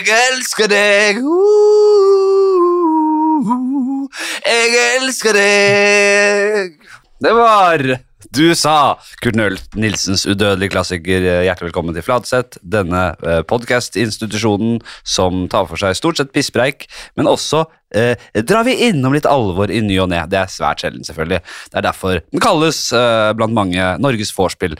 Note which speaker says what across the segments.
Speaker 1: elsker deg. Uh, jeg elsker deg. Det var Du sa Kurt Nøl Nilsens udødelige klassiker. eh, Hjertelig velkommen til Fladseth, denne podkastinstitusjonen som tar for seg stort sett pisspreik, men også eh, drar vi innom litt alvor i ny og ne. Det er svært sjelden, selvfølgelig. Det er derfor den kalles eh, blant mange Norges vorspiel.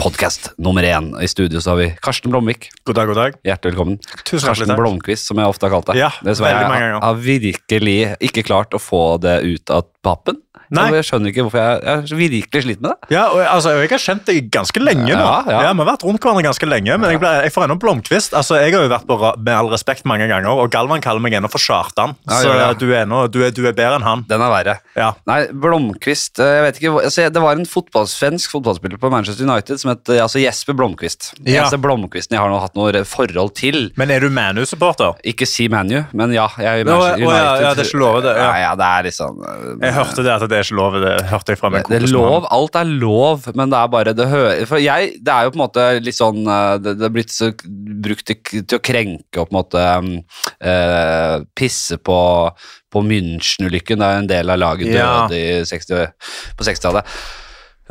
Speaker 1: Podkast nummer én. I studio så har vi Karsten Blomvik.
Speaker 2: God dag, god dag.
Speaker 1: Hjertelig velkommen.
Speaker 2: Tusen hjertelig
Speaker 1: Karsten
Speaker 2: takk.
Speaker 1: Blomkvist, som jeg ofte har kalt deg.
Speaker 2: Ja,
Speaker 1: Dessverre
Speaker 2: veldig
Speaker 1: jeg
Speaker 2: mange
Speaker 1: har-
Speaker 2: ganger.
Speaker 1: har virkelig ikke klart å få det ut av papen.
Speaker 2: Nei.
Speaker 1: Så jeg skjønner ikke hvorfor jeg, jeg er så virkelig sliten med det.
Speaker 2: Ja, og jeg- altså, Jeg har kjent deg ganske lenge nå.
Speaker 1: Ja, ja.
Speaker 2: Vi har vært rundt hverandre ganske lenge, men jeg, ble, jeg får ennå blomkvist. Altså, Jeg har jo vært på ra- Med all respekt mange ganger, og Galvan kaller meg ennå for Kjartan.
Speaker 1: Ja,
Speaker 2: så
Speaker 1: ja, ja.
Speaker 2: Du, er ennå, du, er, du er bedre enn han.
Speaker 1: Den er verre.
Speaker 2: Ja.
Speaker 1: Nei, Blomkvist eh, jeg vet ikke, hvor- altså, Det var en fotball, svensk fotballspiller på Manchester United som het eh, altså Jesper Blomkvist. Den
Speaker 2: Ja.
Speaker 1: eneste Blomkvisten jeg har nå hatt noe forhold til.
Speaker 2: Men er du ManU-supporter?
Speaker 1: Ikke si ManU, men ja. Jeg, er
Speaker 2: Nå,
Speaker 1: Manchester
Speaker 2: å, ja,
Speaker 1: United.
Speaker 2: ja, det er ikke lov, det, ja.
Speaker 1: Ja, ja, det er liksom eh,
Speaker 2: Jeg hørte det at det er ikke lov. Det hørte jeg fra min
Speaker 1: Det er
Speaker 2: kompis.
Speaker 1: lov, alt er lov, men det er bare det hører For jeg, det er jo på en måte litt sånn eh, Det, det er blitt så k- brukt til, k- til å krenke og på en måte mm, eh, pisse på, på München-ulykken. Det er en del av laget
Speaker 2: Ja.
Speaker 1: døde i 60, på 60-tallet.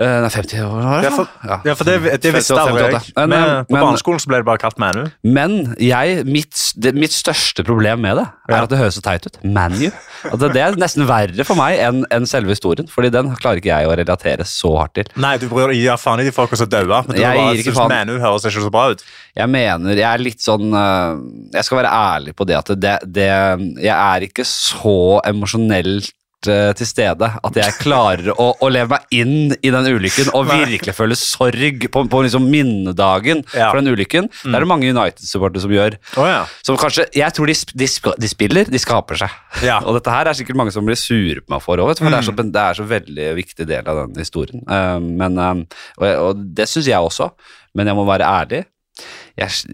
Speaker 1: Eh, Nei, 50 år var
Speaker 2: Ja,
Speaker 1: det?
Speaker 2: for,
Speaker 1: Ja.
Speaker 2: ja, for det, det visste
Speaker 1: 58,
Speaker 2: aldri jeg.
Speaker 1: 58. Men,
Speaker 2: Men, på
Speaker 1: men-
Speaker 2: barneskolen så ble det bare kalt ManU.
Speaker 1: Men jeg, mitt, det, mitt største problem med det er
Speaker 2: Ja.
Speaker 1: at det høres så teit ut. ManU. Altså, det er nesten verre for meg enn enn selve historien, Fordi den klarer ikke jeg å relatere så hardt til.
Speaker 2: Nei, du bryr deg ja, faen i de folka som dauer. men du
Speaker 1: Jeg
Speaker 2: bare
Speaker 1: gir ikke
Speaker 2: synes
Speaker 1: faen.
Speaker 2: ManU høres ikke så bra ut.
Speaker 1: Jeg mener, jeg er litt sånn øh, Jeg skal være ærlig på det at det, det Jeg er ikke så emosjonelt øh, til stede at jeg klarer å, å leve meg inn i den ulykken og
Speaker 2: Nei.
Speaker 1: virkelig føle sorg på, på liksom minnedagen
Speaker 2: Ja. Mm.
Speaker 1: for den ulykken. Det er det mange United-supportere som gjør.
Speaker 2: Å ja.
Speaker 1: Som kanskje, jeg tror de, sp- de, sp- de spiller, de skaper seg.
Speaker 2: Ja. Mm.
Speaker 1: Og dette her er sikkert mange som blir sure på meg for òg, for det, er så, det er så veldig viktig del av den historien. Eh, men, eh, og, jeg- og det syns jeg også, men jeg må være ærlig. Jeg, s-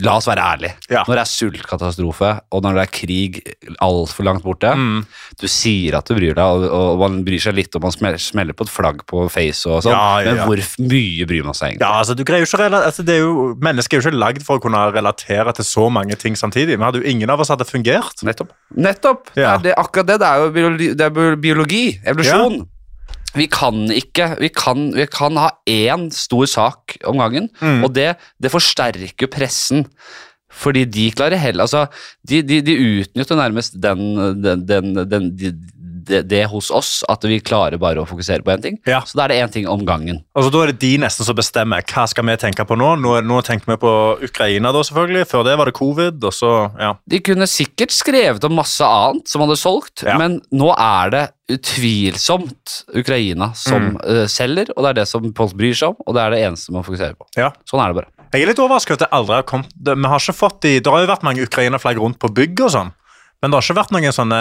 Speaker 1: la oss være ærlige.
Speaker 2: Ja.
Speaker 1: Når det er sultkatastrofe, og når det er krig altfor langt borte
Speaker 2: Mm.
Speaker 1: Du sier at du bryr deg, og, og man bryr seg litt om man smeller, smeller på et flagg på face og sånn,
Speaker 2: Ja, ja, ja.
Speaker 1: men hvor f- mye bryr man seg egentlig?
Speaker 2: Ja, altså, du greier jo ikke å rela- altså, det er jo, Mennesker er jo ikke lagd for å kunne relatere til så mange ting samtidig. Vi hadde jo ingen av oss hadde fungert.
Speaker 1: Nettopp. Nettopp. Det
Speaker 2: Ja.
Speaker 1: er det, akkurat det. Det er jo biologi, det er bio- biologi evolusjon. Vi kan ikke Vi kan, vi kan ha én stor sak om gangen,
Speaker 2: Mm.
Speaker 1: og det, det forsterker pressen. Fordi de klarer heller Altså, de, de, de utnytter nærmest den, den, den, den de, det, det hos oss at vi klarer bare å fokusere på én ting.
Speaker 2: Ja.
Speaker 1: Så da er det én ting om gangen.
Speaker 2: Altså, Da er det de nesten som bestemmer hva skal vi tenke på nå. Nå, nå tenkte vi på Ukraina, da selvfølgelig. Før det var det covid. og så, ja.
Speaker 1: De kunne sikkert skrevet om masse annet som hadde solgt,
Speaker 2: Ja.
Speaker 1: men nå er det utvilsomt Ukraina som eh, selger, og det er det som folk bryr seg om, og det er det eneste man fokuserer på.
Speaker 2: ja.
Speaker 1: Sånn er det bare.
Speaker 2: Jeg er litt overrasket over at det aldri har kommet det- Vi har ikke fått de, Det har jo vært mange Ukraina-flagg rundt på bygg og sånn. Men det har ikke vært noen sånne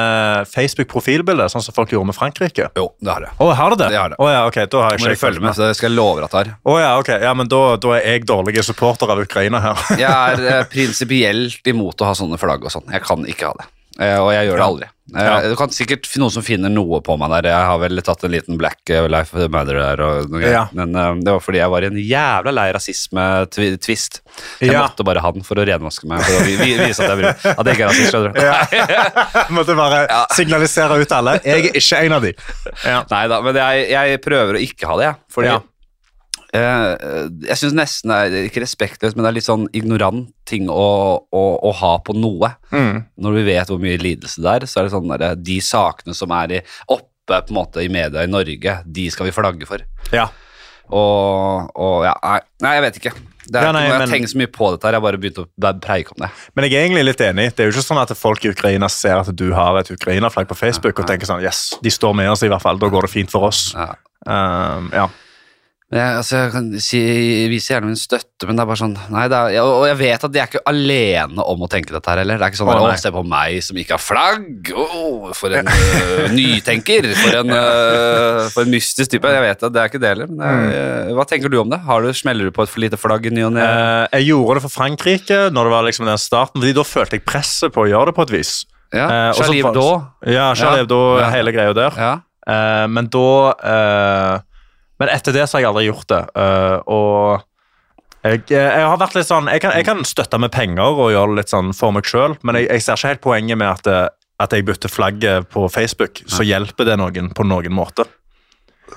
Speaker 2: Facebook-profilbilder, sånn som folk gjorde med Frankrike.
Speaker 1: Jo, det har det.
Speaker 2: Å, har det det?
Speaker 1: Det har det.
Speaker 2: Å ja, ok, da har jeg
Speaker 1: Må
Speaker 2: ikke
Speaker 1: du følge med, så skal jeg love at det har.
Speaker 2: Å ja, ok, ja, men da, da er jeg dårlig supporter av Ukraina her.
Speaker 1: Jeg er eh, prinsipielt imot å ha sånne flagg og sånn. Jeg kan ikke ha det. Eh, og jeg gjør det aldri. Eh,
Speaker 2: Ja.
Speaker 1: Du kan sikkert finne noen som finner noe på meg der. Jeg har vel tatt en liten Black eh, Life Matter der og noe
Speaker 2: Ja.
Speaker 1: greier. Men eh, det var fordi jeg var i en jævla lei rasisme-twist. Jeg
Speaker 2: Ja.
Speaker 1: måtte bare ha den for å renvaske meg, for å vi- vi- vise at jeg, bryr, meg. at jeg ikke er rasist. skjønner du.
Speaker 2: Måtte bare signalisere ut alle. Jeg er ikke en av de. Ja.
Speaker 1: Nei da, men jeg, jeg prøver å ikke ha det, jeg. Fordi
Speaker 2: Ja.
Speaker 1: eh, jeg syns nesten det er ikke respektløst, men det er litt sånn ignorant ting å, å, å ha på noe. Når vi vet hvor mye lidelse det er, så er det sånn der, de sakene som er i, oppe på en måte i media i Norge, de skal vi flagge for.
Speaker 2: Ja.
Speaker 1: Og, og ja, nei, nei, jeg vet ikke. Det er,
Speaker 2: Ja,
Speaker 1: ikke
Speaker 2: nei,
Speaker 1: noe- jeg
Speaker 2: men-
Speaker 1: tenker så mye på dette her, jeg bare begynte å bare preike om det.
Speaker 2: Men jeg er egentlig litt enig. Det er jo ikke sånn at folk i Ukraina ser at du har et Ukraina-flagg på Facebook og tenker sånn Yes, de står med oss i hvert fall. Da går det fint for oss.
Speaker 1: Ja.
Speaker 2: Um, ja.
Speaker 1: Men Jeg, altså, jeg kan si, viser gjerne min støtte, men det er bare sånn nei, det er, Og jeg vet at jeg er ikke alene om å tenke dette her heller. Det er ikke sånn
Speaker 2: Å,
Speaker 1: at,
Speaker 2: nei.
Speaker 1: å, se på meg som ikke har flagg. Å, for en øh, nytenker. For en, øh, for en mystisk type. Jeg vet at det er ikke det heller. Men jeg, øh, hva tenker du om det? Har du, smeller du på et for lite flagg i ny og ne?
Speaker 2: Mm. Eh, jeg gjorde det for Frankrike når det var liksom den starten, fordi da følte jeg presset på å gjøre det på et vis.
Speaker 1: Ja.
Speaker 2: eh, også
Speaker 1: Charlie
Speaker 2: for-
Speaker 1: Hebdo.
Speaker 2: Ja, Charlie
Speaker 1: Ja.
Speaker 2: Hebdo,
Speaker 1: Ja.
Speaker 2: hele greia der.
Speaker 1: Ja.
Speaker 2: Eh, men da eh, Men etter det så har jeg aldri gjort det. Eh, og Jeg, eh, jeg har vært litt sånn, jeg kan, jeg kan støtte med penger og gjøre det litt sånn for meg sjøl, men jeg, jeg ser ikke helt poenget med at, eh, at jeg bytter flagget på Facebook, så hjelper det noen på noen måte.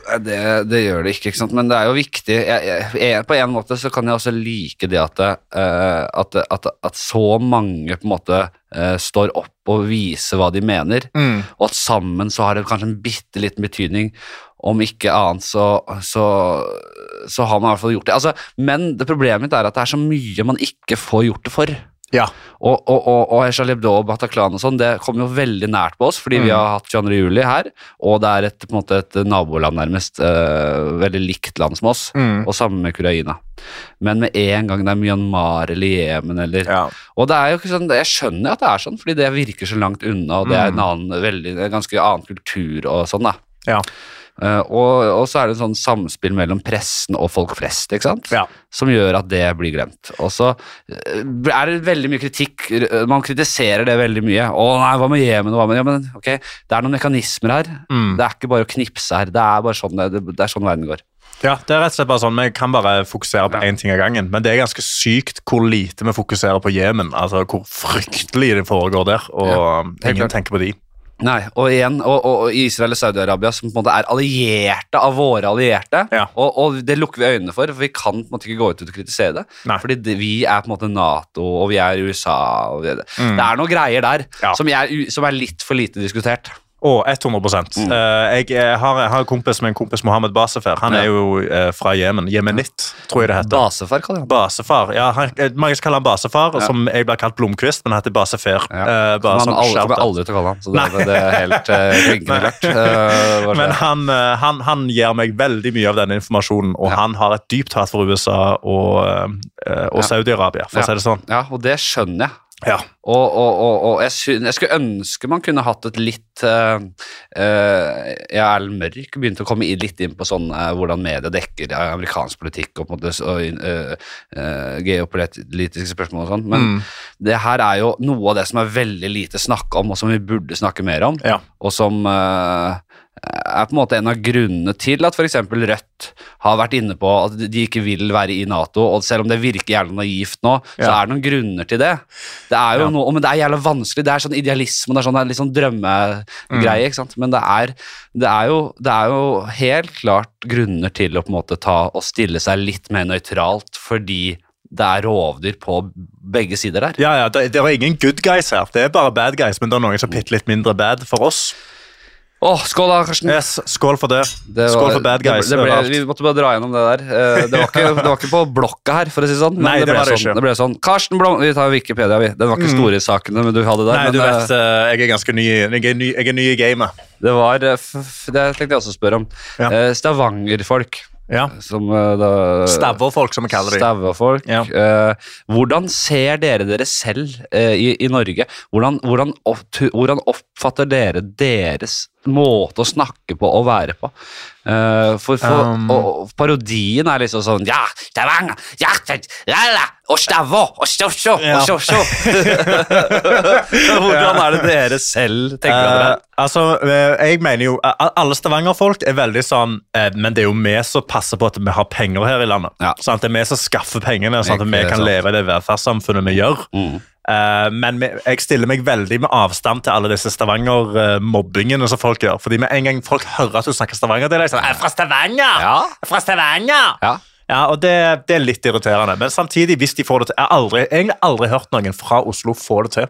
Speaker 1: Nei, Det, det gjør det ikke, ikke sant? men det er jo viktig. Jeg, jeg, jeg, på en måte så kan jeg også like det at, det, eh, at, det- at, at så mange på en måte eh, står opp og viser hva de mener, og at sammen så har det kanskje en bitte liten betydning. Om ikke annet så, så, så har man i hvert fall gjort det. Altså, men det problemet mitt er at det er så mye man ikke får gjort det for.
Speaker 2: Ja.
Speaker 1: Og, og, og, og Shalib og Bataclan og sånn, det kommer jo veldig nært på oss, fordi
Speaker 2: Mm.
Speaker 1: vi har hatt 22. juli her, og det er et, på en måte et naboland nærmest, eh, veldig likt land som oss,
Speaker 2: Mm.
Speaker 1: og samme med Ukraina. Men med en gang det er Myanmar eller Jemen eller
Speaker 2: ja.
Speaker 1: Og det er jo ikke sånn, jeg skjønner at det er sånn, fordi det virker så langt unna, og det
Speaker 2: Mm.
Speaker 1: er en annen, veldig, en ganske annen kultur og sånn, da.
Speaker 2: Ja.
Speaker 1: Eh, og, og så er det en sånn samspill mellom pressen og folk flest, ikke sant?
Speaker 2: Ja.
Speaker 1: som gjør at det blir glemt. Og så eh, er det veldig mye kritikk, eh, man kritiserer det veldig mye. Å nei, hva med Jemen, og hva med Ja, men ok, det er noen mekanismer her.
Speaker 2: Mm.
Speaker 1: Det er ikke bare å knipse her, det er bare sånn, det, det er sånn verden går.
Speaker 2: Ja, det er rett og slett bare sånn, Vi kan bare fokusere på
Speaker 1: Ja.
Speaker 2: én ting av gangen. Men det er ganske sykt hvor lite vi fokuserer på Jemen. Altså, hvor fryktelig det foregår der, og um,
Speaker 1: helt
Speaker 2: ingen
Speaker 1: klart.
Speaker 2: tenker på de.
Speaker 1: Nei, og igjen, og, og, og Israel og Saudi-Arabia som på en måte er allierte av våre allierte,
Speaker 2: Ja.
Speaker 1: og, og det lukker vi øynene for, for vi kan på en måte ikke gå ut og kritisere det,
Speaker 2: Nei.
Speaker 1: fordi det, vi er på en måte NATO, og vi er USA, og vi er det.
Speaker 2: Mm.
Speaker 1: det er noen greier der
Speaker 2: Ja.
Speaker 1: som, jeg, er u- som er litt for lite diskutert.
Speaker 2: Og 100
Speaker 1: Mm.
Speaker 2: Eh, jeg, eh, har, jeg har en kompis med en kompis Mohammed Basefer. Han
Speaker 1: Ja.
Speaker 2: er jo eh, fra Jemen. Jemenitt, tror jeg det heter.
Speaker 1: Basefar, kaller han.
Speaker 2: Basefar. ja, han, eh, Mange kaller han Basefar,
Speaker 1: Ja.
Speaker 2: som jeg blir kalt Blomkvist, men han heter Basefer.
Speaker 1: Ja.
Speaker 2: Eh, bare
Speaker 1: Men
Speaker 2: sånn
Speaker 1: alle,
Speaker 2: shout-out.
Speaker 1: kommer aldri til å kalle han, så det, det, det er helt uh, klinkende klart. Eh, bare så-
Speaker 2: Men han, eh, han, han gir meg veldig mye av denne informasjonen, og
Speaker 1: Ja.
Speaker 2: han har et dypt hat for USA og, eh,
Speaker 1: Ja.
Speaker 2: og Saudi-Arabia, for
Speaker 1: Ja.
Speaker 2: å si det sånn.
Speaker 1: ja, og det skjønner jeg.
Speaker 2: Ja.
Speaker 1: Og, og, og, og jeg, syn- jeg skulle ønske man kunne hatt et litt uh, Ja, Erlend Mørk begynte å komme i- litt inn på sånn eh, hvordan media dekker eh, amerikansk politikk og, på en måte, så- og eh, eh, geopolitiske spørsmål og sånn, men
Speaker 2: Mm.
Speaker 1: det her er jo noe av det som er veldig lite snakk om, og som vi burde snakke mer om.
Speaker 2: ja.
Speaker 1: og som eh, er på en måte en av grunnene til at f.eks. Rødt har vært inne på at de ikke vil være i Nato, og selv om det virker jævla naivt nå, så
Speaker 2: Ja.
Speaker 1: er det noen grunner til det. Det er jo
Speaker 2: Ja.
Speaker 1: noe, men det er jævla vanskelig, det er sånn idealisme, det er sånn, det er litt sånn
Speaker 2: Mm.
Speaker 1: drømmegreie, ikke sant. Men det er, det, er jo, det er jo helt klart grunner til å på en måte ta og stille seg litt mer nøytralt, fordi det er rovdyr på begge sider der.
Speaker 2: ja, ja, det, det er ingen good guys her. Det er bare bad guys, men det er noen som er bitte litt mindre bad for oss.
Speaker 1: Å, skål da, Karsten.
Speaker 2: Yes, skål for det.
Speaker 1: Mm. Det var-
Speaker 2: skål for bad guys.
Speaker 1: Det, det ble,
Speaker 2: overalt.
Speaker 1: vi måtte bare dra gjennom det der. Eh, Det var ikke, det var ikke på blokka her, for å si det sånn. men
Speaker 2: Nei, det
Speaker 1: ble
Speaker 2: var det
Speaker 1: sånn,
Speaker 2: ikke. Mm.
Speaker 1: det ble sånn. Karsten Blom... Vi tar Wikipedia, vi. Den var ikke store sakene men du hadde der.
Speaker 2: Nei,
Speaker 1: men,
Speaker 2: du
Speaker 1: eh,
Speaker 2: vet, eh, jeg er ganske ny, jeg er ny, jeg er ny i gamet.
Speaker 1: det var eh, f f Det tenkte jeg også å spørre om.
Speaker 2: Ja.
Speaker 1: Eh, Stavangerfolk,
Speaker 2: Ja.
Speaker 1: som eh, da
Speaker 2: Stavverfolk, som vi kaller dem.
Speaker 1: Stauefolk.
Speaker 2: Ja.
Speaker 1: Eh, hvordan ser dere dere selv eh, i, i Norge? Hvordan, hvordan, opp, hvordan oppfatter dere deres måte å snakke på og være på? Eh, for for
Speaker 2: Um.
Speaker 1: og, og parodien er liksom sånn Ja, Stavanger! Ja, St- Lala, og Stavå! Og Stosjå!
Speaker 2: Ja.
Speaker 1: Og Sjosjå! hvordan er det dere selv tenker dere?
Speaker 2: Eh, altså, eh, jeg mener jo eh, Alle Stavanger-folk er veldig sånn eh, Men det er jo vi som passer på at vi har penger her i landet.
Speaker 1: Ja.
Speaker 2: Sånn at Det er vi som skaffer pengene, sånn at vi
Speaker 1: Ikke
Speaker 2: kan
Speaker 1: sant.
Speaker 2: leve i det velferdssamfunnet vi gjør.
Speaker 1: Mm.
Speaker 2: Eh, men vi- jeg stiller meg veldig med avstand til alle disse Stavanger-mobbingene som folk gjør. Fordi med en gang folk hører at du snakker Stavanger, det er liksom «Jeg er fra Stavanger!
Speaker 1: Ja.
Speaker 2: Jeg er Fra Stavanger!
Speaker 1: Ja.
Speaker 2: Ja, og det, det er litt irriterende. Men samtidig, hvis de får det til Jeg har aldri, egentlig aldri hørt noen fra Oslo få det til.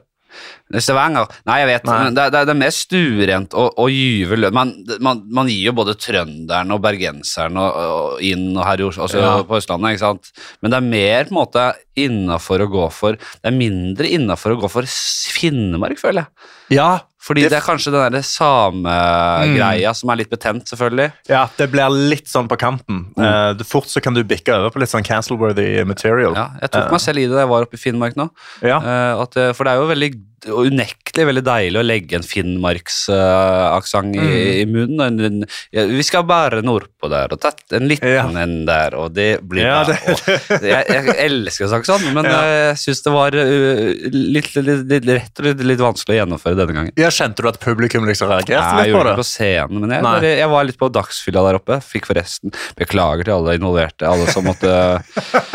Speaker 1: Stavanger? Nei, jeg vet.
Speaker 2: Nei.
Speaker 1: men Det, er- det, er- det er mer stuerent og, og gyve lø- Man, man, man gir jo både trønderen og bergenseren og, og inn og her i Oslo, altså
Speaker 2: Ja.
Speaker 1: på Østlandet, ikke sant? Men det er mer på en måte innafor å gå for Det er mindre innafor å gå for s- Finnmark, føler jeg.
Speaker 2: Ja,
Speaker 1: Fordi det, er kanskje den derre samegreia
Speaker 2: Mm.
Speaker 1: som er litt betent, selvfølgelig.
Speaker 2: Ja, det blir litt sånn på kanten. Eh, det fort så kan du bikke over på litt sånn cancel-worthy material.
Speaker 1: Ja, jeg tok meg selv i det da jeg var oppe i Finnmark nå.
Speaker 2: Ja.
Speaker 1: Eh, at, eh, for det er jo veldig og unektelig veldig deilig å legge en Finnmarksaksent i,
Speaker 2: Mm.
Speaker 1: i munnen. og En, en, ja, vi skal bare nordpå der, og tatt en liten
Speaker 2: Ja.
Speaker 1: en der, og det blir
Speaker 2: Ja,
Speaker 1: bra. Og jeg, jeg elsker å snakke sånn, men
Speaker 2: Ja.
Speaker 1: eh, jeg syns det var eh, litt, litt, litt rett og slett litt vanskelig å gjennomføre denne gangen.
Speaker 2: Ja, Kjente du at publikum liksom reagerte
Speaker 1: Nei, jeg
Speaker 2: litt på
Speaker 1: gjorde det
Speaker 2: det?
Speaker 1: på scenen, men jeg,
Speaker 2: Nei.
Speaker 1: bare, jeg var litt på dagsfylla der oppe. Fikk forresten Beklager til alle involverte, alle som måtte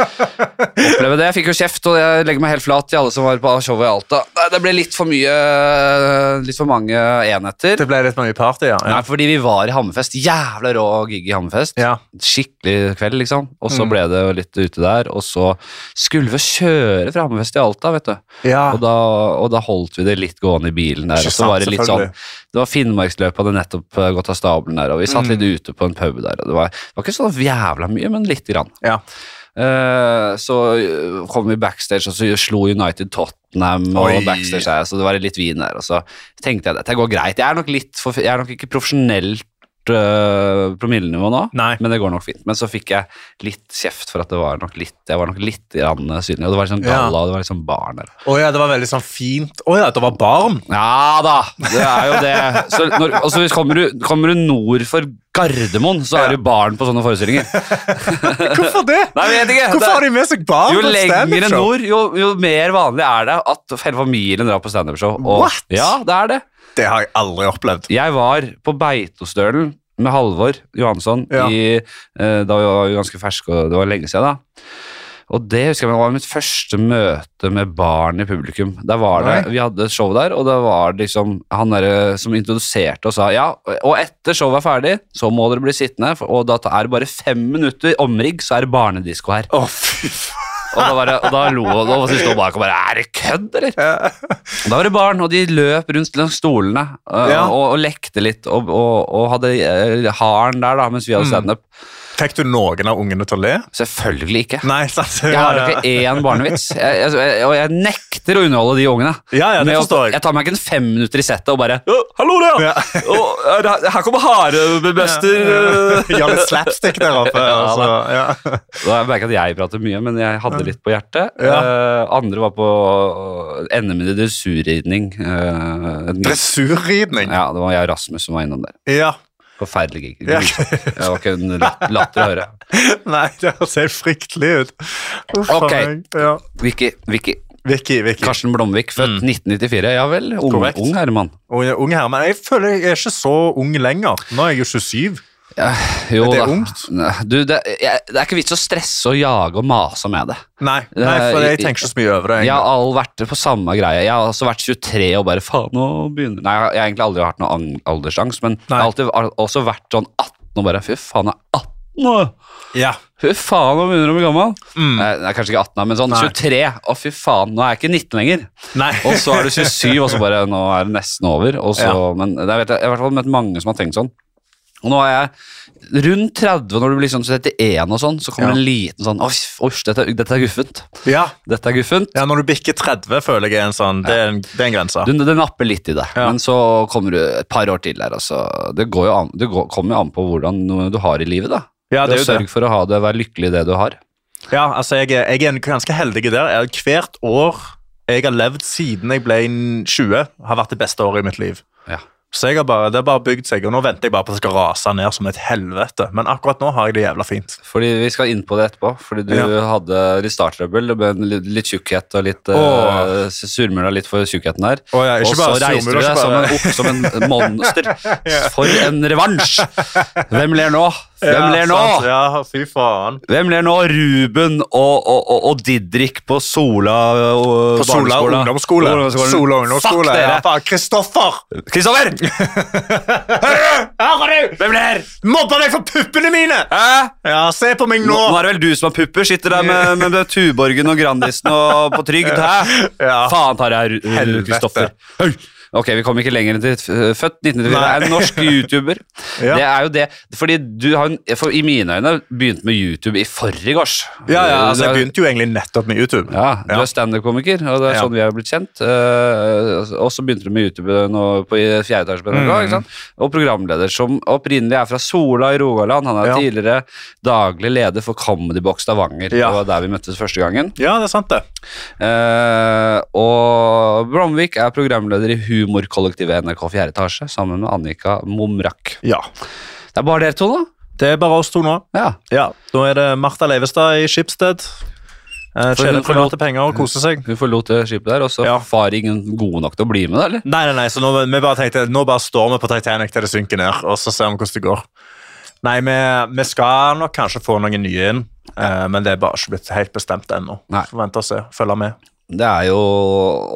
Speaker 1: oppleve det. Jeg fikk jo kjeft, og jeg legger meg helt flat til alle som var på showet i Alta. Nei, Det ble litt for mye Litt for mange enheter.
Speaker 2: Det ble litt mye party, ja.
Speaker 1: Nei, fordi vi var i Hammerfest. Jævla rå gig i Hammerfest.
Speaker 2: ja.
Speaker 1: Skikkelig kveld, liksom. Og så
Speaker 2: Mm.
Speaker 1: ble det jo litt ute der, og så skulle vi kjøre fra Hammerfest til Alta, vet du.
Speaker 2: ja.
Speaker 1: Og da, og da holdt vi det litt gående i bilen der.
Speaker 2: Ah.
Speaker 1: Og
Speaker 2: Ikke
Speaker 1: så var
Speaker 2: sant,
Speaker 1: det litt sånn
Speaker 2: selvfølgelig.
Speaker 1: Det var Finnmarksløpet hadde nettopp eh, gått av stabelen der, og vi satt
Speaker 2: Mm.
Speaker 1: litt ute på en pub der, og det var, det var ikke så jævla mye, men lite grann.
Speaker 2: Ja.
Speaker 1: Eh, så eh, kom vi backstage, og så slo United Tottenham og
Speaker 2: Oi.
Speaker 1: backstage her, så det var litt vin der, og så tenkte jeg dette går greit. Jeg er nok litt for Jeg er nok ikke profesjonelt eh, promillenivå nå.
Speaker 2: Nei.
Speaker 1: Men det går nok fint. Men så fikk jeg litt kjeft for at det var nok litt Jeg var nok litt grann synlig. Og det var litt sånn
Speaker 2: Ja.
Speaker 1: galla, og det var litt sånn barn der.
Speaker 2: Å ja, det var veldig sånn fint. Å ja, det var varmt.
Speaker 1: Ja da, det er jo det. Så når, og så hvis kommer, du, kommer du nord for Gardermoen, så er du barn på sånne forestillinger.
Speaker 2: Hvorfor det?
Speaker 1: Nei, jeg vet ikke.
Speaker 2: Hvorfor har de med seg barn?
Speaker 1: Jo
Speaker 2: på et
Speaker 1: lenger
Speaker 2: stand-up-show?
Speaker 1: nord, jo, jo mer vanlig er det at hele familien drar på standup-show. og-
Speaker 2: What?
Speaker 1: Ja, det er det.
Speaker 2: Det har jeg aldri opplevd.
Speaker 1: Jeg var på Beitostølen med Halvor Johansson
Speaker 2: Ja.
Speaker 1: i, eh, da vi var ganske ferske, og det var lenge siden da. Og det husker jeg det var mitt første møte med barn i publikum. Der var det,
Speaker 2: Oi.
Speaker 1: Vi hadde et show der, og det var liksom han der, som introduserte og sa ja, og etter showet er ferdig, så må dere bli sittende, for- og da er det bare fem minutter omrigg, så er det barnedisko her.
Speaker 2: Å, fy faen.
Speaker 1: Og da, var det, og da lo og da syntes de bak og bare Er det kødd, eller?
Speaker 2: Ja.
Speaker 1: Og Da var det barn, og de løp rundt langs stolene øh,
Speaker 2: Ja.
Speaker 1: og, og lekte litt og, og, og hadde øh, haren der da, mens vi
Speaker 2: Mm.
Speaker 1: hadde standup.
Speaker 2: Fikk du noen av ungene til å le?
Speaker 1: Selvfølgelig ikke.
Speaker 2: Nei, sant?
Speaker 1: Jeg har jo ikke én barnevits, jeg, jeg, jeg, og jeg nekter å underholde de ungene.
Speaker 2: Ja, ja, det
Speaker 1: Med å-
Speaker 2: forstår jeg.
Speaker 1: Jeg tar meg ikke en fem minutter i settet og bare «Å, Hallo, der!
Speaker 2: Ja.
Speaker 1: Og, er det- her kommer harebester.
Speaker 2: Gjør litt slapstick der oppe.
Speaker 1: eh, Ja,
Speaker 2: Altså. Ja.
Speaker 1: Da merker jeg at jeg prater mye, men jeg hadde litt på hjertet. Eh, andre var på øh, NM i dressurridning. eh, en-
Speaker 2: Dressurridning.
Speaker 1: ja, det var jeg og Rasmus som var innom der.
Speaker 2: Ja.
Speaker 1: Forferdelig gig.
Speaker 2: Ja.
Speaker 1: Det var ikke en lat- latter å høre.
Speaker 2: Nei, det ser fryktelig ut. Uff,
Speaker 1: Ok.
Speaker 2: faen meg. Ja.
Speaker 1: Vicky, Vicky.
Speaker 2: Vicky, Vicky.
Speaker 1: Karsten Blomvik, født 1994. Ja vel, ung,
Speaker 2: Korrekt.
Speaker 1: ung herremann.
Speaker 2: Ung, ung her, men jeg føler jeg er ikke så ung lenger. Nå er jeg jo 27.
Speaker 1: Jo
Speaker 2: Er det
Speaker 1: da.
Speaker 2: ungt?
Speaker 1: Nei, Du, det, jeg, det er ikke vits å stresse og jage og mase med det.
Speaker 2: Nei, nei
Speaker 1: Eh,
Speaker 2: for jeg
Speaker 1: i-
Speaker 2: tenker ikke så mye over det.
Speaker 1: Jeg
Speaker 2: egentlig.
Speaker 1: har all vært på samme greie. Jeg har også vært 23 og bare faen, nå begynner Nei, jeg har egentlig aldri hatt noen ang- aldersangst, men jeg har
Speaker 2: Nei.
Speaker 1: alltid al- også vært sånn 18 og bare fy faen, jeg er 18 nå!
Speaker 2: Ja.
Speaker 1: Fy faen, nå begynner jeg å bli gammel.
Speaker 2: Mm.
Speaker 1: Nei, jeg er kanskje ikke 18, da, men sånn
Speaker 2: Nei.
Speaker 1: 23. Å, fy faen, nå er jeg ikke 19 lenger.
Speaker 2: Nei.
Speaker 1: Og så er du 27, og så bare Nå er det nesten over. Og så, Men det er- vet jeg, jeg har i hvert fall møtt mange som har tenkt sånn. Og nå er jeg rundt 30, og når du blir sånn 31 og sånn, så kommer
Speaker 2: Ja.
Speaker 1: en liten sånn Osh, osh dette, er- dette er guffent.
Speaker 2: Ja.
Speaker 1: Dette er guffent.
Speaker 2: ja, når du bikker 30, føler jeg er en sånn Det er en, det er en grense.
Speaker 1: Du, det napper litt i deg,
Speaker 2: Ja.
Speaker 1: men så kommer du et par år til der. Altså. Det, går jo an, det går, kommer jo an på hvordan du har i livet, da.
Speaker 2: Ja, det er jo det.
Speaker 1: Sørg for å ha det, være lykkelig i det du har.
Speaker 2: Ja, altså jeg, er- jeg er en ganske heldig der. Jeg, hvert år jeg har levd siden jeg ble 20, har vært det beste året i mitt liv.
Speaker 1: Ja.
Speaker 2: Så jeg har bare, det har bare bygd seg, og nå venter jeg bare på at det skal rase ned som et helvete. Men akkurat nå har jeg det jævla fint.
Speaker 1: Fordi Vi skal inn på det etterpå. Fordi Du hadde litt starttrøbbel. Det ble en litt, litt tjukkhet og litt
Speaker 2: Åh.
Speaker 1: uh, surmula litt for tjukkheten der.
Speaker 2: Å ja, ikke
Speaker 1: og så
Speaker 2: bare
Speaker 1: reiste
Speaker 2: surmula,
Speaker 1: du deg
Speaker 2: ikke
Speaker 1: som
Speaker 2: bare-
Speaker 1: en, opp som en monster. For en revansj! Hvem ler nå? Hvem
Speaker 2: Ja,
Speaker 1: ler nå?
Speaker 2: sant. Ja, fy faen.
Speaker 1: Hvem ler nå? Ruben og, og, og, og Didrik på Sola og,
Speaker 2: På Sola
Speaker 1: barneskolen.
Speaker 2: ungdomsskole.
Speaker 1: Ungdomsskolen.
Speaker 2: Sola ungdomsskole.
Speaker 1: Fuck
Speaker 2: Ja,
Speaker 1: dere!
Speaker 2: faen. Kristoffer!
Speaker 1: Kristoffer!
Speaker 2: Hører du?
Speaker 1: Hvem ler?
Speaker 2: Mobber deg for puppene mine!
Speaker 1: Hæ?
Speaker 2: Ja, se på meg
Speaker 1: Nå, nå
Speaker 2: nå!
Speaker 1: er det vel du som har pupper. Sitter der med, med, med Tuborgen og Grandisen og på trygd. Hæ?
Speaker 2: Ja.
Speaker 1: Faen tar jeg Ru- Ru-
Speaker 2: Helvete.
Speaker 1: Kristoffer. Hei! Ok, vi kom ikke lenger enn til eh, født 1994. Det
Speaker 2: Nei.
Speaker 1: er en norsk YouTuber.
Speaker 2: Ja.
Speaker 1: Det er jo det. Fordi du har en, for i mine øyne begynt med YouTube i forgårs.
Speaker 2: Ja, ja,
Speaker 1: Du
Speaker 2: altså
Speaker 1: har-
Speaker 2: Jeg begynte jo egentlig nettopp med YouTube.
Speaker 1: ja, du
Speaker 2: Ja.
Speaker 1: er standup-komiker, og det er
Speaker 2: Ja.
Speaker 1: sånn vi har blitt kjent. Eh, og så begynte du med YouTube nå på i fjerde etasje på NRK.
Speaker 2: Mm.
Speaker 1: Ikke sant? Og programleder, som opprinnelig er fra Sola i Rogaland. Han er
Speaker 2: Ja.
Speaker 1: tidligere daglig leder for Comedy Box Stavanger.
Speaker 2: Ja.
Speaker 1: Det var der vi møttes første gangen.
Speaker 2: Ja, det er sant, det.
Speaker 1: Eh, og Bromvik er programleder i humorkollektivet NRK fjerde etasje sammen med Annika Momrak.
Speaker 2: Ja.
Speaker 1: Det er bare dere to, da?
Speaker 2: Det er bare oss to nå.
Speaker 1: Ja.
Speaker 2: Ja, Da er det Martha Leivestad i Schibsted. Eh,
Speaker 1: For-
Speaker 2: Tjener
Speaker 1: for-
Speaker 2: private penger og koser seg.
Speaker 1: Hun forlot det skipet der, og så
Speaker 2: Ja.
Speaker 1: var ingen god nok til å bli med, da, eller?
Speaker 2: Nei, nei, nei, så nå, vi bare tenkte, nå bare står vi på Titanic til det synker ned, og så ser vi hvordan det går. Nei, vi, vi skal nok kanskje få noen nye inn, eh, men det er bare ikke blitt helt bestemt ennå.
Speaker 1: Nei.
Speaker 2: Får vente og se, følge med.
Speaker 1: Det er jo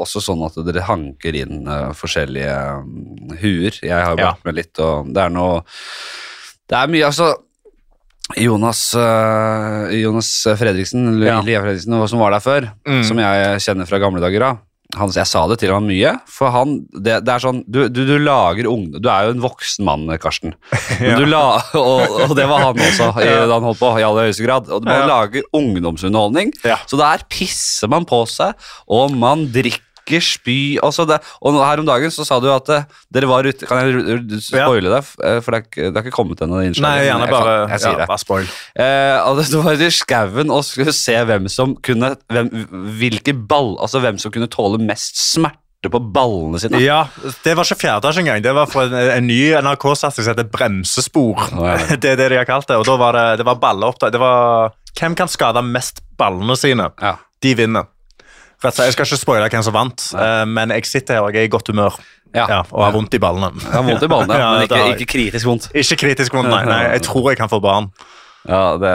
Speaker 1: også sånn at dere hanker inn eh, forskjellige mm, huer. Jeg har jo
Speaker 2: Ja.
Speaker 1: vært med litt, og det er noe Det er mye, altså. Jonas, eh, Jonas Fredriksen, Lu-
Speaker 2: Ja.
Speaker 1: Lia Fredriksen, som var der før,
Speaker 2: Mm.
Speaker 1: som jeg kjenner fra gamle dager av. Han, jeg sa det til ham mye, for han Det, det er sånn du, du, du lager ungdom Du er jo en voksen mann, Karsten. Men du la, og, og det var han også, i, da han holdt på, i aller høyeste grad. Og man
Speaker 2: Ja.
Speaker 1: lager ungdomsunderholdning.
Speaker 2: Ja.
Speaker 1: Så der pisser man på seg, og man drikker spy. Og, så det, og nå- her om dagen så sa du at eh, dere var ute Kan jeg ru- ru- spoile det? Eh, For det er ikke- det har ikke kommet ennå. det innslaget,
Speaker 2: Nei,
Speaker 1: men
Speaker 2: gjerne
Speaker 1: jeg
Speaker 2: bare,
Speaker 1: kan- Jeg sier
Speaker 2: ja,
Speaker 1: det.
Speaker 2: bare spoil.
Speaker 1: Eh, og det var i skauen og skulle se hvem som kunne hvem, Hvilke ball Altså hvem som kunne tåle mest smerte på ballene sine.
Speaker 2: Ja, Det var ikke fjerdetasje engang. Det var fra en, en ny NRK-satsing som heter Bremsespor.
Speaker 1: Å, ja.
Speaker 2: Det er det de har kalt det. Og da var det, det var balleopptak. Det var Hvem kan skade mest ballene sine?
Speaker 1: Ja.
Speaker 2: De vinner. Rett og slett, Jeg skal ikke spoile hvem som vant, eh, men jeg sitter her og jeg er i godt humør.
Speaker 1: Ja.
Speaker 2: Ja, og har vondt i ballene.
Speaker 1: Jeg har vondt i ballene,
Speaker 2: Ja,
Speaker 1: men
Speaker 2: det
Speaker 1: ikke,
Speaker 2: har jeg.
Speaker 1: ikke kritisk vondt.
Speaker 2: Ikke kritisk vondt, nei. nei. Jeg tror jeg kan få barn.
Speaker 1: Ja, det,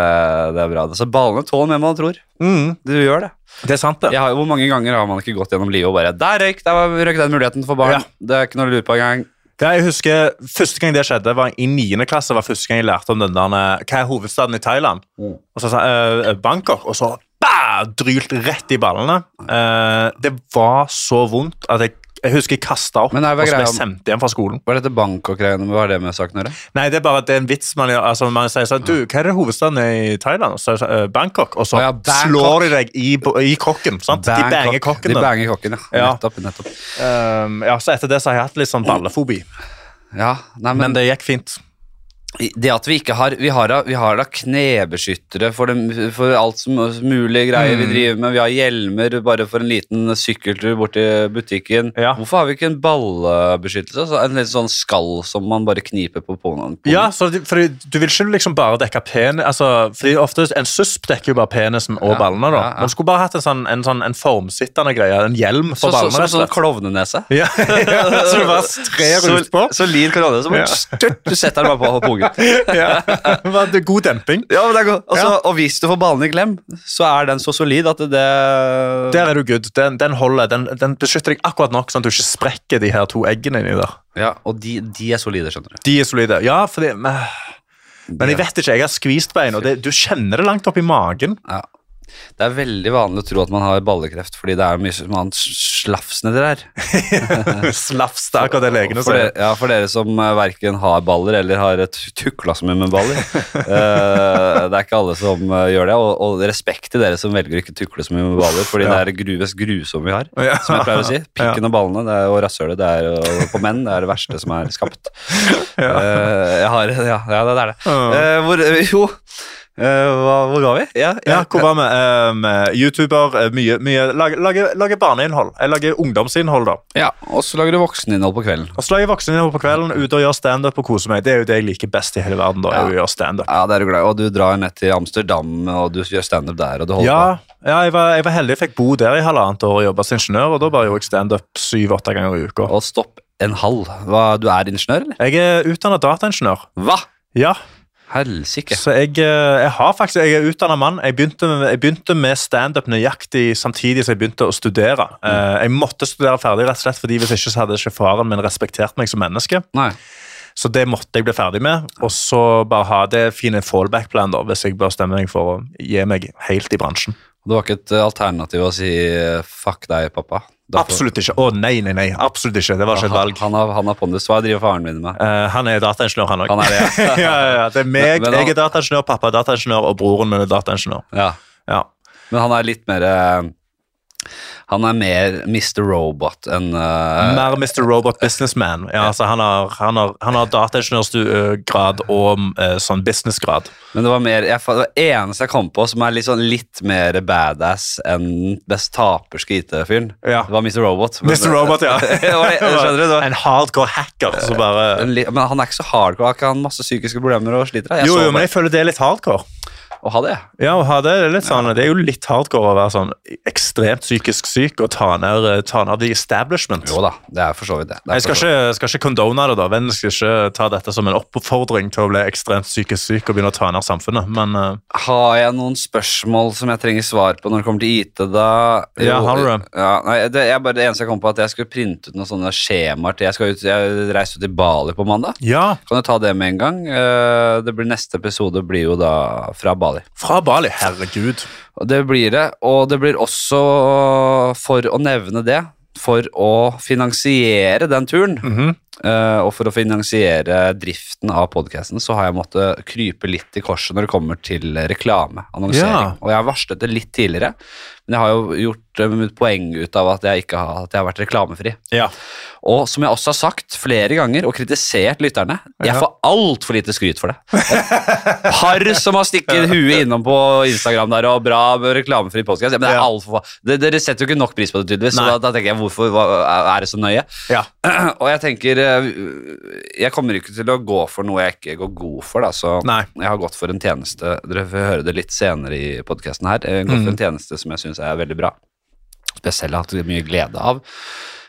Speaker 1: det er bra. Så ballene tåler mer enn man tror.
Speaker 2: Mm,
Speaker 1: Du gjør det.
Speaker 2: det er sant, det.
Speaker 1: Jeg har, hvor mange ganger har man ikke gått gjennom livet og bare Der røyk der var- røyk den muligheten for barn.
Speaker 2: Ja.
Speaker 1: Det er ikke noe å lure på engang.
Speaker 2: Ja, jeg husker Første gang det skjedde, var i 9. klasse. var første gang jeg lærte om den der, eh, Hva er hovedstaden i Thailand?
Speaker 1: Mm.
Speaker 2: Og så sa jeg eh, Bangkok. Og så bah, drylt rett i ballene. Eh, det var så vondt at jeg, jeg husker jeg kasta opp,
Speaker 1: Men det er vel
Speaker 2: og så ble jeg
Speaker 1: greia
Speaker 2: sendt hjem fra skolen.
Speaker 1: Hva er dette Bangkok-greiene med? Hva har det med saken å gjøre?
Speaker 2: Nei, det er bare at det er en vits man gjør. Altså, man sier sånn, du, hva er det hovedstaden i Thailand? Så, er det sånn, «Eh, Bangkok. Og så
Speaker 1: Å ja, Bangkok.
Speaker 2: slår de deg i, bo- i kokken, sant?
Speaker 1: Bangkok.
Speaker 2: De banger kokken.
Speaker 1: De
Speaker 2: da.
Speaker 1: banger kokken, ja.
Speaker 2: Ja.
Speaker 1: Nettopp. nettopp.
Speaker 2: Um, ja, så etter det så har jeg hatt litt sånn ballefobi.
Speaker 1: Ja, nei, men,
Speaker 2: Men det gikk fint.
Speaker 1: det at vi ikke har Vi har da, vi har da knebeskyttere for, dem- for alt som mulig greier vi driver med. Vi har hjelmer bare for en liten sykkeltur bort til butikken.
Speaker 2: Ja.
Speaker 1: Hvorfor har vi ikke en ballebeskyttelse? Så en litt sånn skall som man bare kniper på pungen.
Speaker 2: Ja, så de- fordi du vil ikke liksom bare dekke penis altså, fordi ofte En susp dekker jo bare penisen og
Speaker 1: Ja,
Speaker 2: ballene. da
Speaker 1: ja, ja.
Speaker 2: Man skulle bare hatt en sånn, en sånn en formsittende greie, en hjelm
Speaker 1: Så,
Speaker 2: for
Speaker 1: så,
Speaker 2: ballene.
Speaker 1: så,
Speaker 2: rett og
Speaker 1: sånn
Speaker 2: slett.
Speaker 1: klovnenese.
Speaker 2: ja, så du bare strer ut på.
Speaker 1: Så, så lir korona, så bare
Speaker 2: Ja.
Speaker 1: størt, du setter den bare på pungen.
Speaker 2: Ja. Men det er God demping.
Speaker 1: Ja, men det er godt. Og så-
Speaker 2: Ja.
Speaker 1: Og hvis du får ballene i klem, så er den så solid at det, det
Speaker 2: Der er du good. Den, den holder. Den, den beskytter deg akkurat nok, sånn at du ikke sprekker de her to eggene inni der.
Speaker 1: Ja, og de, de er solide, skjønner du.
Speaker 2: De er solide. Ja, fordi Men, men jeg vet ikke. Jeg har skvist bein, og det, du kjenner det langt opp i magen.
Speaker 1: Ja. Det er veldig vanlig å tro at man har ballekreft, fordi det er mye sånn annet slafs nedi der.
Speaker 2: Slafs, det er akkurat det legene
Speaker 1: For, dere,
Speaker 2: sier.
Speaker 1: ja, for dere som eh, verken har baller eller har et tukla som med baller. Eh, det er ikke alle som eh, gjør det, og, og respekt til dere som velger å ikke tukle så mye med baller, fordi det
Speaker 2: Ja.
Speaker 1: er det gru- mest grusomme vi har.
Speaker 2: Ja.
Speaker 1: Som jeg pleier å si. Pikken og ballene det er, og rasshølet det er, og på menn det er det verste som er skapt. Eh, jeg har, ja, ja, det er det.
Speaker 2: Ja.
Speaker 1: Eh, hvor, jo, eh, hva, hvor ga vi? Ja, ja.
Speaker 2: Ja, hvor var vi? Um, YouTuber, eh, mye, mye lager, lager, lager barneinnhold. Jeg lager ungdomsinnhold, da.
Speaker 1: ja og så lager du vokseninnhold på kvelden.
Speaker 2: Og så lager jeg vokseninnhold på kvelden, ute og gjør standup og koser meg. Det er jo det jeg liker best i hele verden, da. er jo å gjøre stand-up.
Speaker 1: Ja, det er du glad i. Og du drar ned til Amsterdam, og du gjør standup der, og du holder på.
Speaker 2: Ja, ja jeg, var, jeg var heldig. Jeg fikk bo der i halvannet år og jobba som ingeniør, og da bare gjorde jeg standup syv-åtte ganger i uka.
Speaker 1: Og stopp en halv. Hva, du er ingeniør, eller?
Speaker 2: Jeg er utdanna dataingeniør.
Speaker 1: Hva?
Speaker 2: Ja,
Speaker 1: Helsike.
Speaker 2: så jeg, eh, jeg har faktisk, jeg er utdanna mann. Jeg begynte, med- jeg begynte med standup nøyaktig samtidig som jeg begynte å studere. Eh, Jeg måtte studere ferdig, rett og slett, fordi hvis ikke så hadde ikke faren min respektert meg som menneske.
Speaker 1: Nei.
Speaker 2: Så det måtte jeg bli ferdig med, og så bare ha det fine fallback-plan da, hvis jeg bør stemme meg for å gi meg helt i bransjen.
Speaker 1: Det var ikke et eh, alternativ å si eh, 'fuck deg, pappa'? Da får-
Speaker 2: Absolutt ikke. Å, nei, nei, nei. Absolutt ikke. Det var ikke et
Speaker 1: Han,
Speaker 2: valg.
Speaker 1: han, har, han har pondus. Hva driver faren min med?
Speaker 2: Eh, han er dataingeniør, han òg.
Speaker 1: Han er det,
Speaker 2: ja. ja, ja. Det er meg,
Speaker 1: Men- men han-
Speaker 2: jeg er dataingeniør, pappa er dataingeniør, og broren min er dataingeniør.
Speaker 1: Ja.
Speaker 2: Ja.
Speaker 1: Men han er litt mer eh, Han er mer Mr. Robot enn eh,
Speaker 2: Mer Mr. Robot Businessman. Ja, altså, han har, han har, han har dataingeniørgrad og eh, sånn businessgrad.
Speaker 1: Men det var mer jeg, fa- Det var eneste jeg kom på som er litt, sånn, litt mer badass enn den best taperske IT-fyren.
Speaker 2: Ja.
Speaker 1: Det var Mr. Robot. men-
Speaker 2: Mr. Robot, ja.
Speaker 1: Det var- skjønner du, det var-
Speaker 2: En hardcore hacker som bare
Speaker 1: En li- Men han er ikke så hardcore. Har ikke han masse psykiske problemer og sliter? Jeg
Speaker 2: Jo,
Speaker 1: så
Speaker 2: jo, men
Speaker 1: bare-
Speaker 2: jeg føler det er litt hardcore.
Speaker 1: Å ha det, ja.
Speaker 2: Ja, å ha det, det er litt sånn, det er jo litt hardcore å være sånn ekstremt psykisk syk og ta ned, ta ned the establishment.
Speaker 1: Jo da, det er for så vidt det. det er
Speaker 2: Jeg skal
Speaker 1: for så vidt.
Speaker 2: ikke, skal ikke condone det, da. Vennen skal ikke ta dette som en oppfordring til å bli ekstremt psykisk syk og begynne å ta ned samfunnet, men eh,
Speaker 1: Har jeg noen spørsmål som jeg trenger svar på når det kommer til IT, da?
Speaker 2: Ja, har du det?
Speaker 1: Ja, nei, det, jeg bare, det eneste jeg kom på, er at jeg skulle printe ut noen sånne skjemaer til Jeg, skal ut, jeg reiser jo til Bali på mandag.
Speaker 2: Ja,
Speaker 1: Kan du ta det med en gang? Eh, Det blir, neste episode blir jo da fra Bali.
Speaker 2: fra Bali. Herregud.
Speaker 1: Og Det blir det, og det blir også, for å nevne det, for å finansiere den turen,
Speaker 2: Mhm.
Speaker 1: eh, og for å finansiere driften av podcasten, så har jeg måttet krype litt i korset når det kommer til reklame, annonsering.
Speaker 2: Ja.
Speaker 1: Og jeg har varslet det litt tidligere, men jeg har jo gjort eh, mitt poeng ut av at jeg, ikke har, at jeg har vært reklamefri.
Speaker 2: Ja.
Speaker 1: Og som jeg også har sagt flere ganger og kritisert lytterne, jeg
Speaker 2: Ja.
Speaker 1: får altfor lite skryt for det. Et par som har stikket huet innom på Instagram der og bra reklamefri podcast. Men det er
Speaker 2: Ja.
Speaker 1: alt for, det, dere setter jo ikke nok pris på det, tydeligvis. Så
Speaker 2: Nei.
Speaker 1: da, da tenker jeg, hvorfor hva, er det så nøye?
Speaker 2: ja.
Speaker 1: Og jeg tenker eh, Jeg kommer ikke til å gå for noe jeg ikke går god for, da. Så
Speaker 2: Nei.
Speaker 1: jeg har gått for en tjeneste Dere får høre det litt senere i podkasten her. Jeg har gått
Speaker 2: Mm.
Speaker 1: for en tjeneste som jeg syns er veldig bra. Som jeg selv har hatt mye glede av.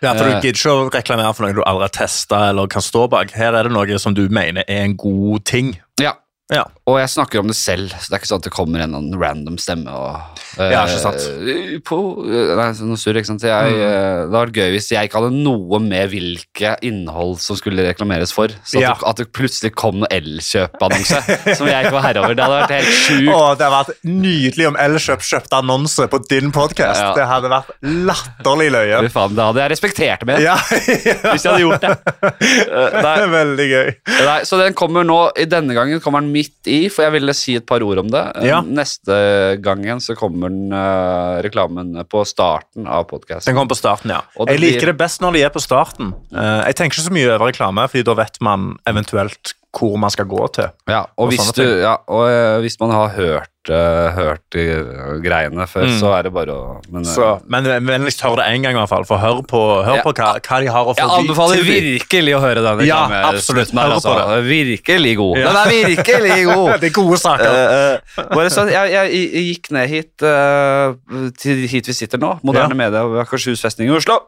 Speaker 2: Ja, for
Speaker 1: Eh.
Speaker 2: Du gidder ikke å reklamere for noe du aldri har testa eller kan stå bak. Her er det noe som du mener er en god ting.
Speaker 1: Ja,
Speaker 2: Ja.
Speaker 1: Og jeg snakker om det selv, så det er ikke sånn at det kommer en eller annen random stemme og eh,
Speaker 2: Ja, ikke sant. Mm.
Speaker 1: eh, På, eh, nei, sånn noe surr, ikke sant. Så Jeg, eh, det hadde vært gøy hvis jeg ikke hadde noe med hvilke innhold som skulle reklameres for. Så at,
Speaker 2: Ja.
Speaker 1: det, at det plutselig kom noen elkjøpannonse som jeg ikke var herre over. Det hadde vært helt
Speaker 2: Å,
Speaker 1: sjukt.
Speaker 2: det hadde vært nydelig om Elkjøp kjøpte annonse på din podkast.
Speaker 1: Ja.
Speaker 2: Det hadde vært latterlig løye.
Speaker 1: Fy faen, det hadde jeg respektert med,
Speaker 2: Ja,
Speaker 1: hvis jeg hadde gjort det. Eh,
Speaker 2: det
Speaker 1: Nei,
Speaker 2: er veldig gøy.
Speaker 1: Nei, så den kommer nå, i denne gangen kommer den midt i, for jeg ville si et par ord om det. Eh,
Speaker 2: Ja.
Speaker 1: Neste gangen så kommer den eh, reklamen på starten av podcasten.
Speaker 2: Den kommer på starten, ja.
Speaker 1: Og det
Speaker 2: Jeg
Speaker 1: blir-
Speaker 2: liker det best når de er på starten. Eh, jeg tenker ikke så mye over reklame, fordi da vet man eventuelt hvor man skal gå til.
Speaker 1: Ja, og,
Speaker 2: og
Speaker 1: hvis,
Speaker 2: sånne
Speaker 1: du,
Speaker 2: ting.
Speaker 1: ja, og eh, hvis man har hørt, eh, hørt eh, greiene før, så er det bare å men, eh,
Speaker 2: Mm. Så, men vennligst hør det én gang, i hvert fall, for hør på, hør
Speaker 1: Ja.
Speaker 2: på hva, hva de har å
Speaker 1: Jeg
Speaker 2: forby.
Speaker 1: anbefaler
Speaker 2: tilby.
Speaker 1: virkelig å høre den
Speaker 2: Ja,
Speaker 1: reklame-
Speaker 2: absolutt.
Speaker 1: slutten her,
Speaker 2: Hør på
Speaker 1: altså. Virkelig god. Den er virkelig god!
Speaker 2: Det er gode saker.
Speaker 1: Eh, eh, bare sånn, jeg, jeg, jeg gikk ned hit eh, til hit vi sitter nå, moderne
Speaker 2: Ja. Mhm.
Speaker 1: media ved Akershus festning i Oslo.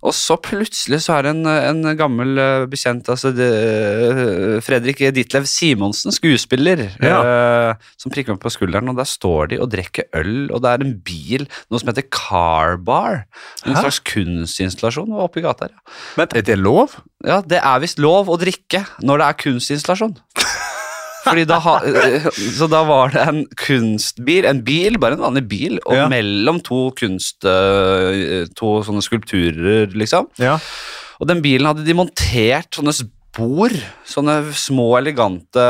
Speaker 1: Og så plutselig så er det en, en gammel eh, bekjent, altså det, eh, Fredrik Ditlev Simonsen, skuespiller, eh, som prikker meg på skulderen, og der står de og drikker øl, og det er en bil, noe som heter Car Bar. En
Speaker 2: Hæ?
Speaker 1: slags kunstinstallasjon var oppe i gata her. ja.
Speaker 2: Men er det lov?
Speaker 1: Ja, det er visst lov å drikke når det er kunstinstallasjon. Fordi da ha, eh, så da var det en kunstbil, en bil, bare en vanlig bil, og
Speaker 2: Ja.
Speaker 1: mellom to kunst... øh, To sånne skulpturer, liksom.
Speaker 2: Ja.
Speaker 1: Og den bilen hadde de montert sånne spor, sånne små, elegante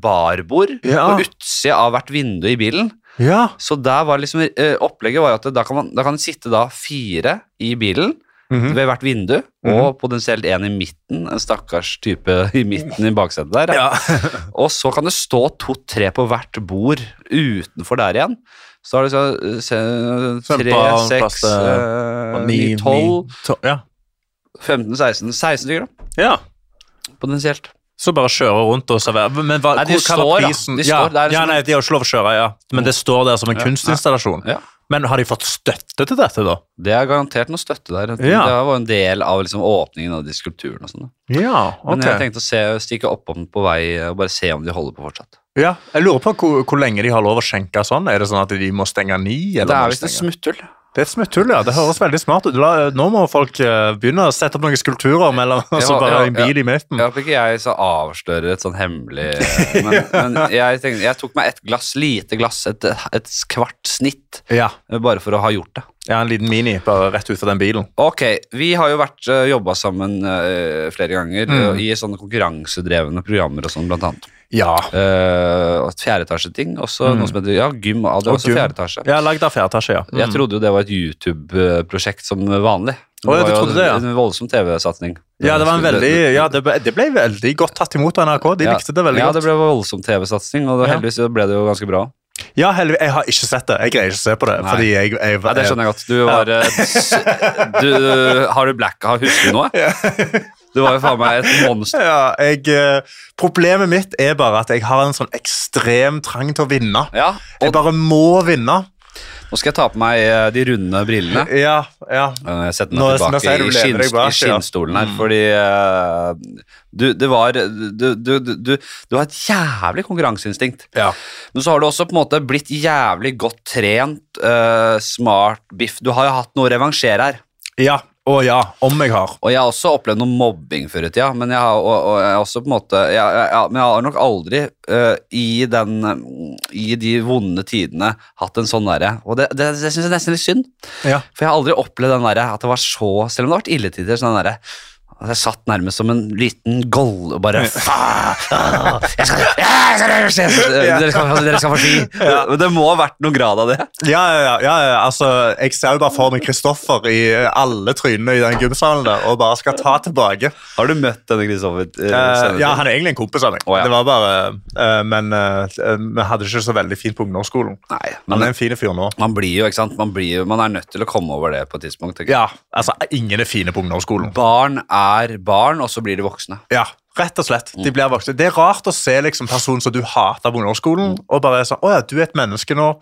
Speaker 1: barbord,
Speaker 2: Ja.
Speaker 1: på utsida av hvert vindu i bilen.
Speaker 2: ja.
Speaker 1: Så der var liksom eh, opplegget var at da kan, man, da kan det sitte da fire i bilen
Speaker 2: Mhm.
Speaker 1: ved hvert vindu, og potensielt en i midten, en stakkars type i midten i baksetet der.
Speaker 2: ja.
Speaker 1: Og så kan det stå to-tre på hvert bord utenfor der igjen. Så har du så eh, se,
Speaker 2: Så
Speaker 1: tre,
Speaker 2: bare
Speaker 1: seks,
Speaker 2: plass til-
Speaker 1: eh,
Speaker 2: Ni-
Speaker 1: ni,
Speaker 2: ni-
Speaker 1: tolv,
Speaker 2: to- Ja.
Speaker 1: 15, 16. 16 stykker, da,
Speaker 2: ja.
Speaker 1: potensielt.
Speaker 2: Så bare kjøre rundt og servere. Men hva,
Speaker 1: Nei, de
Speaker 2: hvor- hva
Speaker 1: står,
Speaker 2: var
Speaker 1: da.
Speaker 2: prisen?
Speaker 1: De
Speaker 2: ja,
Speaker 1: står, det er
Speaker 2: ja,
Speaker 1: liksom-
Speaker 2: nei, de har ikke lov å kjøre, ja. Men det står der som en
Speaker 1: Ja.
Speaker 2: kunstinstallasjon.
Speaker 1: Ja.
Speaker 2: Men har de fått støtte til dette, da?
Speaker 1: Det er garantert noe støtte der.
Speaker 2: Ja.
Speaker 1: Det var en del av liksom, åpningen av de skulpturene og sånn. da.
Speaker 2: Ja,
Speaker 1: Men jeg tenkte å se, stikke oppom på vei og bare se om de holder på fortsatt.
Speaker 2: Ja, jeg lurer på hvor, hvor lenge de har lov å skjenke sånn. Er det sånn at de må stenge ni? Eller
Speaker 1: Det
Speaker 2: må
Speaker 1: er
Speaker 2: de
Speaker 1: visst et
Speaker 2: stenge?
Speaker 1: smutthull.
Speaker 2: Det er et smutthull, ja. Det høres veldig smart ut. La, nå må folk eh, begynne å sette opp noen skulpturer mellom og så
Speaker 1: Ja,
Speaker 2: bare
Speaker 1: ja,
Speaker 2: en bil
Speaker 1: ja.
Speaker 2: i midten.
Speaker 1: Ja, at ikke jeg så avslører et sånn hemmelig eh, Men, men jeg, tenkte, jeg tok meg et glass, lite glass, et, et kvart snitt,
Speaker 2: Ja.
Speaker 1: eh, bare for å ha gjort det.
Speaker 2: ja, en liten mini bare rett ut fra den bilen.
Speaker 1: Ok, vi har jo vært eh, jobba sammen eh, flere ganger
Speaker 2: Mm.
Speaker 1: eh, i sånne konkurransedrevne programmer og sånn, blant annet.
Speaker 2: Ja.
Speaker 1: Eh, og fjerdeetasjeting, også
Speaker 2: Mm.
Speaker 1: noe som heter ja, gym. ja, Det
Speaker 2: Og
Speaker 1: var også
Speaker 2: gym.
Speaker 1: fjerde etasje.
Speaker 2: Jeg har lagd av fjerde etasje, ja. Mm.
Speaker 1: Jeg trodde jo det var et YouTube-prosjekt som vanlig. Det
Speaker 2: Å, ja, du
Speaker 1: var jo
Speaker 2: trodde det, ja.
Speaker 1: En voldsom TV-satsning.
Speaker 2: Ja, det var en veldig Ja, det ble, det ble veldig godt tatt imot av NRK. De
Speaker 1: Ja.
Speaker 2: likte det veldig
Speaker 1: Ja, det
Speaker 2: godt.
Speaker 1: ble voldsom TV-satsing, og det,
Speaker 2: Ja.
Speaker 1: heldigvis ble det jo ganske bra.
Speaker 2: Ja, heldigvis. Jeg har ikke sett det. Jeg greier ikke å se på det.
Speaker 1: Nei.
Speaker 2: Fordi jeg, jeg,
Speaker 1: Ja, det skjønner jeg godt. Du var eh, s- du, Har du blacka? Husker du noe? Du var jo faen meg et monster.
Speaker 2: Ja, jeg, eh, problemet mitt er bare at jeg har en sånn ekstrem trang til å vinne.
Speaker 1: Ja,
Speaker 2: Jeg
Speaker 1: og
Speaker 2: bare må vinne.
Speaker 1: nå skal jeg ta på meg eh, de runde brillene.
Speaker 2: Ja, ja.
Speaker 1: Eh, Jeg setter
Speaker 2: Nå-
Speaker 1: meg
Speaker 2: nå ser
Speaker 1: tilbake i,
Speaker 2: du lener
Speaker 1: skinn,
Speaker 2: deg bak,
Speaker 1: i
Speaker 2: ja.
Speaker 1: skinnstolen her, fordi eh, du, det var du, du, du, du, du har et jævlig konkurranseinstinkt.
Speaker 2: Ja.
Speaker 1: Men så har du også på en måte blitt jævlig godt trent, eh, smart biff. Du har jo hatt noe å revansjere her.
Speaker 2: ja. Å ja, om jeg har.
Speaker 1: Og jeg har også opplevd noe mobbing før i tida, men jeg har, og, og jeg har også på en måte jeg, jeg, jeg, Men jeg har nok aldri eh, i, den, mm, i de vonde tidene hatt en sånn derre Og det, det, det syns jeg nesten er litt synd,
Speaker 2: Ja.
Speaker 1: for jeg har aldri opplevd den derre at det var så Selv om det har vært ille tider, sånn derre at jeg satt nærmest som en liten goll og bare faen, åh, jeg skal, jeg skal, jeg skal, dere, skal, dere skal få ski. Men Det må ha vært noen grad av det.
Speaker 2: Ja, ja, ja, ja, ja, altså, jeg ser jo bare for meg Kristoffer i alle trynene i den gymsalen der, og bare skal ta tilbake.
Speaker 1: Har du møtt denne Kristoffer? eh,
Speaker 2: Eh,
Speaker 1: senere?
Speaker 2: ja, han er egentlig en kompis av meg.
Speaker 1: Å, ja.
Speaker 2: Det var bare, eh, Men eh, vi hadde det ikke så veldig fint på ungdomsskolen.
Speaker 1: Nei,
Speaker 2: Han er en fin fyr nå.
Speaker 1: Man blir jo, ikke sant? Man, blir jo, man er nødt til å komme over det på et tidspunkt. tenker jeg.
Speaker 2: Ja, altså, ingen er fine på ungdomsskolen.
Speaker 1: Barn er barn, og så blir de voksne.
Speaker 2: Ja, rett og slett. De blir voksne. Det er rart å se liksom, personen som du hater på ungdomsskolen, og bare sånn Å ja, du er et menneske nå.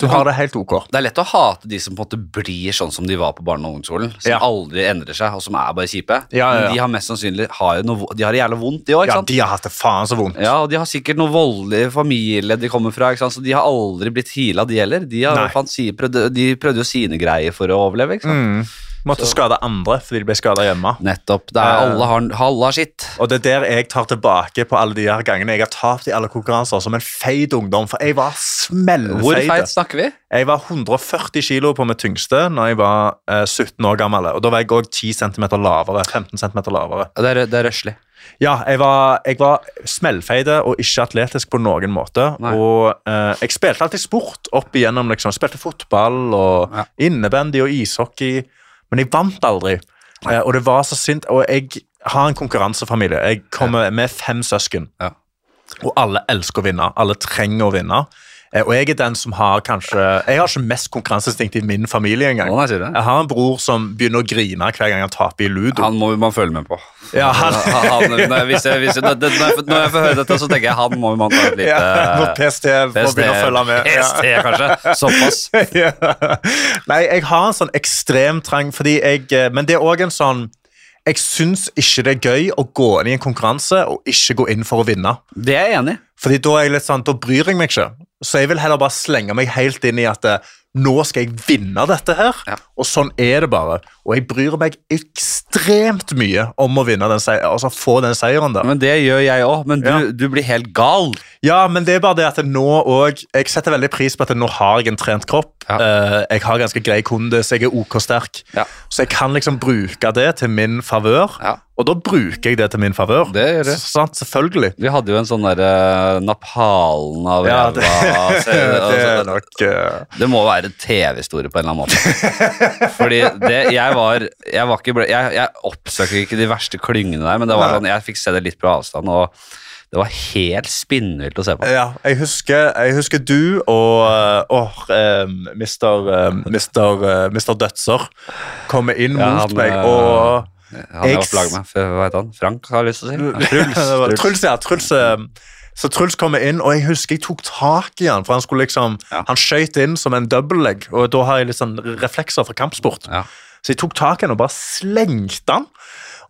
Speaker 2: Du har det helt ok.
Speaker 1: Det er lett å hate de som på en måte blir sånn som de var på barne- og ungdomsskolen. Som
Speaker 2: Ja.
Speaker 1: aldri endrer seg, og som er bare kjipe.
Speaker 2: Ja, ja, ja.
Speaker 1: Men de har mest sannsynlig har jo noe, vo- de har det jævla vondt, de òg.
Speaker 2: Ja,
Speaker 1: Ja,
Speaker 2: de har hatt det faen så vondt.
Speaker 1: ja, og de har sikkert noe voldelig familie de kommer fra, ikke sant? så de har aldri blitt heala, de heller. De, har,
Speaker 2: Nei.
Speaker 1: faen, si- prøvde, de prøvde jo sine greier for å overleve, ikke sant.
Speaker 2: Mm. Måtte skade andre fordi de ble skada hjemme.
Speaker 1: Nettopp. Det er,
Speaker 2: Mm. Ja.
Speaker 1: alle, har, alle har sitt.
Speaker 2: Og det er der jeg tar tilbake på alle de her gangene jeg har tapt i alle konkurranser som en feit ungdom, for jeg var
Speaker 1: Hvor
Speaker 2: smellfeit.
Speaker 1: feit snakker vi?
Speaker 2: Jeg var 140 kilo på mitt tyngste når jeg var eh, 17 år gammel. Og da var jeg òg 10 cm lavere. 15 cm lavere.
Speaker 1: Ja, Det er, det er røslig.
Speaker 2: Ja, jeg var, jeg var smellfeide og ikke atletisk på noen måte.
Speaker 1: Nei.
Speaker 2: Og eh, jeg spilte alltid sport opp igjennom, liksom. Spilte fotball og
Speaker 1: Ja.
Speaker 2: innebandy og ishockey, men jeg vant aldri. Eh, og det var så sint. Og jeg har en konkurransefamilie. Jeg kommer med fem søsken,
Speaker 1: Ja.
Speaker 2: og alle elsker å vinne. Alle trenger å vinne. Eh, og jeg er den som har kanskje Jeg har ikke mest konkurranseinstinkt i min familie engang.
Speaker 1: Å, nei, sier du det?
Speaker 2: Jeg har en bror som begynner å grine hver gang han taper i ludo.
Speaker 1: Han må man følge med på.
Speaker 2: Ja, han-
Speaker 1: Han- når, hvis jeg, hvis jeg, når, når jeg, når jeg får høre dette, så tenker jeg han må man ta et lite
Speaker 2: Ja, når PST får begynne å følge med. Ja.
Speaker 1: ST, kanskje. Såpass.
Speaker 2: Ja. Nei, jeg har en sånn ekstrem trang, fordi jeg, eh, men det er òg en sånn Jeg syns ikke det er gøy å gå inn i en konkurranse og ikke gå inn for å vinne.
Speaker 1: Det er jeg enig i.
Speaker 2: Fordi da er jeg litt sånn, da bryr jeg meg ikke. Så jeg vil heller bare slenge meg helt inn i at eh, nå skal jeg vinne dette her.
Speaker 1: Ja.
Speaker 2: Og sånn er det bare. Og jeg bryr meg ekstremt mye om å vinne den seier, altså få den seieren der.
Speaker 1: Men det gjør jeg òg. Men du,
Speaker 2: Ja.
Speaker 1: du blir helt gal.
Speaker 2: Ja, men det er bare det at nå òg Jeg setter veldig pris på at nå har jeg en trent kropp.
Speaker 1: Ja.
Speaker 2: Eh, jeg har ganske grei kondis, jeg er OK sterk.
Speaker 1: Ja.
Speaker 2: Så jeg kan liksom bruke det til min favør.
Speaker 1: Ja.
Speaker 2: Og da bruker jeg det til min favør.
Speaker 1: Det gjør du.
Speaker 2: S- Sant, selvfølgelig.
Speaker 1: Vi hadde jo en sånn derre Naphalen av
Speaker 2: Ja,
Speaker 1: ræva
Speaker 2: det,
Speaker 1: se- altså,
Speaker 2: det er
Speaker 1: det-
Speaker 2: nok eh,
Speaker 1: Det må være en TV-historie på en eller annen måte. Fordi det, jeg var Jeg, var ikke, bl- jeg, jeg oppsøker ikke de verste klyngene der, men det var
Speaker 2: Nei.
Speaker 1: sånn, jeg fikk se det litt på avstand, og det var helt spinnvilt å se på.
Speaker 2: Ja, jeg husker, jeg husker du og eh, åh, eh, Mr. eh, Mr. eh, Mr. Dødser kommer inn
Speaker 1: Ja,
Speaker 2: mot
Speaker 1: han,
Speaker 2: meg
Speaker 1: eh,
Speaker 2: og
Speaker 1: Han er
Speaker 2: Jeg-
Speaker 1: opplag med, for, hva heter han? Frank har jeg lyst til å si.
Speaker 2: Det var-
Speaker 1: Truls.
Speaker 2: Truls, ja. Truls, eh, så Truls kommer inn, og jeg husker jeg tok tak i han, for han skulle liksom,
Speaker 1: Ja.
Speaker 2: han skjøt inn som en double leg, og da har jeg litt sånn reflekser fra kampsport.
Speaker 1: Ja.
Speaker 2: Så jeg tok tak i han og bare slengte han.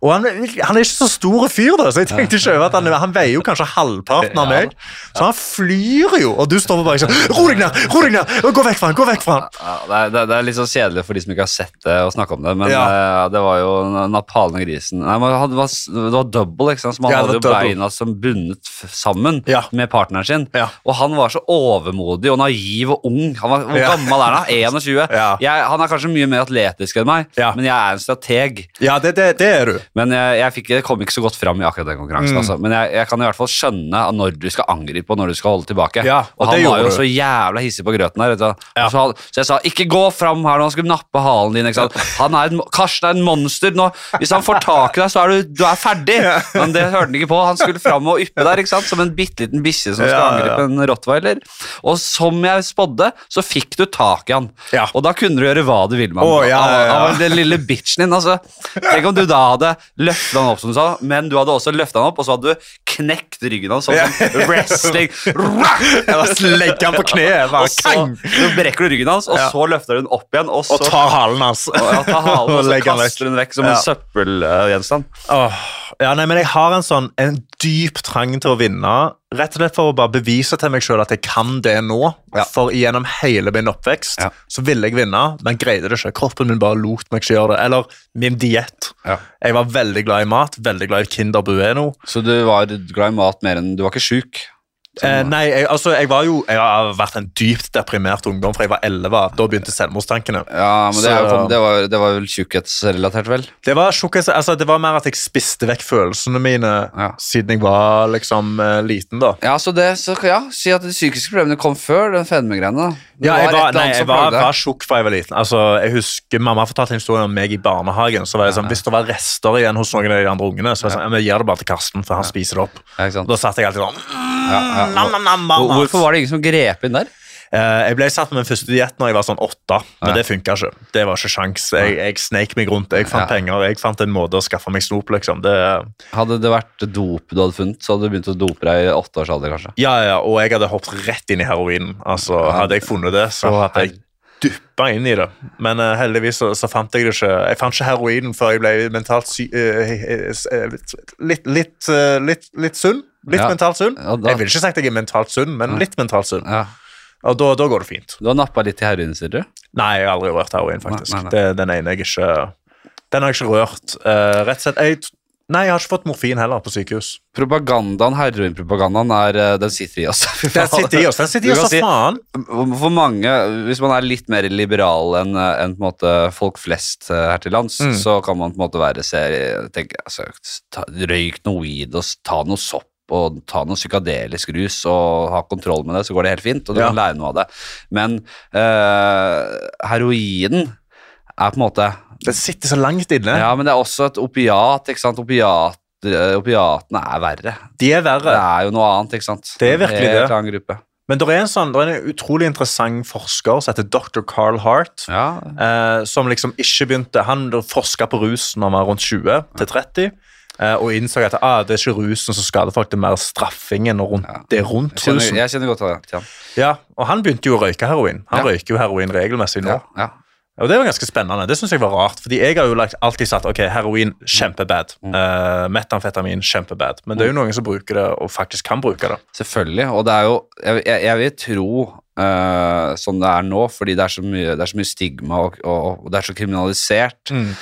Speaker 2: Og han, han er ikke så stor fyr, da, så jeg tenkte ikke over at han, han veier jo kanskje halvparten av meg. Så han flyr jo, og du står bare sånn Ro deg ned! ro deg ned, Gå vekk fra han, gå vekk fra han!
Speaker 1: Ja, det, er, det, er, det er litt så kjedelig for de som ikke har sett det og snakket om det, men
Speaker 2: Ja.
Speaker 1: eh, det var jo napalen og grisen. Nei, men han, det, var, det var double, ikke sant? Så man
Speaker 2: Ja, det
Speaker 1: hadde jo
Speaker 2: var double.
Speaker 1: beina som bundet f- sammen
Speaker 2: Ja.
Speaker 1: med partneren sin.
Speaker 2: Ja.
Speaker 1: Og han var så overmodig og naiv og ung. Han var, hvor
Speaker 2: Ja.
Speaker 1: gammel er han? 21?
Speaker 2: Ja.
Speaker 1: Jeg, han er kanskje mye mer atletisk enn meg,
Speaker 2: Ja.
Speaker 1: men jeg er en strateg.
Speaker 2: Ja, det, det, det er du.
Speaker 1: Men jeg, jeg fikk, jeg kom ikke så godt fram i akkurat den konkurransen.
Speaker 2: Mm.
Speaker 1: Altså. Men jeg, jeg kan i hvert fall skjønne at når du skal angripe og når du skal holde tilbake.
Speaker 2: Ja,
Speaker 1: og
Speaker 2: og
Speaker 1: han
Speaker 2: det
Speaker 1: var
Speaker 2: gjorde
Speaker 1: jo
Speaker 2: du.
Speaker 1: så jævla hissig på grøten der. vet du.
Speaker 2: Ja.
Speaker 1: Og Så, han- så jeg sa 'ikke gå fram her nå, han skulle nappe halen din'. Ikke sant? Han er en, Karsten er en monster. Nå, hvis han får tak i deg, så er du, du er ferdig. Men det hørte han ikke på. Han skulle fram og yppe der, ikke sant? som en bitte liten bikkje som skal
Speaker 2: Ja, ja, ja.
Speaker 1: angripe en rottweiler. Og som jeg spådde, så fikk du tak i han.
Speaker 2: Ja.
Speaker 1: Og da kunne du gjøre hva du ville med han.
Speaker 2: Å, ja, ja, ja.
Speaker 1: Han var den lille bitchen din, altså. Tenk om du da hadde løftet han opp, som du sa, men du hadde også løftet han opp, og så hadde du knekt ryggen hans, sånn som wrestling.
Speaker 2: Jeg bare legger han på kneet.
Speaker 1: Og
Speaker 2: Bare,
Speaker 1: så,
Speaker 2: kang!
Speaker 1: så brekker du ryggen hans, og
Speaker 2: Ja.
Speaker 1: så løfter du den opp igjen, og så
Speaker 2: Og tar halen hans.
Speaker 1: og, ja, tar halen, og så
Speaker 2: legger han
Speaker 1: kaster du den vekk som
Speaker 2: Ja.
Speaker 1: en søppelgjenstand.
Speaker 2: Åh, ja, nei, men jeg har en sånn en dyp trang til å vinne. Rett og slett for å bare bevise til meg sjøl at jeg kan det nå.
Speaker 1: Ja.
Speaker 2: For gjennom hele min oppvekst
Speaker 1: Ja.
Speaker 2: så ville jeg vinne, men greide det ikke. Kroppen min bare lot meg ikke gjøre det. Eller min diett.
Speaker 1: Ja.
Speaker 2: Jeg var veldig glad i mat, veldig glad i Kinder Bueno.
Speaker 1: Så du var glad i mat mer enn Du var ikke sjuk? Sånn-
Speaker 2: Eh, nei, jeg, altså, jeg var jo Jeg har vært en dypt deprimert ungdom fra jeg var 11. Da begynte selvmordstankene.
Speaker 1: Ja, men det, er jo
Speaker 2: Så-
Speaker 1: sånn- det, var, det var vel tjukkhetsrelatert, vel?
Speaker 2: Det var, sjokkes- altså, det var mer at jeg spiste vekk følelsene mine
Speaker 1: Ja.
Speaker 2: siden jeg var liksom eh, liten, da.
Speaker 1: Ja, så det, så, ja, Si at de psykiske problemene kom før den fedmegreiene. da. Det
Speaker 2: Ja, jeg
Speaker 1: et
Speaker 2: var,
Speaker 1: eller
Speaker 2: nei,
Speaker 1: annet som
Speaker 2: jeg
Speaker 1: plagde
Speaker 2: var,
Speaker 1: deg.
Speaker 2: var tjukk fra jeg var liten. Altså, jeg husker Mamma fortalte en historie om meg i barnehagen. Så var jeg sånn, Hvis det var rester igjen hos noen av de andre ungene, så var jeg sånn, ja, men gir det bare til Karsten, for han spiser det opp.
Speaker 1: Ja, ikke sant?
Speaker 2: Og Da satt jeg alltid sånn mm,
Speaker 1: Ja, ja.
Speaker 2: nam, nam, nam,
Speaker 1: Hvor-
Speaker 2: mamma.
Speaker 1: Hvorfor var det ingen som grep inn der?
Speaker 2: Eh, Jeg ble satt på min første diett når jeg var sånn åtte, men
Speaker 1: Ja.
Speaker 2: det funka ikke. Det var ikke sjans. Jeg, jeg sneik meg rundt. Jeg fant
Speaker 1: Ja.
Speaker 2: penger, jeg fant en måte å skaffe meg snop, liksom. Det,
Speaker 1: Hadde det vært dop du hadde funnet, så hadde du begynt å dope deg i åtte års alder, kanskje.
Speaker 2: ja, ja, og jeg hadde hoppet rett inn i heroinen. Altså, hadde jeg funnet det, så
Speaker 1: Ja.
Speaker 2: hadde jeg dyppa inn i det. Men eh, heldigvis så, så fant jeg det ikke. Jeg fant ikke heroinen før jeg ble mentalt sy eh, eh, eh, litt, litt, eh, litt, litt sunn. Litt
Speaker 1: Ja.
Speaker 2: mentalt sunn.
Speaker 1: Ja, da-
Speaker 2: Jeg vil ikke si at jeg er mentalt sunn, men litt mentalt sunn.
Speaker 1: Ja.
Speaker 2: Og da, da går det fint.
Speaker 1: Du har nappa litt i heroin, sier du?
Speaker 2: Nei, jeg har aldri rørt heroin, faktisk.
Speaker 1: Nei, nei, nei.
Speaker 2: Det er den ene jeg ikke Den har jeg ikke rørt. eh, rett og slett jeg, t- Nei, jeg har ikke fått morfin heller på sykehus.
Speaker 1: Propagandaen, heroinpropagandaen, er, eh, den sitter i oss. Fy faen.
Speaker 2: Den sitter i oss, den sitter
Speaker 1: Du
Speaker 2: i oss, altså.
Speaker 1: kan
Speaker 2: så
Speaker 1: si-
Speaker 2: faen!
Speaker 1: For mange, hvis man er litt mer liberal enn enn på en måte folk flest eh, her til lands,
Speaker 2: Mm.
Speaker 1: så kan man på en måte være se- tenke, altså, ta, Røyk noe weed og s- ta noe sopp og ta noe psykadelisk rus og ha kontroll med det, så går det helt fint, og du
Speaker 2: Ja.
Speaker 1: kan lære noe av det. Men eh, heroinen er på en måte
Speaker 2: Den sitter så langt inne.
Speaker 1: Ja, men det er også et opiat, ikke sant? Opiat, eh, opiatene er verre.
Speaker 2: De
Speaker 1: Det
Speaker 2: er verre.
Speaker 1: er jo noe annet, ikke sant?
Speaker 2: Det er virkelig
Speaker 1: Helt
Speaker 2: det.
Speaker 1: annen gruppe.
Speaker 2: Men det er, en sånn, der er en utrolig interessant forsker som heter dr. Carl Hart,
Speaker 1: Ja,
Speaker 2: eh, som liksom ikke begynte Han forska på rus når han var rundt 20 til 30, eh, og innså at ah, det er ikke rusen som skader folk, det er mer straffingen og rundt,
Speaker 1: Ja.
Speaker 2: det er rundt
Speaker 1: jeg kjenner,
Speaker 2: rusen.
Speaker 1: jeg kjenner godt av det. Jan.
Speaker 2: Ja, og han begynte jo å røyke heroin.
Speaker 1: Ja.
Speaker 2: Han røyker jo heroin regelmessig nå.
Speaker 1: Ja, ja.
Speaker 2: Og det var ganske spennende. Det synes jeg var rart, fordi jeg har jo lagt, alltid sagt ok, heroin kjempebad,
Speaker 1: Mm.
Speaker 2: eh, metamfetamin kjempebad, men det er jo noen som bruker det og faktisk kan bruke det.
Speaker 1: Selvfølgelig, og det er jo Jeg, jeg, jeg vil tro eh, sånn det er nå, fordi det er så mye, det er så mye stigma og, og, og det er så kriminalisert,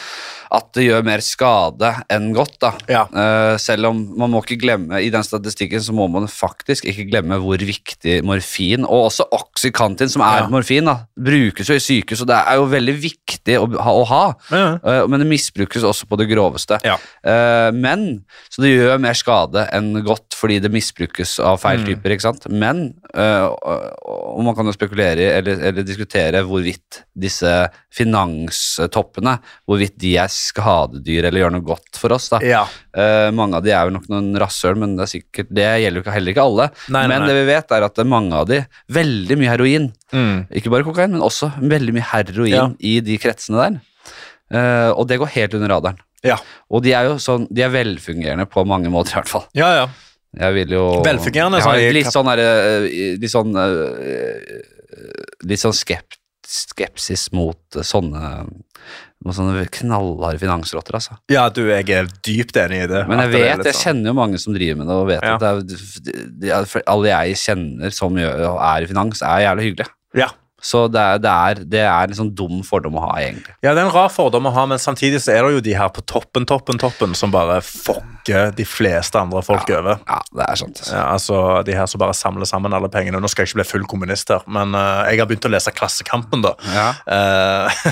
Speaker 1: at det gjør mer skade enn godt. da.
Speaker 2: Ja.
Speaker 1: Eh, selv om man må ikke glemme, i den statistikken så må man faktisk ikke glemme hvor viktig morfin, og også oksykantin, som er
Speaker 2: Ja.
Speaker 1: morfin, da, brukes jo i sykehus, og det er jo veldig viktig å ha. Å ha.
Speaker 2: Ja.
Speaker 1: Eh, men det misbrukes også på det groveste.
Speaker 2: Ja.
Speaker 1: Eh, men, Så det gjør mer skade enn godt fordi det misbrukes av
Speaker 2: Mm.
Speaker 1: feil typer. ikke sant? Men, eh, og og man kan jo spekulere i eller, eller diskutere hvorvidt disse finanstoppene hvorvidt de er skadedyr eller gjør noe godt for oss. da.
Speaker 2: Ja.
Speaker 1: Eh, mange av de er jo nok noen rasshøl, men det, er sikkert, det gjelder jo ikke- heller ikke alle.
Speaker 2: Nei, nei,
Speaker 1: men
Speaker 2: nei.
Speaker 1: det vi vet, er at mange av de Veldig mye heroin.
Speaker 2: Mm.
Speaker 1: Ikke bare kokain, men også veldig mye heroin
Speaker 2: Ja.
Speaker 1: i de kretsene der. Eh, og det går helt under radaren.
Speaker 2: Ja.
Speaker 1: Og de er jo sånn, de er velfungerende på mange måter, i hvert fall.
Speaker 2: Ja, ja.
Speaker 1: Jeg vil jo
Speaker 2: Velfungerende,
Speaker 1: Jeg har
Speaker 2: sånn i-
Speaker 1: litt sånn derre eh, Litt sånn eh, Litt sånn skept skepsis mot eh, sånne, mot sånne knallharde finansrotter, altså.
Speaker 2: Ja, du, jeg er dypt enig i det.
Speaker 1: Men jeg
Speaker 2: At det er
Speaker 1: vet,
Speaker 2: litt
Speaker 1: jeg
Speaker 2: sånn.
Speaker 1: kjenner jo mange som driver med det, og vet
Speaker 2: Ja.
Speaker 1: at det er, de, de- for alle jeg kjenner som gjør, og er i finans, er jævlig hyggelige.
Speaker 2: Ja.
Speaker 1: Så det er, det, er, det er en sånn dum fordom å ha, egentlig.
Speaker 2: ja, det er en rar fordom å ha, men samtidig så er det jo de her på toppen, toppen, toppen som bare fucker de fleste andre folk over.
Speaker 1: Ja, det er sant. altså.
Speaker 2: Ja, altså, De her som bare samler sammen alle pengene. Nå skal jeg ikke bli full kommunist her, men eh, jeg har begynt å lese Klassekampen, da.
Speaker 1: Ja,
Speaker 2: Eh,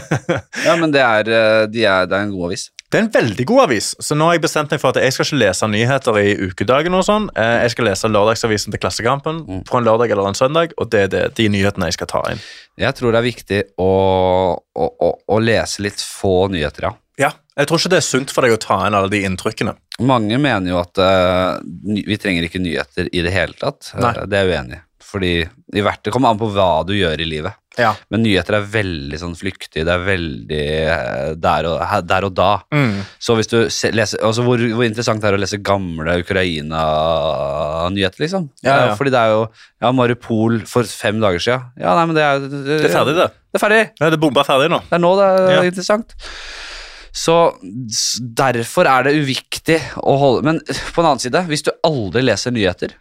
Speaker 1: ja men det er, eh, de er, det er en god avis.
Speaker 2: Det er en veldig god avis, så nå har jeg bestemt meg for at jeg skal ikke lese nyheter i ukedagen. og sånn. Eh, Jeg skal lese lørdagsavisen til Klassekampen
Speaker 1: Mm.
Speaker 2: på en lørdag eller en søndag, og det er det, de nyhetene jeg skal ta inn.
Speaker 1: Jeg tror det er viktig å, å, å, å lese litt få nyheter, ja.
Speaker 2: Ja, Jeg tror ikke det er sunt for deg å ta inn alle de inntrykkene.
Speaker 1: Mange mener jo at eh, ny- vi trenger ikke nyheter i det hele tatt. Eh,
Speaker 2: Nei.
Speaker 1: det er jeg uenig i. Fordi i hvert det kommer an på hva du gjør i livet.
Speaker 2: Ja.
Speaker 1: Men nyheter er veldig sånn flyktig, det er veldig eh, der og, her- der og da.
Speaker 2: Mm.
Speaker 1: Så hvis du se- leser, altså hvor, hvor interessant det er å lese gamle Ukraina-nyheter, liksom.
Speaker 2: Ja, ja.
Speaker 1: Eh, Fordi det er jo ja, Maripol for fem dager siden. Ja, nei, men det er, det
Speaker 2: Det er ferdig, det.
Speaker 1: Det er ferdig.
Speaker 2: Ja, det er bomba ferdig nå.
Speaker 1: Det er nå det er
Speaker 2: Ja.
Speaker 1: interessant. Så s- derfor er det uviktig å holde Men på den annen side, hvis du aldri leser nyheter,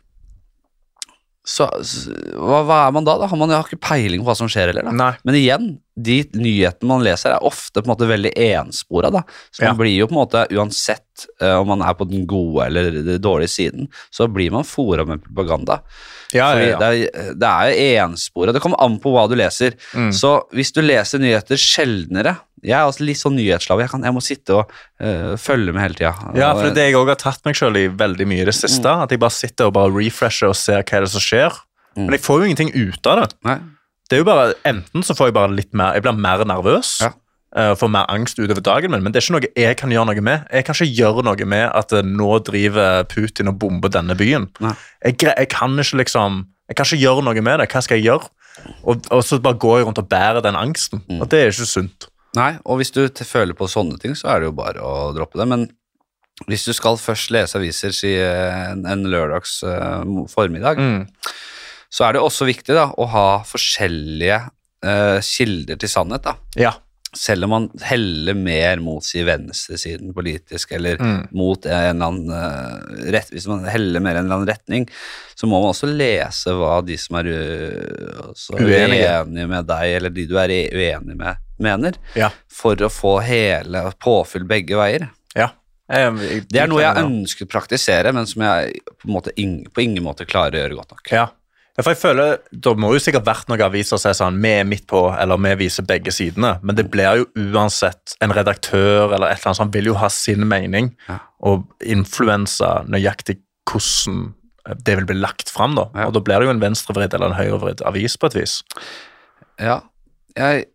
Speaker 1: så s- hva, hva er man da? da? Har man jo ikke peiling på hva som skjer heller, da.
Speaker 2: Nei.
Speaker 1: Men igjen, de nyhetene man leser er ofte på en måte veldig enspora, da. Så man
Speaker 2: Ja.
Speaker 1: blir jo på en måte, uansett eh, om man er på den gode eller den dårlige siden, så blir man fora med propaganda.
Speaker 2: Ja,
Speaker 1: Fordi
Speaker 2: ja, ja.
Speaker 1: Det, er, det er jo enspora. Det kommer an på hva du leser.
Speaker 2: Mm.
Speaker 1: Så hvis du leser nyheter sjeldnere Jeg er også litt sånn nyhetsslave. Jeg, kan, jeg må sitte og eh, følge med hele tida.
Speaker 2: Ja, for det er det jeg òg har tatt meg sjøl i veldig mye i det siste. At jeg bare sitter og bare refresher og ser hva er det som skjer.
Speaker 1: Mm.
Speaker 2: Men jeg får jo ingenting ut av det.
Speaker 1: Nei.
Speaker 2: Det er jo bare, Enten så får jeg bare litt mer Jeg blir mer nervøs.
Speaker 1: Ja.
Speaker 2: eh, får mer angst utover dagen min, men det er ikke noe jeg kan gjøre noe med. Jeg kan ikke gjøre noe med at eh, nå driver Putin og bomber denne byen.
Speaker 1: Nei.
Speaker 2: Jeg, gre- jeg kan ikke liksom Jeg kan ikke gjøre noe med det. Hva skal jeg gjøre? Og, og så bare går jeg rundt og bærer den angsten.
Speaker 1: Mm.
Speaker 2: Og det er ikke sunt.
Speaker 1: Nei, og hvis du t føler på sånne ting, så er det jo bare å droppe det. Men hvis du skal først lese aviser si eh, en, en lørdags eh, mo- formiddag, så er det også viktig da, å ha forskjellige eh, kilder til sannhet. da.
Speaker 2: Ja.
Speaker 1: Selv om man heller mer mot si venstresiden politisk, eller
Speaker 2: Mm.
Speaker 1: mot en eller annen eh, rett, Hvis man heller mer i en eller annen retning, så må man også lese hva de som er u- altså,
Speaker 2: Uenige.
Speaker 1: uenige med deg, eller de du er e- uenig med, mener
Speaker 2: Ja.
Speaker 1: for å få hele påfyll begge veier.
Speaker 2: ja. Jeg- jeg-
Speaker 1: Det er noe jeg ønsker å praktisere, men som jeg på, en måte ing, på ingen måte klarer å gjøre godt nok.
Speaker 2: Ja. Ja, for jeg føler, Det må jo sikkert vært noen aviser som er sånn vi er midt på, eller vi viser begge sidene, men det blir jo uansett en redaktør eller et eller annet sånt vil jo ha sin mening
Speaker 1: Ja.
Speaker 2: og influense nøyaktig hvordan det vil bli lagt fram. Da.
Speaker 1: Ja.
Speaker 2: Og da blir det jo en venstrevridd eller en høyrevridd avis på et vis.
Speaker 1: Ja, jeg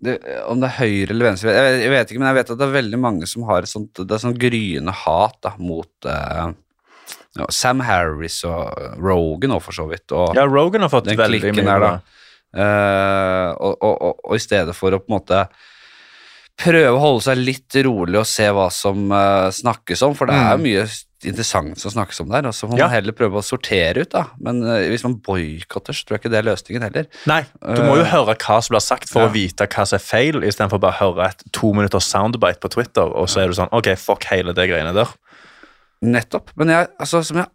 Speaker 1: det, Om det er høyre eller venstre jeg, jeg vet ikke, men jeg vet at det er veldig mange som har et sånt, det er sånn gryende hat da, mot eh, ja, Sam Harris og Rogan òg, for så vidt. Og,
Speaker 2: Ja, Rogan har fått
Speaker 1: den
Speaker 2: veldig
Speaker 1: klikken
Speaker 2: mye
Speaker 1: der, da.
Speaker 2: bra.
Speaker 1: Eh, og, og, og, og i stedet for å på en måte prøve å holde seg litt rolig og se hva som eh, snakkes om, for det er
Speaker 2: Mm.
Speaker 1: mye interessant som snakkes om der, og så må
Speaker 2: Ja.
Speaker 1: man heller prøve å sortere ut, da. Men eh, hvis man boikotter, så tror jeg ikke det er løsningen heller.
Speaker 2: Nei, du må jo
Speaker 1: Eh,
Speaker 2: høre hva som blir sagt for
Speaker 1: ja.
Speaker 2: å vite hva som er feil, istedenfor bare å høre et to minutters soundbite på Twitter, og så er du sånn Ok, fuck hele det greiene der.
Speaker 1: Nettopp. Men jeg, altså, som jeg,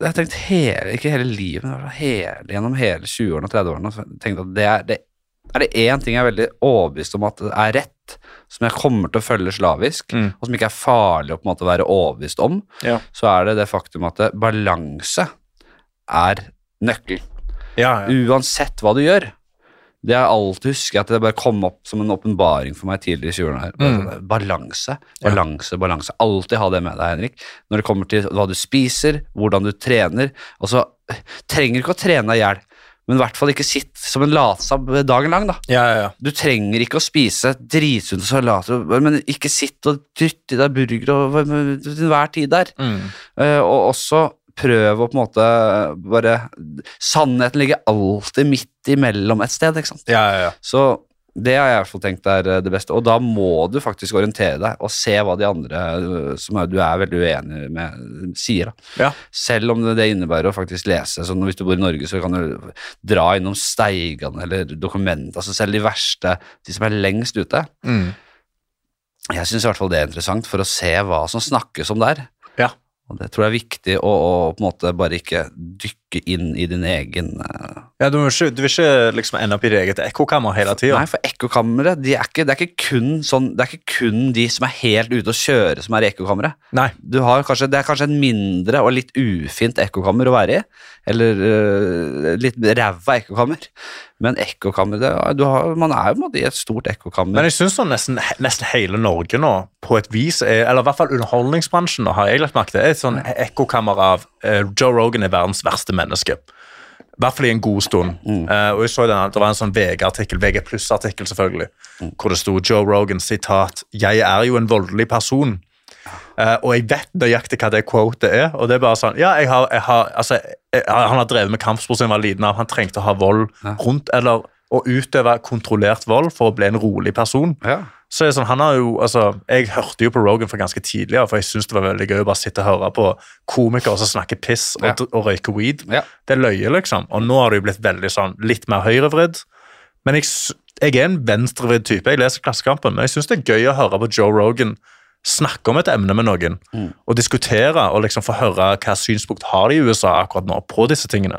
Speaker 1: jeg har tenkt hele, ikke hele livet, men hele, gjennom hele 20-årene og 30-årene, så har jeg tenkt at det er det, er det én ting jeg er veldig overbevist om at er rett, som jeg kommer til å følge slavisk,
Speaker 2: Mm.
Speaker 1: og som ikke er farlig å på en måte være overbevist om,
Speaker 2: Ja.
Speaker 1: så er det det faktum at det- balanse er nøkkelen.
Speaker 2: Ja, ja.
Speaker 1: Uansett hva du gjør. Det jeg alltid husker at det bare kom opp som en åpenbaring for meg tidligere i 20-årene. her. Bare
Speaker 2: Mm.
Speaker 1: sånn, Balanse,
Speaker 2: Ja.
Speaker 1: balanse, balanse. Alltid ha det med deg, Henrik. Når det kommer til hva du spiser, hvordan du trener. Og så eh, trenger du ikke å trene deg i hjel, men i hvert fall ikke sitt som en latsabb dagen lang, da.
Speaker 2: Ja, ja, ja.
Speaker 1: Du trenger ikke å spise dritsunne salater, men ikke sitt og dytte i deg burger og, til enhver tid der.
Speaker 2: Mm.
Speaker 1: Eh, og også prøv å på en måte eh, bare Sannheten ligger alltid midt imellom et sted, ikke sant.
Speaker 2: Ja, ja, ja.
Speaker 1: Så Det har jeg i hvert fall tenkt er eh, det beste. Og da må du faktisk orientere deg og se hva de andre eh, som er, du er veldig uenig med, sier. da.
Speaker 2: Ja.
Speaker 1: Selv om det, det innebærer å faktisk lese. Sånn, hvis du bor i Norge, så kan du dra innom Steigan eller Dokument. Altså selv de verste, de som er lengst ute.
Speaker 2: Mm.
Speaker 1: Jeg syns i hvert fall det er interessant for å se hva som snakkes om der.
Speaker 2: Ja.
Speaker 1: Og det tror jeg er viktig å, å på en måte bare ikke dykke inn i din egen eh,
Speaker 2: Ja, du, må ikke, du vil ikke liksom ende opp i ditt eget ekkokammer hele tida?
Speaker 1: Nei, for ekkokamre de er ikke, det, er ikke kun sånn, det er ikke kun de som er helt ute å kjøre, som er i ekkokamre.
Speaker 2: Nei.
Speaker 1: Du har kanskje, det er kanskje en mindre og litt ufint ekkokammer å være i. Eller øh, litt ræva ekkokammer. Men ekkokammer det, er- du har, Man er jo på en måte i et stort
Speaker 2: Men
Speaker 1: ekkokammer.
Speaker 2: jeg syns sånn nesten, nesten hele Norge nå, på et vis, er, eller i hvert fall underholdningsbransjen, nå, har jeg lagt merke til, er et sånn ekkokammer av eh, Joe Rogan er verdens verste menneske. I hvert fall i en god stund. Eh, og jeg så den, Det var en sånn VG-artikkel, VG pluss-artikkel selvfølgelig, hvor det sto Joe Rogan sitat 'Jeg er jo en voldelig person'. Eh, og jeg vet nøyaktig hva det quotet er. og det er bare sånn, ja, jeg har, jeg har, altså, jeg, Han har drevet med kampsport siden han var liten. av, Han trengte å ha vold rundt, eller å utøve kontrollert vold for å bli en rolig person.
Speaker 1: Ja.
Speaker 2: Så er det sånn, han har jo, altså, Jeg hørte jo på Rogan for ganske tidlig, ja, for jeg syns det var veldig gøy å bare sitte og høre på komikere som snakker piss og,
Speaker 1: Ja.
Speaker 2: dr- og røyker weed.
Speaker 1: Ja.
Speaker 2: Det er løye, liksom. Og nå har det jo blitt veldig sånn, litt mer høyrevridd. Men jeg, s- jeg er en venstrevridd type. Jeg leser Klassekampen, men jeg syns det er gøy å høre på Joe Rogan snakke om et emne med noen.
Speaker 1: Mm.
Speaker 2: Og diskutere og liksom få høre hva synspunkt har de i USA akkurat nå på disse tingene.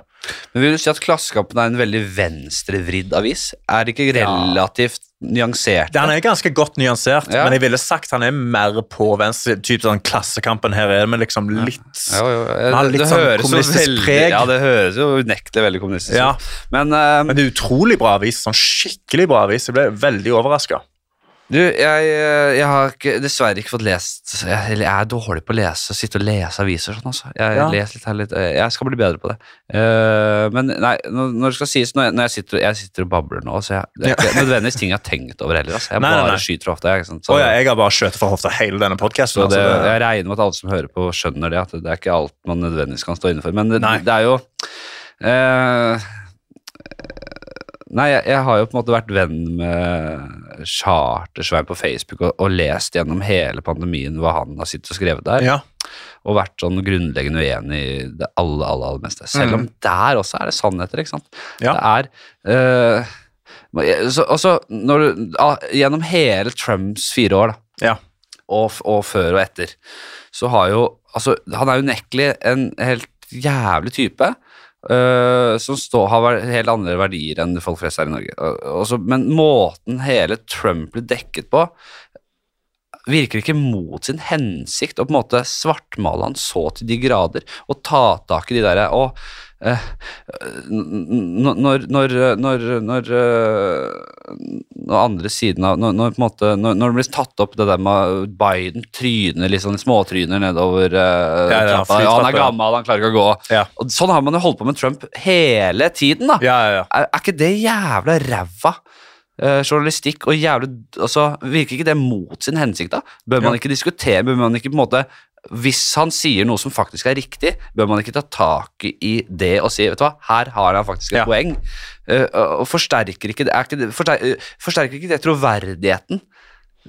Speaker 1: Men vil du si at Klassekampen er en veldig venstrevridd avis? Er det ikke relativt nyansert?
Speaker 2: Han er ganske godt nyansert,
Speaker 1: Ja.
Speaker 2: men jeg ville sagt han er mer på venstre. Typ sånn Klassekampen her er vi liksom litt
Speaker 1: Jo, jo,
Speaker 2: Den har
Speaker 1: det,
Speaker 2: litt
Speaker 1: det
Speaker 2: sånn
Speaker 1: høres jo
Speaker 2: kommunistisk
Speaker 1: veldig,
Speaker 2: preg.
Speaker 1: Ja, det høres jo unektelig veldig kommunistisk ut.
Speaker 2: Ja.
Speaker 1: Men, øh,
Speaker 2: Men det er utrolig bra avis. sånn Skikkelig bra avis. Jeg ble veldig overraska.
Speaker 1: Du, jeg, eh, jeg har ikke, dessverre ikke fått lest jeg, Eller jeg er dårlig på å lese, sitte og lese aviser og sånn, altså. Jeg,
Speaker 2: Ja.
Speaker 1: leser litt her litt eh, Jeg skal bli bedre på det. Eh, men nei, når, når det skal sies Når jeg, når jeg, sitter, jeg sitter og babler nå, så jeg, det er ikke nødvendigvis ting jeg har tenkt over heller. Altså. Jeg
Speaker 2: Nei, nei,
Speaker 1: bare
Speaker 2: nei.
Speaker 1: skyter ofte, jeg. Ikke sant? Så,
Speaker 2: Oh, ja, jeg har bare skjøtet fra hofta hele denne podkasten.
Speaker 1: så det,
Speaker 2: Altså, det-
Speaker 1: jeg regner med at alle som hører på, skjønner det, at det er ikke alt man nødvendigvis kan stå inne for. Men det,
Speaker 2: Nei.
Speaker 1: det er jo eh, Nei, jeg, jeg har jo på en måte vært venn med Chartersveien på Facebook og, og lest gjennom hele pandemien hva han har sittet og skrevet der,
Speaker 2: ja.
Speaker 1: og vært sånn grunnleggende uenig i det aller, aller, aller meste. Selv om der også er det sannheter, ikke sant?
Speaker 2: Mm. Ja.
Speaker 1: Det er eh, så, altså, når du, ah, Gjennom hele Trumps fire år, da,
Speaker 2: ja.
Speaker 1: og, f- og før og etter, så har jo altså, Han er unektelig en helt jævlig type. øh, som står, har ver- helt andre verdier enn folk flest her i Norge. Og- og så- men måten hele Trump blir dekket på, virker ikke mot sin hensikt å på en måte svartmale han så til de grader og ta tak i de derre og eh, n- n- når, når, når, når, eh, når andre siden av når, når, på en måte, når, når det blir tatt opp det der med Biden tryner litt sånn småtryner nedover eh,
Speaker 2: Ja, ja,
Speaker 1: trappa, ja, han
Speaker 2: flytrappa,
Speaker 1: er
Speaker 2: ja.
Speaker 1: gammel, han klarer ikke å gå.
Speaker 2: Ja.
Speaker 1: Og sånn har man jo holdt på med Trump hele tiden, da.
Speaker 2: Ja, ja, ja.
Speaker 1: Er, er ikke det jævla ræva eh, journalistikk og jævla altså, Virker ikke det mot sin hensikt, da? Bør man
Speaker 2: Ja.
Speaker 1: ikke diskutere? Bør man ikke på en måte Hvis han sier noe som faktisk er riktig, bør man ikke ta tak i det og si Vet du hva, her har han faktisk et
Speaker 2: Ja.
Speaker 1: poeng. Eh, og forsterker ikke det, er ikke det forsterker, eh, forsterker ikke det troverdigheten?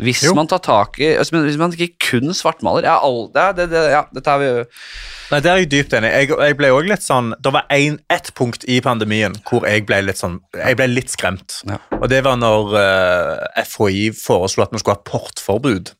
Speaker 1: Hvis
Speaker 2: Jo.
Speaker 1: man tar tak i altså, men Hvis man ikke kun svartmaler ja, all, det, er- det, det, ja, dette er vi
Speaker 2: Nei, Der er jeg dypt enig. Jeg, jeg ble også litt sånn, Det var en, ett punkt i pandemien hvor jeg ble litt sånn, jeg ble litt skremt.
Speaker 1: Ja.
Speaker 2: Og Det var når eh, FHI foreslo at vi skulle ha portforbud.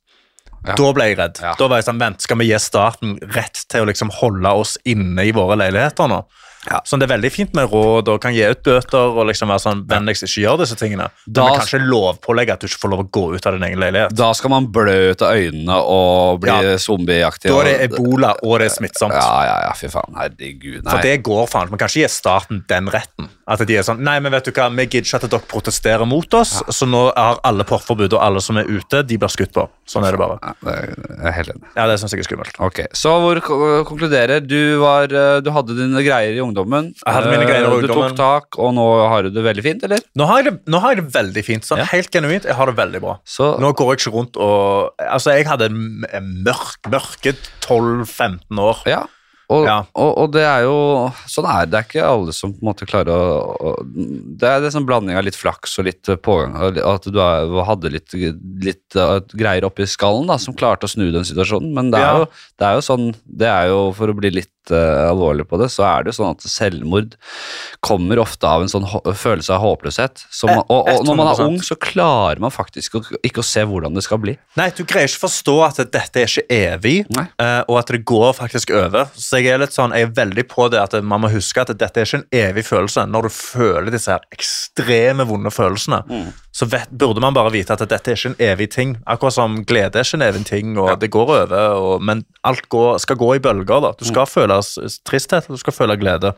Speaker 1: Ja.
Speaker 2: Da ble jeg redd.
Speaker 1: Ja.
Speaker 2: Da var jeg sånn, vent, Skal vi gi staten rett til å liksom holde oss inne i våre leiligheter nå?
Speaker 1: Ja.
Speaker 2: Sånn, Det er veldig fint med råd og kan gi ut bøter og liksom være sånn, vennligst ikke gjør disse tingene.
Speaker 1: Da-
Speaker 2: Men vi kan ikke lovpålegge at du ikke får lov å gå ut av din egen leilighet.
Speaker 1: Da skal man blø ut av øynene og bli
Speaker 2: Ja.
Speaker 1: zombieaktig.
Speaker 2: Da er det
Speaker 1: og-
Speaker 2: ebola, og det er smittsomt.
Speaker 1: Ja, ja, ja, fy faen. Herregud, nei.
Speaker 2: For det går faen. Man kan ikke gi staten den retten. At de er sånn Nei, men vet du hva, vi gidder ikke at dere protesterer mot oss, så nå har alle portforbud, og alle som er ute, de blir skutt på. Sånn er det bare.
Speaker 1: Nei, det- Jeg er helt enig.
Speaker 2: Ja, det syns jeg er skummelt.
Speaker 1: Ok, Så hvor ko- konkluderer du? Var, eh, du hadde dine greier i ungdommen.
Speaker 2: Jeg hadde mine
Speaker 1: Eh,
Speaker 2: greier i
Speaker 1: Du
Speaker 2: ungdommen.
Speaker 1: tok tak, og nå har du det veldig fint, eller?
Speaker 2: Nå har jeg det, nå har jeg det veldig fint. Sånn,
Speaker 1: Ja.
Speaker 2: Helt genuint. Jeg har det veldig bra.
Speaker 1: Så
Speaker 2: Nå går jeg ikke rundt og Altså, jeg hadde en m- en mørk, mørke 12-15 år.
Speaker 1: ja. Og,
Speaker 2: Ja.
Speaker 1: og, og det er jo Sånn er det. Det er ikke alle som på en måte klarer å å- Det er en sånn blanding av litt flaks og litt eh, pågang. og li- At du er, hadde litt, litt eh, greier oppi skallen da, som klarte å snu den situasjonen. Men det er,
Speaker 2: Ja.
Speaker 1: jo, det er jo sånn det er jo, For å bli litt eh, alvorlig på det, så er det jo sånn at selvmord kommer ofte av en sånn hå- følelse av håpløshet. Som,
Speaker 2: Eh,
Speaker 1: man- og, og når man er
Speaker 2: 100%.
Speaker 1: ung, så klarer man faktisk å- ikke å se hvordan det skal bli.
Speaker 2: Nei, du greier ikke forstå at dette er ikke evig,
Speaker 1: Nei.
Speaker 2: eh, og at det går faktisk over. Så jeg er litt sånn, jeg er veldig på det at man må huske at dette er ikke en evig følelse. Når du føler disse her ekstreme vonde følelsene,
Speaker 1: Mm.
Speaker 2: så vet, burde man bare vite at dette er ikke en evig ting. Akkurat som glede er ikke en evig ting, og det går over, og, men alt går, skal gå i bølger. da. Du skal
Speaker 1: Mm.
Speaker 2: føle s- s- tristhet, og du skal føle glede.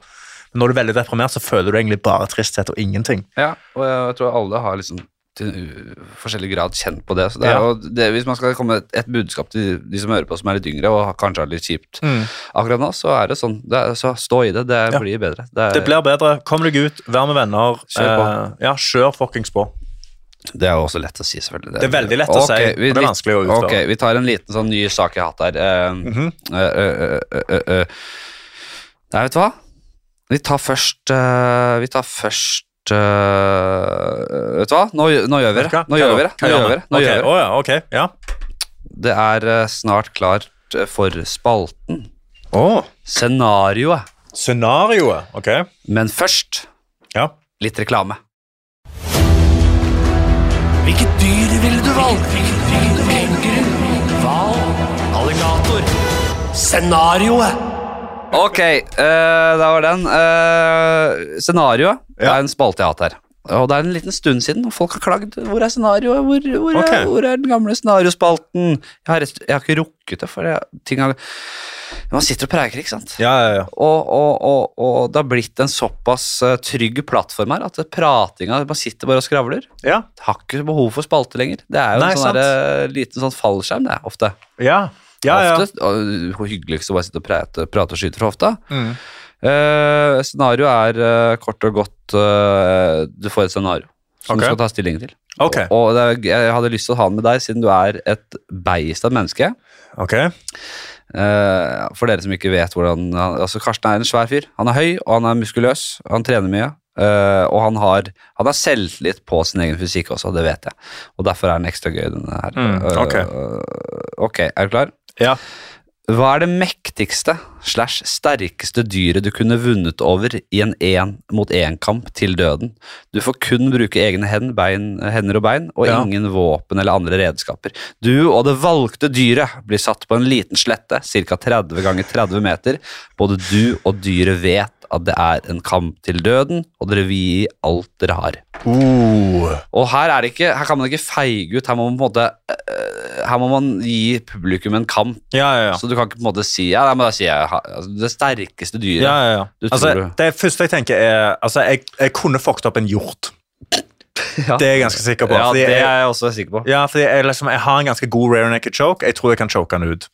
Speaker 2: Men når du er veldig deprimert, så føler du egentlig bare tristhet og ingenting.
Speaker 1: Ja, og jeg tror alle har liksom til u- forskjellig grad kjent på det. Så det er
Speaker 2: Ja.
Speaker 1: jo det, Hvis man skal komme med et budskap til de som hører på som er litt yngre og har- kanskje har det litt kjipt akkurat nå, så er det sånn. Det er, så stå i det. Det
Speaker 2: Mm. Ja.
Speaker 1: blir bedre. Det er,
Speaker 2: Det blir bedre. Kom deg ut, vær med venner.
Speaker 1: Kjør på.
Speaker 2: Eh, ja, kjør fuckings på.
Speaker 1: det er jo også lett å si, selvfølgelig.
Speaker 2: Det er veldig lett å
Speaker 1: Ok,
Speaker 2: si, og det er
Speaker 1: litt-
Speaker 2: vanskelig å utføre. Mhm.
Speaker 1: Ok, vi tar en liten sånn ny sak jeg har hatt her. Eh, eh, eh, eh, eh, eh. Nei, vet du hva? Vi tar først eh, Vi tar først eh, Vet du hva? Nå, gjø- nå gjør vi det. Nå gjør vi det. Nå gjør vi det. Nå gjør vi det.
Speaker 2: Ok, å ja, ok, ja.
Speaker 1: Det er eh, snart klart eh, for spalten.
Speaker 2: Å,
Speaker 1: Scenarioet.
Speaker 2: Scenarioet, ok.
Speaker 1: Men først
Speaker 2: Ja.
Speaker 1: litt reklame.
Speaker 3: Hvilket dyr ville du valgt? Kenguru? Hval? Alligator? Scenarioet?
Speaker 1: Ok, eh, der var den. Eh, scenarioet det
Speaker 2: Ja.
Speaker 1: er en spalte jeg har hatt her. Og det er en liten stund siden, og folk har klagd. Hvor er scenarioet? Hvor, hvor,
Speaker 2: Ok.
Speaker 1: er, hvor er den gamle scenariospalten? Jeg har, rett, jeg har ikke rukket det, for jeg, ting har Man sitter og preker, ikke sant?
Speaker 2: Ja, ja, ja.
Speaker 1: Og, og, og, og det har blitt en såpass eh, trygg plattform her at pratinga Man sitter bare og skravler.
Speaker 2: Ja,
Speaker 1: har ikke behov for spalte lenger. Det er jo
Speaker 2: Nei,
Speaker 1: en sånn
Speaker 2: sant.
Speaker 1: der, eh, liten sånn fallskjerm, det, er ofte.
Speaker 2: ja. ja, ja.
Speaker 1: Ofte, og og hyggeligst å bare sitte og prate, prate og skyte fra hofta.
Speaker 2: Mm.
Speaker 1: Eh, Scenarioet er eh, kort og godt eh, Du får et scenario som
Speaker 2: Ok.
Speaker 1: du skal ta stilling til.
Speaker 2: Ok,
Speaker 1: Og, og det, er- jeg hadde lyst til å ha den med deg, siden du er et beist av et menneske.
Speaker 2: ok.
Speaker 1: Eh, for dere som ikke vet hvordan han, altså Karsten er en svær fyr. Han er høy, og han er muskuløs. Han trener mye. eh, og han har, han har selvtillit på sin egen fysikk også, det vet jeg. Og derfor er den ekstra gøy, denne her.
Speaker 2: Mm, ok.
Speaker 1: Eh, ok, er du klar?
Speaker 2: Ja.
Speaker 1: Hva er det mektigste slash sterkeste dyret du kunne vunnet over i en én mot én-kamp til døden? Du får kun bruke egne hen, bein, hender og bein, og
Speaker 2: Ja.
Speaker 1: ingen våpen eller andre redskaper. Du og det valgte dyret blir satt på en liten slette, ca. 30 ganger 30 meter. Både du og dyret vet at det er en kamp til døden, og dere vil gi alt dere har.
Speaker 2: Uh.
Speaker 1: Og her, er det ikke, her kan man ikke feige ut, her må man på en måte øh, Her må man gi publikum en kamp.
Speaker 2: Ja, ja, ja.
Speaker 1: Så du kan ikke på en måte si ja, nei, men da sier jeg ha- altså, det sterkeste dyret.
Speaker 2: Ja, ja, ja.
Speaker 1: Du tror
Speaker 2: Altså,
Speaker 1: du-
Speaker 2: det første jeg tenker er, altså, jeg, jeg kunne fucked opp en hjort.
Speaker 1: Ja.
Speaker 2: Det er jeg ganske sikker på.
Speaker 1: Ja,
Speaker 2: fordi
Speaker 1: det
Speaker 2: jeg-
Speaker 1: er jeg også sikker på.
Speaker 2: Ja, fordi jeg, liksom, jeg har en ganske god rear naked choke. Jeg tror jeg kan choke han ut.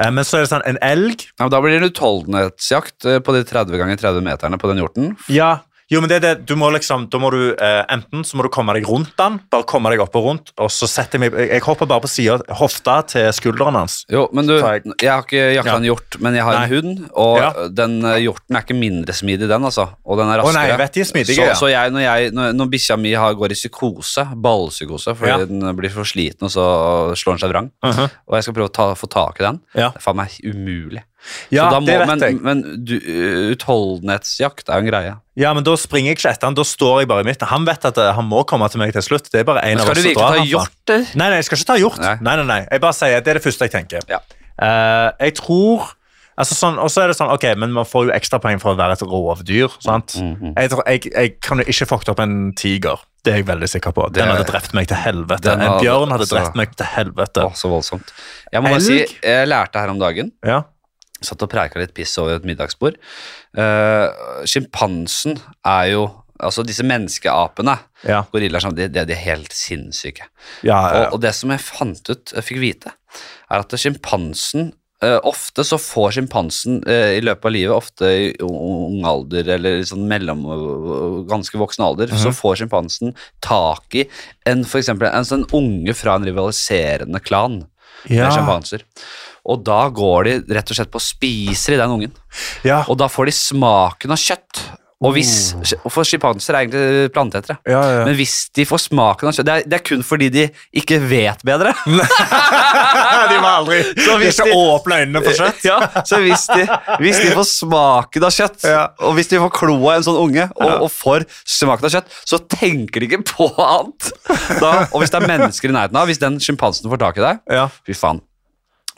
Speaker 2: Eh, Men så er det sånn, en elg
Speaker 1: Ja, men da blir det en utholdenhetsjakt eh, på de 30 ganger 30 meterne på den hjorten.
Speaker 2: Ja, jo, men det er det. Du må liksom, da må du, eh, enten så må du komme deg rundt den, bare komme deg opp og rundt, og så setter jeg meg, jeg- jeg hopper bare på siden, hofta til skulderen hans.
Speaker 1: Jo, men du,
Speaker 2: Takk.
Speaker 1: jeg har ikke jakta
Speaker 2: Ja.
Speaker 1: en hjort, men jeg har
Speaker 2: Nei.
Speaker 1: en hund, og
Speaker 2: Ja.
Speaker 1: den eh, hjorten er ikke mindre smidig, den, altså. Og den er
Speaker 2: Å,
Speaker 1: raskere.
Speaker 2: nei, jeg vet de er smidige,
Speaker 1: så,
Speaker 2: ja.
Speaker 1: så jeg, når, jeg, når, når bikkja mi har, går i psykose, ballpsykose, fordi
Speaker 2: Ja.
Speaker 1: den blir for sliten, og så slår den seg vrang,
Speaker 2: Mhm.
Speaker 1: og jeg skal prøve å ta, få tak i den,
Speaker 2: Ja.
Speaker 1: det er faen meg umulig.
Speaker 2: Ja,
Speaker 1: Så da må-
Speaker 2: det vet
Speaker 1: men,
Speaker 2: jeg.
Speaker 1: Men du, eh, utholdenhetsjakt er jo en greie.
Speaker 2: Ja, men da springer jeg ikke etter han, da står jeg bare i midten. Han vet at eh, han må komme til meg til slutt. Det er bare en
Speaker 1: Men
Speaker 2: av
Speaker 1: skal
Speaker 2: oss
Speaker 1: du
Speaker 2: som
Speaker 1: virkelig
Speaker 2: drar
Speaker 1: ta
Speaker 2: han. fra.
Speaker 1: hjorter?
Speaker 2: Nei, nei, jeg skal ikke ta hjort.
Speaker 1: Nei.
Speaker 2: Nei, nei, nei. Jeg bare sier, det er det første jeg tenker.
Speaker 1: Ja.
Speaker 2: Eh, jeg tror altså sånn, Og så er det sånn, ok, men man får jo ekstrapoeng for å være et rovdyr. sant?
Speaker 1: Mm,
Speaker 2: jeg, tror, jeg, jeg kan jo ikke fucket opp en tiger. Det er jeg veldig sikker på. Den
Speaker 1: Det-
Speaker 2: hadde drept meg til helvete.
Speaker 1: Den
Speaker 2: en
Speaker 1: hadde-
Speaker 2: bjørn hadde
Speaker 1: altså-
Speaker 2: drept meg til helvete.
Speaker 1: Å, så voldsomt. Jeg må bare si,
Speaker 2: Elg?
Speaker 1: jeg lærte her om dagen,
Speaker 2: Ja.
Speaker 1: satt og preika litt piss over et middagsbord. Uh, Sjimpansen er jo Altså disse menneskeapene,
Speaker 2: Ja.
Speaker 1: gorillaer sånn, de, de, de er helt sinnssyke.
Speaker 2: Ja, ja,
Speaker 1: Og, og det som jeg fant ut, jeg fikk vite, er at sjimpansen eh, Ofte så får sjimpansen eh, i løpet av livet, ofte i u- ung alder eller i sånn mellom ganske voksen alder, så
Speaker 2: Mhm.
Speaker 1: får sjimpansen tak i en, for eksempel, en sånn unge fra en rivaliserende klan
Speaker 2: ja.
Speaker 1: med sjimpanser. Og da går de rett og slett på og spiser i den ungen.
Speaker 2: Ja.
Speaker 1: Og da får de smaken av kjøtt. Og hvis, For sjimpanser er egentlig planteetere.
Speaker 2: Oh. Ja, ja, ja.
Speaker 1: Men hvis de får smaken av kjøtt det er, det er kun fordi de ikke vet bedre.
Speaker 2: De var aldri
Speaker 1: Så
Speaker 2: De
Speaker 1: hvis
Speaker 2: skal
Speaker 1: de-
Speaker 2: åpne øynene for kjøtt.
Speaker 1: Ja, så hvis de, hvis de får smaken av kjøtt,
Speaker 2: Ja.
Speaker 1: og hvis de får kloa i en sånn unge og, og får smaken av kjøtt, så tenker de ikke på annet. Da, og hvis det er mennesker i nærheten av, hvis den sjimpansen får tak i deg,
Speaker 2: Ja.
Speaker 1: fy faen,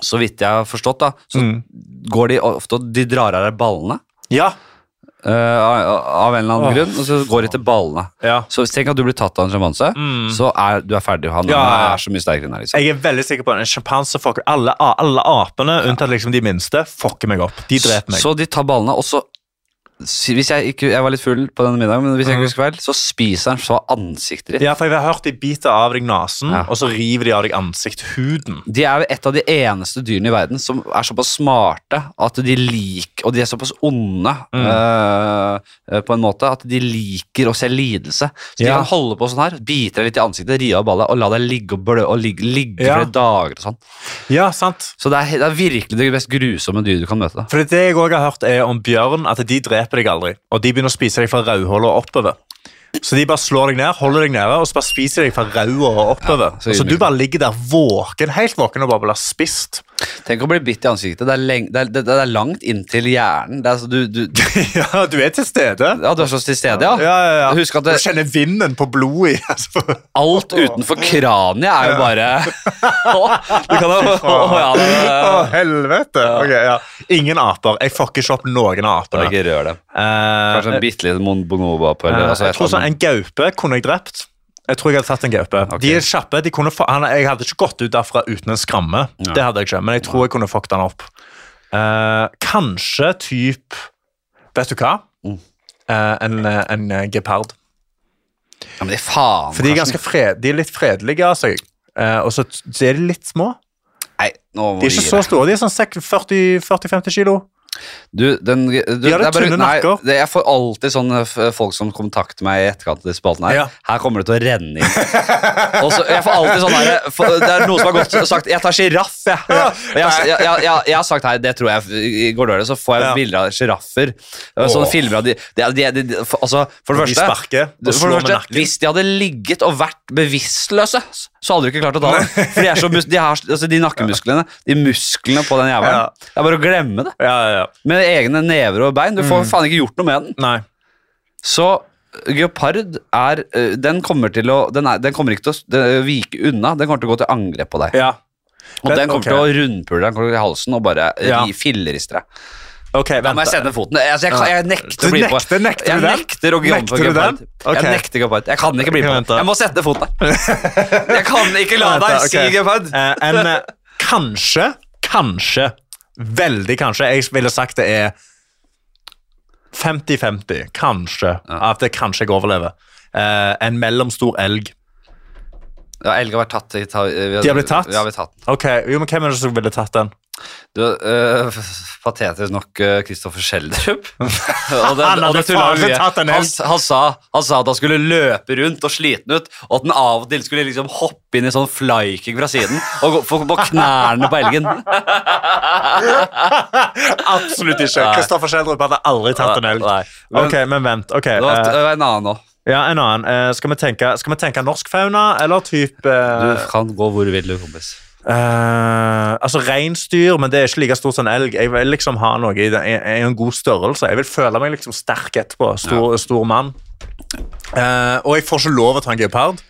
Speaker 1: så vidt jeg har forstått, da, så
Speaker 2: Mm.
Speaker 1: går de ofte og de drar av deg ballene.
Speaker 2: Ja.
Speaker 1: eh, av av en eller annen
Speaker 2: Åh.
Speaker 1: grunn, og så går de til ballene.
Speaker 2: Ja.
Speaker 1: Så tenk at du blir tatt av en sjimpanse, så er du er ferdig. Han
Speaker 2: Mm. Ja.
Speaker 1: er så mye sterkere enn deg. Liksom.
Speaker 2: Jeg er veldig sikker på at en sjimpanse fucker alle, alle apene, unntatt liksom de minste, fucker meg opp. De dreper meg.
Speaker 1: Så de tar ballene, og så si- hvis jeg, ikke, jeg var litt full på denne middagen, men hvis jeg
Speaker 2: Mm.
Speaker 1: ikke husker feil, så spiser han så ansiktet ditt.
Speaker 2: Ja, for jeg har hørt de biter av deg nesen,
Speaker 1: Ja.
Speaker 2: og så river de av deg ansiktshuden.
Speaker 1: De er jo et av de eneste dyrene i verden som er såpass smarte at de liker Og de er såpass onde
Speaker 2: Mm.
Speaker 1: eh, eh, på en måte at de liker å se lidelse. Så de
Speaker 2: Ja.
Speaker 1: kan holde på sånn her, bite deg litt i ansiktet, rive av ballet og la deg ligge og blø og ligge, ligge
Speaker 2: Ja.
Speaker 1: flere dager og sånn.
Speaker 2: Ja, sant.
Speaker 1: Så det er, det er virkelig det mest grusomme dyret du kan møte.
Speaker 2: For det jeg også har hørt er om bjørn, at de dreper deg aldri. Og de begynner å spise deg fra rødhåla og oppover. Så de bare slår deg ned, holder deg nede og så bare spiser deg fra rauda og oppover.
Speaker 1: så
Speaker 2: så, du
Speaker 1: ydmykende.
Speaker 2: bare ligger der våken, helt våken og bare blir spist.
Speaker 1: Tenk å bli bitt i ansiktet. Det er, leng, det er, det, det er langt inntil hjernen. Det er, så du, du,
Speaker 2: ja, du er til stede.
Speaker 1: ja, du er så til stede, ja.
Speaker 2: Ja, ja, ja.
Speaker 1: Husk at det,
Speaker 2: Du kjenner vinden på blodet i altså.
Speaker 1: alt utenfor kraniet er jo bare Du kan jo Å, ja, det,
Speaker 2: Å, helvete! Ok, ja. Ingen aper. Jeg fucker ikke opp noen av
Speaker 1: det,
Speaker 2: apene.
Speaker 1: Ikke rør dem.
Speaker 2: Eh,
Speaker 1: Kanskje en bitte liten mon- bonobo på eller
Speaker 2: Eh,
Speaker 1: altså,
Speaker 2: jeg tror sånn, En gaupe kunne jeg drept. Jeg tror jeg hadde tatt en gaupe.
Speaker 1: Ok.
Speaker 2: De er kjappe. De kunne fa han, jeg hadde ikke gått ut derfra uten en skramme.
Speaker 1: Ja.
Speaker 2: Det hadde jeg ikke, Men jeg tror jeg kunne fucket han opp. Eh, kanskje typ Vet du hva?
Speaker 1: Mm.
Speaker 2: Eh, en, eh, en eh, gepard.
Speaker 1: ja, Men det er faen,
Speaker 2: For de er,
Speaker 1: Karsten.
Speaker 2: ganske fred, de er litt fredelige av seg. Eh, og så t- så er de litt små.
Speaker 1: Nei, nå må
Speaker 2: De er
Speaker 1: vi
Speaker 2: ikke
Speaker 1: gi
Speaker 2: så
Speaker 1: deg.
Speaker 2: store. De er sånn sekk- 40 40-50 kilo.
Speaker 1: Du, den, du, det
Speaker 2: har
Speaker 1: er
Speaker 2: litt
Speaker 1: bare-
Speaker 2: tynne
Speaker 1: nei,
Speaker 2: nakker.
Speaker 1: det- Jeg får alltid sånne f- folk som kontakter meg i etterkant av disse spaltene her.
Speaker 2: Ja.
Speaker 1: Her kommer det til å renne inn. Og så, jeg får alltid sånn her for- Det er noen som har gått og sagt 'jeg tar sjiraff', jeg. Og jeg, jeg, jeg, jeg. Jeg har sagt her, det tror jeg f- går dårlig, så får jeg
Speaker 2: Ja.
Speaker 1: bilder av sjiraffer.
Speaker 2: Åh.
Speaker 1: Sånne filmer av de, de, de, de, de for, Altså, for det
Speaker 2: De
Speaker 1: første
Speaker 2: sparker og
Speaker 1: for
Speaker 2: slår
Speaker 1: det
Speaker 2: med
Speaker 1: første,
Speaker 2: nakken.
Speaker 1: Hvis de hadde ligget og vært bevisstløse, så hadde du ikke klart å ta det. For de, er så mus de, har, altså, de nakkemusklene, de musklene på den jævelen
Speaker 2: Ja.
Speaker 1: Det er bare å glemme det.
Speaker 2: Ja, ja, ja.
Speaker 1: Med egne never og bein. Du
Speaker 2: Mm.
Speaker 1: får faen ikke gjort noe med den.
Speaker 2: Nei.
Speaker 1: Så eh, geopard er øh, Den kommer til å Den, er, den kommer ikke til å s- det- vike unna. Den kommer til å gå til angrep på deg.
Speaker 2: Ja.
Speaker 1: Og
Speaker 2: Men-
Speaker 1: den kommer
Speaker 2: ok.
Speaker 1: til å rundpule deg den kommer til å gå i halsen og bare eh,
Speaker 2: Ja.
Speaker 1: ri- filleriste deg.
Speaker 2: Ok,
Speaker 1: Da må jeg
Speaker 2: vent.
Speaker 1: sende foten. Altså, jeg, kan, jeg nekter
Speaker 2: Du
Speaker 1: å bli med på
Speaker 2: nekter- nekter du
Speaker 1: Jeg
Speaker 2: den?
Speaker 1: nekter å bli med på
Speaker 2: Nekter du
Speaker 1: geopard.
Speaker 2: den? Ok.
Speaker 1: Jeg nekter geopard. Jeg kan ikke bli med
Speaker 2: Vent
Speaker 1: på
Speaker 2: da.
Speaker 1: det. Jeg må sette foten der. Jeg kan ikke la deg
Speaker 2: Vent,
Speaker 1: si
Speaker 2: ok.
Speaker 1: geopard.
Speaker 2: Eh, en eh, kanskje, kanskje, veldig kanskje, jeg ville sagt det er 50-50, kanskje, at det kanskje jeg overlever. Eh, en mellomstor elg.
Speaker 1: Ja, Elg har vært tatt. i- ta- vi
Speaker 2: De har blitt tatt?
Speaker 1: Ja, vi har tatt. den.
Speaker 2: Ok, jo, men hvem er det som ville tatt den?
Speaker 1: Du, øh, patetisk nok øh, Kristoffer Schjelderup. Og den-
Speaker 2: Han hadde
Speaker 1: og det tullet
Speaker 2: faen ikke
Speaker 1: mye.
Speaker 2: tatt en
Speaker 1: han,
Speaker 2: elg.
Speaker 1: han, sa, han sa at han skulle løpe rundt og slite den ut, og at den av og til skulle liksom hoppe inn i sånn flyking fra siden og gå få på knærne på elgen.
Speaker 2: Absolutt ikke.
Speaker 1: Nei.
Speaker 2: Kristoffer Schjelderup hadde aldri tatt en elg.
Speaker 1: Nei, men-
Speaker 2: ok, men vent. ok.
Speaker 1: Det var,
Speaker 2: eh,
Speaker 1: det var en annen òg.
Speaker 2: ja, en annen. Eh, skal, vi tenke, skal vi tenke norsk fauna, eller type
Speaker 1: Du kan gå hvor du vil, du, kompis.
Speaker 2: Eh, altså reinsdyr, men det er ikke like stort som en elg. Jeg vil liksom ha noe i den, jeg, jeg er en god størrelse. Jeg vil føle meg liksom sterk etterpå. Stor, stor mann. Eh, og jeg får ikke lov å ta en geopard.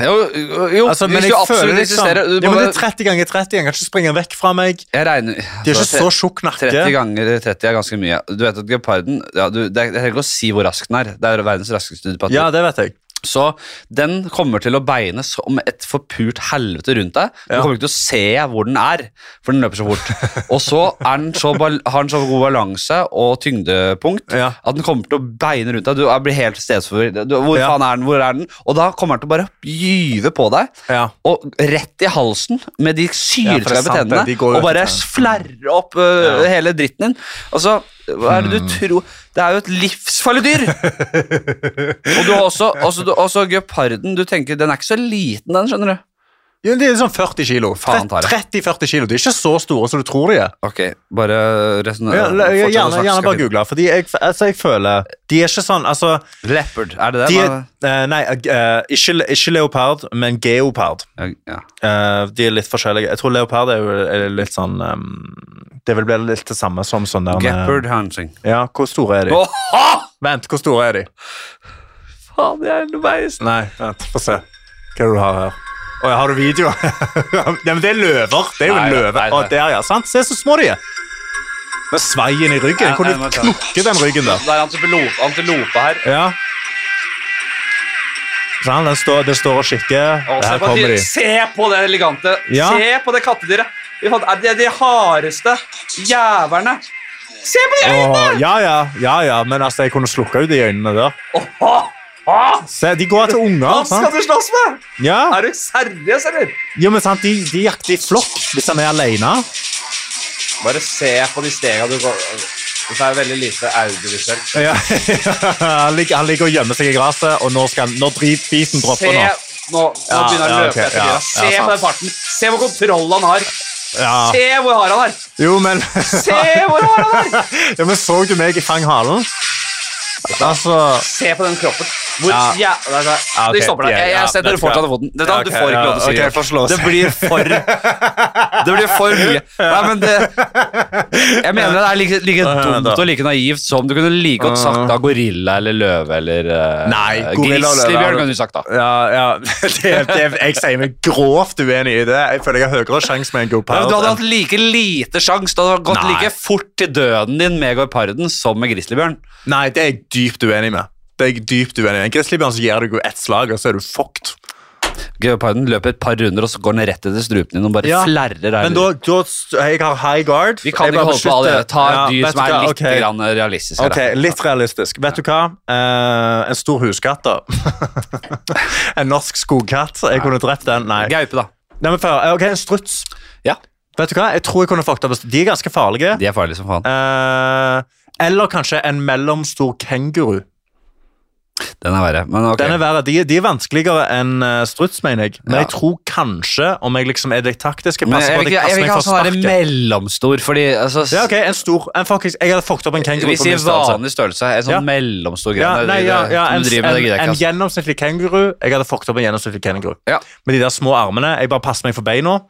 Speaker 1: Jo, jo
Speaker 2: Altså, men
Speaker 1: hvis
Speaker 2: jeg
Speaker 1: du
Speaker 2: føler
Speaker 1: absolutt
Speaker 2: liksom,
Speaker 1: insisterer du
Speaker 2: ja,
Speaker 1: må
Speaker 2: men det
Speaker 1: bare-
Speaker 2: er 30 ganger 30. Jeg kan ikke springe vekk fra meg.
Speaker 1: Jeg regner
Speaker 2: De er ikke
Speaker 1: altså,
Speaker 2: så tjukk nakke.
Speaker 1: 30 ganger 30 er ganske mye. Du vet at geparden ja, du, Det er det er ikke å si hvor rask den er. Det er verdens raskeste på
Speaker 2: Ja, det vet jeg.
Speaker 1: Så den kommer til å beine som et forpult helvete rundt deg. Du
Speaker 2: Ja.
Speaker 1: kommer ikke til å se hvor den er, for den løper så fort. Og så er den så bal har den så god balanse og tyngdepunkt
Speaker 2: Ja.
Speaker 1: at den kommer til å beine rundt deg. Du er- blir helt stedsforvirret. Du- Hvor
Speaker 2: Ja.
Speaker 1: faen er den? Hvor er den? Og da kommer den til å bare gyve på deg.
Speaker 2: Ja.
Speaker 1: Og rett i halsen med de
Speaker 2: Ja, for det er
Speaker 1: sylskarpe
Speaker 2: sant, det.
Speaker 1: tennene.
Speaker 2: De går jo
Speaker 1: og bare
Speaker 2: etter
Speaker 1: flerre opp øh, hele dritten din. Altså, hva er det du tror Det er jo et livsfarlig dyr! altså, og du har også, også, du, også geparden. Du tenker, Den er ikke så liten, den, skjønner du.
Speaker 2: Ja, de er sånn 40 kilo.
Speaker 1: Faen, Tare.
Speaker 2: 30-40 kilo. De er ikke så store som du tror de er.
Speaker 1: Ok, bare resten
Speaker 2: Ja, la- ja,
Speaker 1: fortsett å
Speaker 2: gjerne,
Speaker 1: snakke,
Speaker 2: gjerne
Speaker 1: skal
Speaker 2: bare
Speaker 1: vi-
Speaker 2: google, fordi jeg, altså, jeg føler De er ikke sånn Altså
Speaker 1: Leopard, er det det?
Speaker 2: de er,
Speaker 1: da?
Speaker 2: eh, Nei, eh, ikke, ikke leopard, men geopard.
Speaker 1: ja.
Speaker 2: Eh, de er litt forskjellige. Jeg tror leopard er jo er litt sånn ehm, Det vil bli litt det samme som sånn der
Speaker 1: Geppard hunting.
Speaker 2: Ja, hvor store er de?
Speaker 1: Åh!
Speaker 2: Vent, hvor store er de?
Speaker 1: Faen, jeg er underveis.
Speaker 2: Nei, vent, få se. Hva er det du har her? Å, ja, har du video? ja, men det er løver. Det er jo
Speaker 1: Nei,
Speaker 2: en
Speaker 1: nei,
Speaker 2: løve.
Speaker 1: nei,
Speaker 2: Å,
Speaker 1: nei.
Speaker 2: der, ja. Sant? Se så små de er. Med sveien i ryggen.
Speaker 1: Nei, nei,
Speaker 2: Jeg kunne
Speaker 1: vent, ja.
Speaker 2: knokke den ryggen der.
Speaker 1: Det er antilope, antilope her.
Speaker 2: Ja. Sånn, den står, det står og kikker.
Speaker 1: Å, se,
Speaker 2: Her
Speaker 1: på
Speaker 2: kommer
Speaker 1: de,
Speaker 2: de.
Speaker 1: se på det elegante.
Speaker 2: Ja.
Speaker 1: Se på det kattedyret. Fy faen, er Det er de hardeste jævlene. Se på de
Speaker 2: Åh,
Speaker 1: øynene!
Speaker 2: ja, ja, ja, ja, men altså, jeg kunne slukka ut de øynene der.
Speaker 1: Åh, åh,
Speaker 2: Se, de går til unger.
Speaker 1: Hva skal
Speaker 2: Sant?
Speaker 1: du slåss med?
Speaker 2: Ja.
Speaker 1: Er du seriøs, eller?
Speaker 2: Jo, men sant, de, de jakter i flokk hvis han er alene.
Speaker 1: Bare se på de stega du går Det er veldig lite audiovisuelt.
Speaker 2: Ja. han, ligger, han ligger og gjemmer seg i gresset, og nå, skal, han- nå driver biten
Speaker 1: Se
Speaker 2: dropper
Speaker 1: nå,
Speaker 2: nå.
Speaker 1: nå
Speaker 2: Ja,
Speaker 1: begynner han å
Speaker 2: ja,
Speaker 1: løpe
Speaker 2: ok,
Speaker 1: etter
Speaker 2: ja,
Speaker 1: dyra.
Speaker 2: ja,
Speaker 1: Se
Speaker 2: sant.
Speaker 1: på den farten. Se hvor kontroll han har.
Speaker 2: Ja.
Speaker 1: Se hvor hard han er.
Speaker 2: Jo, men
Speaker 1: Se hvor hard han er.
Speaker 2: ja, men Så du meg i fang halen? Altså
Speaker 1: Se på den kroppen. Hvor
Speaker 2: Ja.
Speaker 1: ja. der, der.
Speaker 2: Ja, ok,
Speaker 1: De stopper deg.
Speaker 2: ja,
Speaker 1: Jeg,
Speaker 2: ja,
Speaker 1: jeg setter
Speaker 2: vet
Speaker 1: dere
Speaker 2: du hva.
Speaker 1: fortsatt av foten. Dette,
Speaker 2: Ja,
Speaker 1: Du
Speaker 2: ok,
Speaker 1: får ikke
Speaker 2: ja,
Speaker 1: lov til å si
Speaker 2: ok, jeg får slå
Speaker 1: det.
Speaker 2: seg.
Speaker 1: blir for Det blir for mye. Nei, men det Jeg mener det er like, like dumt og like naivt som du kunne like godt sagt da gorilla eller løve eller eh,
Speaker 2: Nei, gorilla og løve er-
Speaker 1: grizzlybjørn kunne du sagt da.
Speaker 2: Ja, ja. Det, det, jeg sier meg grovt uenig i det. Jeg føler jeg har høyere sjanse
Speaker 1: Ja,
Speaker 2: med en
Speaker 1: men
Speaker 2: gopard.
Speaker 1: Du hadde hatt like lite sjans. Du hadde gått
Speaker 2: Nei.
Speaker 1: like fort til døden din med gueparden som med grizzlybjørn.
Speaker 2: Nei, det er jeg dypt uenig med. Det er jeg dypt uenig med. En grizzlybjørn så gir deg jo ett slag, og så er du fucked.
Speaker 1: Gueparden løper et par runder, og så går den rett etter strupen din og bare
Speaker 2: Ja,
Speaker 1: flerrer deg.
Speaker 2: Men da, da jeg har high guard.
Speaker 1: Vi kan
Speaker 2: Jeg
Speaker 1: ikke
Speaker 2: bare
Speaker 1: holde på alle.
Speaker 2: beskytter-
Speaker 1: Ta et
Speaker 2: Ja,
Speaker 1: dyr
Speaker 2: vet
Speaker 1: som
Speaker 2: du
Speaker 1: er
Speaker 2: hva?
Speaker 1: litt
Speaker 2: Ok.
Speaker 1: grann realistisk. her,
Speaker 2: Ok,
Speaker 1: da.
Speaker 2: litt realistisk. Vet du hva? Eh, en stor huskatt, da. en norsk skogkatt. Jeg kunne drept den. Nei.
Speaker 1: Gaupe, da.
Speaker 2: Nei men før, eh, ok, En struts.
Speaker 1: Ja,
Speaker 2: Vet du hva? Jeg tror jeg kunne fucked opp. De er ganske farlige.
Speaker 1: de er farlige som faen.
Speaker 2: Eh, eller kanskje en mellomstor kenguru.
Speaker 1: Den er verre. Men ok.
Speaker 2: Den er verre. De, de er vanskeligere enn eh, struts, mener jeg. Men
Speaker 1: Ja.
Speaker 2: jeg tror kanskje, om jeg liksom er det taktiske
Speaker 1: Men
Speaker 2: passer
Speaker 1: jeg
Speaker 2: på
Speaker 1: vil
Speaker 2: at
Speaker 1: ikke,
Speaker 2: jeg
Speaker 1: jeg vil ikke
Speaker 2: passer meg
Speaker 1: ha
Speaker 2: for
Speaker 1: sånn her
Speaker 2: sparket.
Speaker 1: mellomstor, fordi altså, s-
Speaker 2: Ja, ok, en stor en fuckings, Jeg hadde fucked opp en kenguru
Speaker 1: Vi
Speaker 2: på
Speaker 1: sier
Speaker 2: min størrelse.
Speaker 1: vanlig størrelse. En sånn
Speaker 2: Ja.
Speaker 1: mellomstor greie.
Speaker 2: Ja,
Speaker 1: Det-
Speaker 2: nei,
Speaker 1: det-
Speaker 2: ja, ja,
Speaker 1: som
Speaker 2: en,
Speaker 1: du driver med, det
Speaker 2: en,
Speaker 1: gidder jeg
Speaker 2: en
Speaker 1: ikke.
Speaker 2: gjennomsnittlig kenguru. Jeg hadde fucked opp en gjennomsnittlig kenguru.
Speaker 1: Ja.
Speaker 2: Med de der små armene. Jeg bare passer meg for beina.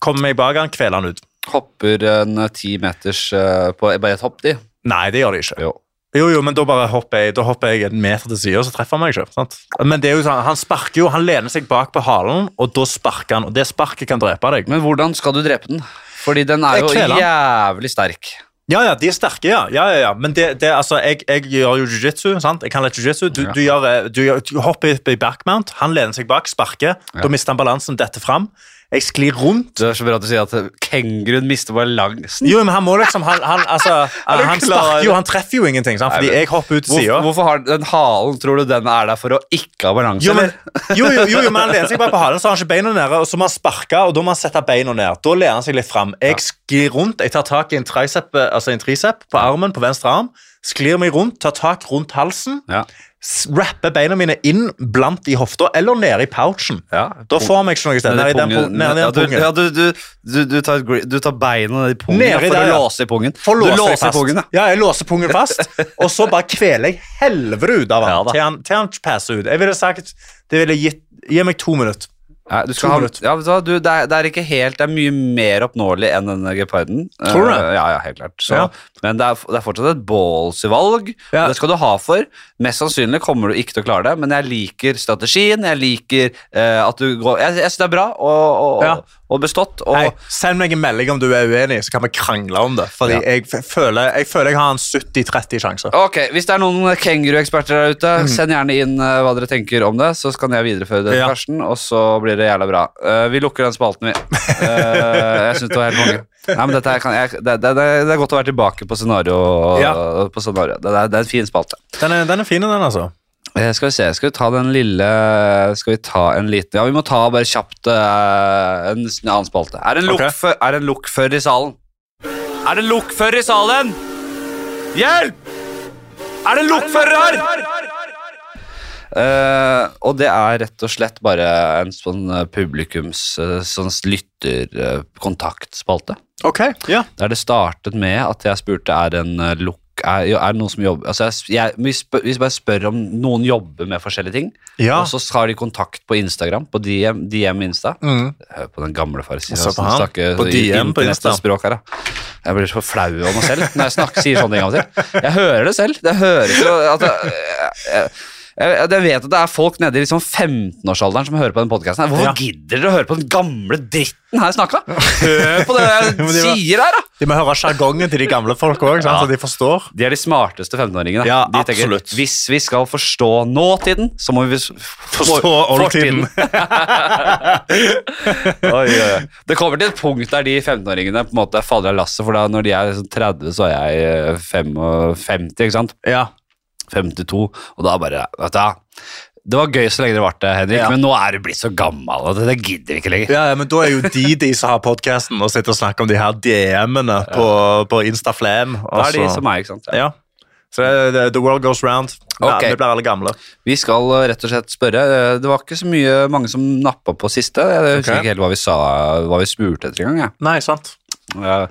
Speaker 2: Kommer meg bak han, kveler han ut.
Speaker 1: ass. Hopper en eh, ti meters eh, på Bare et hopp, de.
Speaker 2: Nei, det gjør de ikke.
Speaker 1: Jo.
Speaker 2: Jo, jo, men da bare hopper jeg, da hopper jeg en meter til siden, og så treffer han meg ikke. sant? Men det er jo sånn, han sparker jo, han lener seg bak på halen, og da sparker han, og det sparket kan drepe deg.
Speaker 1: Men hvordan skal du drepe den? Fordi den er
Speaker 2: Jeg
Speaker 1: jo
Speaker 2: kveler den.
Speaker 1: jævlig sterk.
Speaker 2: Ja, ja, de er sterke, ja. ja, ja, ja. Men det, det altså, jeg, jeg gjør jo jiu-jitsu, sant? Jeg kan litt jiu-jitsu. Du,
Speaker 1: Ja.
Speaker 2: du, gjør, eh, du, gjør- du hopper opp i backmount, han lener seg bak, sparker,
Speaker 1: Ja.
Speaker 2: da mister han balansen, detter frem. Jeg sklir rundt.
Speaker 1: Det er så bra at du sier at kenguruen mister balansen.
Speaker 2: Jo, men han må liksom, han, han, altså,
Speaker 1: du
Speaker 2: han
Speaker 1: klar?
Speaker 2: sparker jo, han treffer jo ingenting, sant? Fordi
Speaker 1: Nei, men-
Speaker 2: jeg hopper ut til
Speaker 1: Hvor,
Speaker 2: siden.
Speaker 1: hvorfor har den halen Tror du den er der for å ikke ha balanse?
Speaker 2: Jo, men,
Speaker 1: eller?
Speaker 2: jo, jo, jo, jo, men han lener seg bare på halen, så har han ikke beina nede. Og så må han sparke, og da må han sette beina ned. Da lener han seg litt fram. Jeg sklir rundt, jeg tar tak i en tricep, eh, altså en tricep på armen, på venstre arm. Sklir meg rundt, tar tak rundt halsen.
Speaker 1: Ja.
Speaker 2: s- Rapper beina mine inn blant i hofta, eller nede i pouchen.
Speaker 1: Ja.
Speaker 2: Da får han meg ikke noe sted. Nede i den pungen. Nede i
Speaker 1: ja,
Speaker 2: den
Speaker 1: du, ja,
Speaker 2: pungen.
Speaker 1: du, du, du, du, tar, gri- du tar beina ned i pungen
Speaker 2: Nede
Speaker 1: ja, for
Speaker 2: der,
Speaker 1: å
Speaker 2: ja.
Speaker 1: låse i pungen.
Speaker 2: For
Speaker 1: du
Speaker 2: låser jeg
Speaker 1: låser i
Speaker 2: fast.
Speaker 1: pungen, ja.
Speaker 2: Ja, jeg låser pungen fast, og så bare kveler jeg helvete ut av
Speaker 1: Ja,
Speaker 2: han
Speaker 1: da.
Speaker 2: til han, til han passer ut. Jeg ville sagt, det ville gitt, gi meg to minutter.
Speaker 1: Nei, du skal
Speaker 2: To
Speaker 1: ha,
Speaker 2: minutter.
Speaker 1: ja, vet du, hva, du, det, er, det er ikke helt Det er mye mer oppnåelig enn denne geparden.
Speaker 2: Tror du det?
Speaker 1: Eh, ja, ja, helt klart. Så,
Speaker 2: Ja.
Speaker 1: Men det er, det er fortsatt et ballsy-valg.
Speaker 2: Ja.
Speaker 1: og Det skal du ha for. Mest sannsynlig kommer du ikke til å klare det, men jeg liker strategien. Jeg liker eh, at du går Jeg, jeg syns det er bra og, og,
Speaker 2: Ja.
Speaker 1: og bestått. Og,
Speaker 2: Nei, send meg en melding om du er uenig, så kan vi krangle om det. Fordi
Speaker 1: Ja.
Speaker 2: jeg, f- føler, jeg føler jeg har en 70-30 sjanse.
Speaker 1: Ok, Hvis det er noen kengurueksperter der ute, send gjerne inn eh, hva dere tenker om det. Så kan jeg videreføre det til
Speaker 2: Mhm. Ja.
Speaker 1: Karsten, og så blir det jævla bra. Eh, vi lukker den spalten, vi. Eh, jeg syns det var helt konge. Nei, men dette her kan jeg, det, det, det, det er godt å være tilbake på scenario.
Speaker 2: Ja.
Speaker 1: På scenario. Det, er- det er en fin spalte.
Speaker 2: Den er, den er fin, den, altså.
Speaker 1: Eh, skal vi se, skal vi ta den lille Skal vi ta en liten Ja, vi må ta bare kjapt eh, en s- en annen spalte. Er det en
Speaker 2: Ok.
Speaker 1: lokfø- er det en lokfører i salen? Er det en lokfører i salen? Hjelp! Er det en lokfører her? Eh, og det er rett og slett bare en sånn eh, publikums eh, sånn lytterkontaktspalte.
Speaker 2: Ok, ja.
Speaker 1: Der det startet med at jeg spurte er det en eh, lukk er, jo, er det noen som jobber altså jeg, s- jeg, vi, spør, vi bare spør om noen jobber med forskjellige ting,
Speaker 2: Ja.
Speaker 1: og så har de kontakt på Instagram, på DM, DM Insta.
Speaker 2: Mm.
Speaker 1: Hør på den gamle farisen
Speaker 2: Jeg så på
Speaker 1: som
Speaker 2: han.
Speaker 1: snakker
Speaker 2: På DM på Insta.
Speaker 1: internettspråk her, da. Jeg blir så flau over meg selv når jeg snakker, sier sånne ting av og til. Jeg hører det selv. Jeg hører ikke at jeg, jeg, jeg, jeg vet at det er folk nede i liksom 15-årsalderen som hører på den podkasten. Hvorfor
Speaker 2: Ja.
Speaker 1: gidder dere å høre på den gamle dritten her snakka? Hør på det
Speaker 2: Men
Speaker 1: jeg
Speaker 2: de var-
Speaker 1: sier her, da!
Speaker 2: De må høre sjargongen til de gamle folk òg,
Speaker 1: Ja.
Speaker 2: så de forstår.
Speaker 1: De er de smarteste 15-åringene.
Speaker 2: Ja,
Speaker 1: de tenker,
Speaker 2: absolutt.
Speaker 1: Hvis vi skal forstå nåtiden, så må vi s- for-
Speaker 2: Forstå oldtiden.
Speaker 1: Oi, oi, oi. Det kommer til et punkt der de 15-åringene på en måte faller av lasset, for da når de er sånn 30, så er jeg eh, 55, ikke sant?
Speaker 2: Ja.
Speaker 1: 52, og da bare Vet du hva, det var gøy så lenge det varte, Henrik,
Speaker 2: Ja.
Speaker 1: men nå er du blitt så gammel, og det, det gidder vi ikke lenger.
Speaker 2: Ja, ja, men da er jo de de som har podkasten og sitter og snakker om de her DM-ene på, på Instaflam.
Speaker 1: Da er de som meg, ikke sant?
Speaker 2: altså. Ja. Så det, det, the world goes round. Vi er-
Speaker 1: Ok.
Speaker 2: Vi blir alle gamle.
Speaker 1: Vi skal eh, rett og slett spørre. eh, Det var ikke så mye mange som nappa på siste. Jeg husker
Speaker 2: Ok.
Speaker 1: ikke helt hva vi sa, hva vi spurte etter engang. jeg.
Speaker 2: Nei, sant.
Speaker 1: Ja.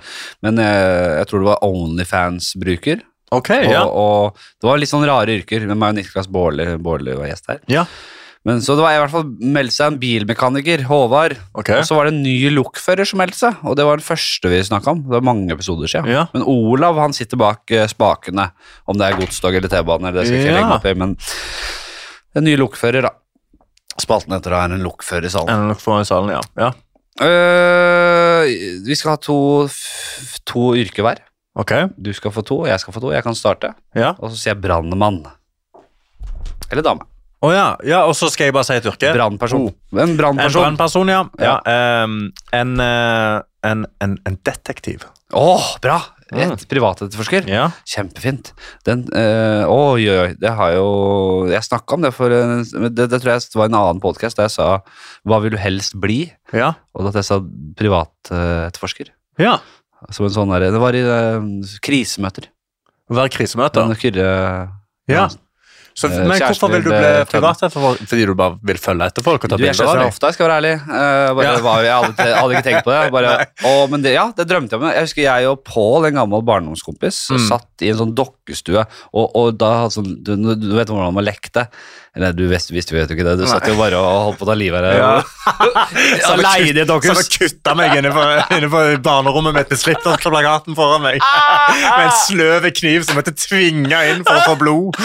Speaker 1: Men eh, jeg tror det var Onlyfans-bruker.
Speaker 2: Ok,
Speaker 1: Og,
Speaker 2: ja.
Speaker 1: og det var litt sånn rare yrker. Men meg og Niklas Baarli Baarli var gjest her.
Speaker 2: ja.
Speaker 1: Men så det var i hvert fall meldte seg en bilmekaniker, Håvard.
Speaker 2: Ok.
Speaker 1: Og så var det en ny lokfører som meldte seg, og det var den første vi snakka om. Det var mange episoder siden.
Speaker 2: Ja.
Speaker 1: Men Olav han sitter bak eh, spakene, om det er godstog eller T-bane. eller det skal jeg ikke
Speaker 2: Ja.
Speaker 1: legge meg opp i, men en ny lokfører, da. Spalten etter da er en lokfører i salen.
Speaker 2: Ender nok foran i salen, ja. ja.
Speaker 1: Øh, vi skal ha to, f- to yrker hver.
Speaker 2: Ok.
Speaker 1: Du skal få to, og jeg skal få to. Jeg kan starte.
Speaker 2: Ja.
Speaker 1: Og så sier jeg brannmann. Eller dame.
Speaker 2: Å ja. ja, og så skal jeg bare si et yrke.
Speaker 1: Brannperson. En
Speaker 2: Oh. En
Speaker 1: brannperson.
Speaker 2: brannperson, ja. ja. ehm, en, eh, en, en, en detektiv.
Speaker 1: Åh, bra!
Speaker 2: Mm.
Speaker 1: Et privatetterforsker.
Speaker 2: Ja.
Speaker 1: Kjempefint. Den, eh, oi, oi, oi, det har jo Jeg snakka om det for en- men det, det tror jeg var en annen podkast der jeg sa 'Hva vil du helst bli?'
Speaker 2: Ja.
Speaker 1: Og at jeg sa privatetterforsker.
Speaker 2: ja.
Speaker 1: Som en sånn der, Det var i eh, krisemøter.
Speaker 2: Hver krisemøte.
Speaker 1: Den Kyrre
Speaker 2: Ja. Så,
Speaker 1: Eh,
Speaker 2: men
Speaker 1: kjæresten
Speaker 2: hvorfor vil du
Speaker 1: vil,
Speaker 2: bli
Speaker 1: eh,
Speaker 2: privat? for- Fordi du bare vil følge etter folk og ta
Speaker 1: Du, jeg
Speaker 2: bilder
Speaker 1: kjøpte
Speaker 2: av
Speaker 1: den
Speaker 2: dem?
Speaker 1: ofte, jeg skal være ærlig. Eh, bare,
Speaker 2: Ja.
Speaker 1: var, jeg hadde, hadde ikke tenkt på det. Bare, å, men det. Ja, det drømte jeg om. Jeg husker jeg og Pål, en gammel barndomskompis,
Speaker 2: Mm.
Speaker 1: satt i en sånn dokkestue, og, og da hadde sånn, du, du vet hvordan man lekte? Eller du visste, visste jo vet jo ikke det. Du satt jo bare og holdt på å ta livet av deg.
Speaker 2: Ja.
Speaker 1: Aleine i et
Speaker 2: Som å
Speaker 1: dokkehus.
Speaker 2: kutte meg inne på, inne på barnerommet mitt med slipdance-plakaten foran meg. Med en sløv kniv som måtte tvinge inn for å få blod.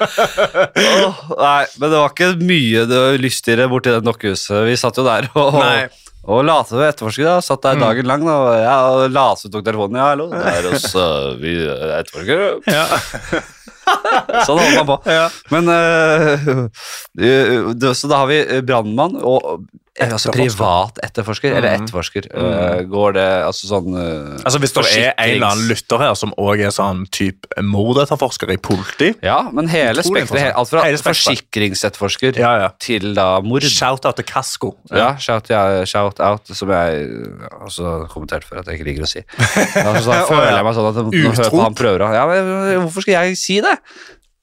Speaker 1: Åh, Nei, men det var ikke mye det var lystigere borti det dokkehuset. Vi satt jo der og
Speaker 2: Nei. Mm.
Speaker 1: og lot som vi etterforsket. da. Satt der dagen lang da, og ja, og la som vi tok telefonen. Ja, hallo, det er oss eh, vi eh, etterforsker.
Speaker 2: Ja.
Speaker 1: Sånn holder man på.
Speaker 2: Ja.
Speaker 1: Men eh, eh, det- Så da har vi eh, brannmann og eh, altså, privat etterforsker, eller
Speaker 2: Mhm.
Speaker 1: etterforsker. Eh, går det altså sånn eh,
Speaker 2: Altså Hvis det er en eller annen lytter her som også er sånn typ mordetterforsker i politi
Speaker 1: Ja, men hele
Speaker 2: Utrolig
Speaker 1: spekteret. he- Alt fra
Speaker 2: Hele spektret.
Speaker 1: forsikringsetterforsker
Speaker 2: ja, ja.
Speaker 1: til da mord.
Speaker 2: Shout-out til Kasko.
Speaker 1: Ja, shout, ja, shout out, som jeg eh, også kommenterte før at jeg ikke liker å si. Altså, da
Speaker 2: Å,
Speaker 1: føler
Speaker 2: ja.
Speaker 1: jeg meg sånn at jeg må høre
Speaker 2: Utro.
Speaker 1: på han prøver. å- Ja, men hvorfor skal jeg si det?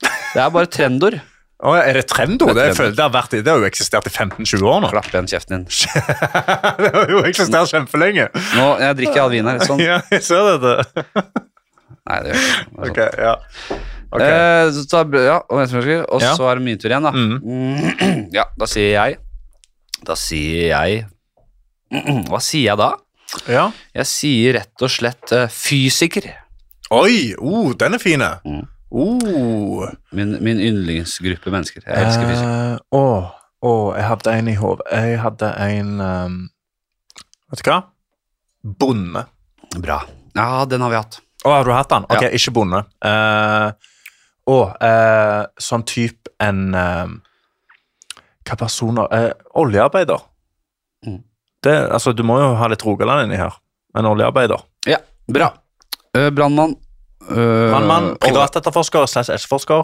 Speaker 1: Det er bare trendord.
Speaker 2: Å, er det trendord? Det,
Speaker 1: Det er
Speaker 2: jeg føler- det, har vært- det har jo eksistert i 15-20 år nå.
Speaker 1: Klapp igjen kjeften din.
Speaker 2: Det har jo eksistert kjempelenge.
Speaker 1: Nå, jeg drikker all vin her. Sånn.
Speaker 2: Ja, jeg ser dette.
Speaker 1: Nei, det gjør jeg ikke. Det er sånn.
Speaker 2: Ok, ja. Ok.
Speaker 1: Eh, så da, ble- ja, og venstremarker, og
Speaker 2: Ja.
Speaker 1: så er det min tur igjen, da.
Speaker 2: Mm.
Speaker 1: Mm. Ja, da sier jeg Da sier jeg Hva sier jeg da?
Speaker 2: ja.
Speaker 1: Jeg sier rett og slett eh, fysiker.
Speaker 2: Oi, oh, den er fin.
Speaker 1: Mm.
Speaker 2: Oh.
Speaker 1: Min, min yndlingsgruppe mennesker. Jeg elsker fysikere.
Speaker 2: Eh, Å, å, jeg hadde en i hodet. Jeg hadde en ehm, Vet du hva? Bonde.
Speaker 1: Bra. Ja, den har vi hatt.
Speaker 2: Å, har du hatt den? Ok,
Speaker 1: Ja.
Speaker 2: ikke bonde. Eh, Å, eh, sånn type en ehm, Hva personer eh, Oljearbeider.
Speaker 1: Mm.
Speaker 2: Det, altså, du må jo ha litt Rogaland inni her. En oljearbeider.
Speaker 1: Ja, bra. Uh, Brannmann. Eh,
Speaker 2: Brannmann,
Speaker 1: og-
Speaker 2: privatetterforsker slash etterforsker.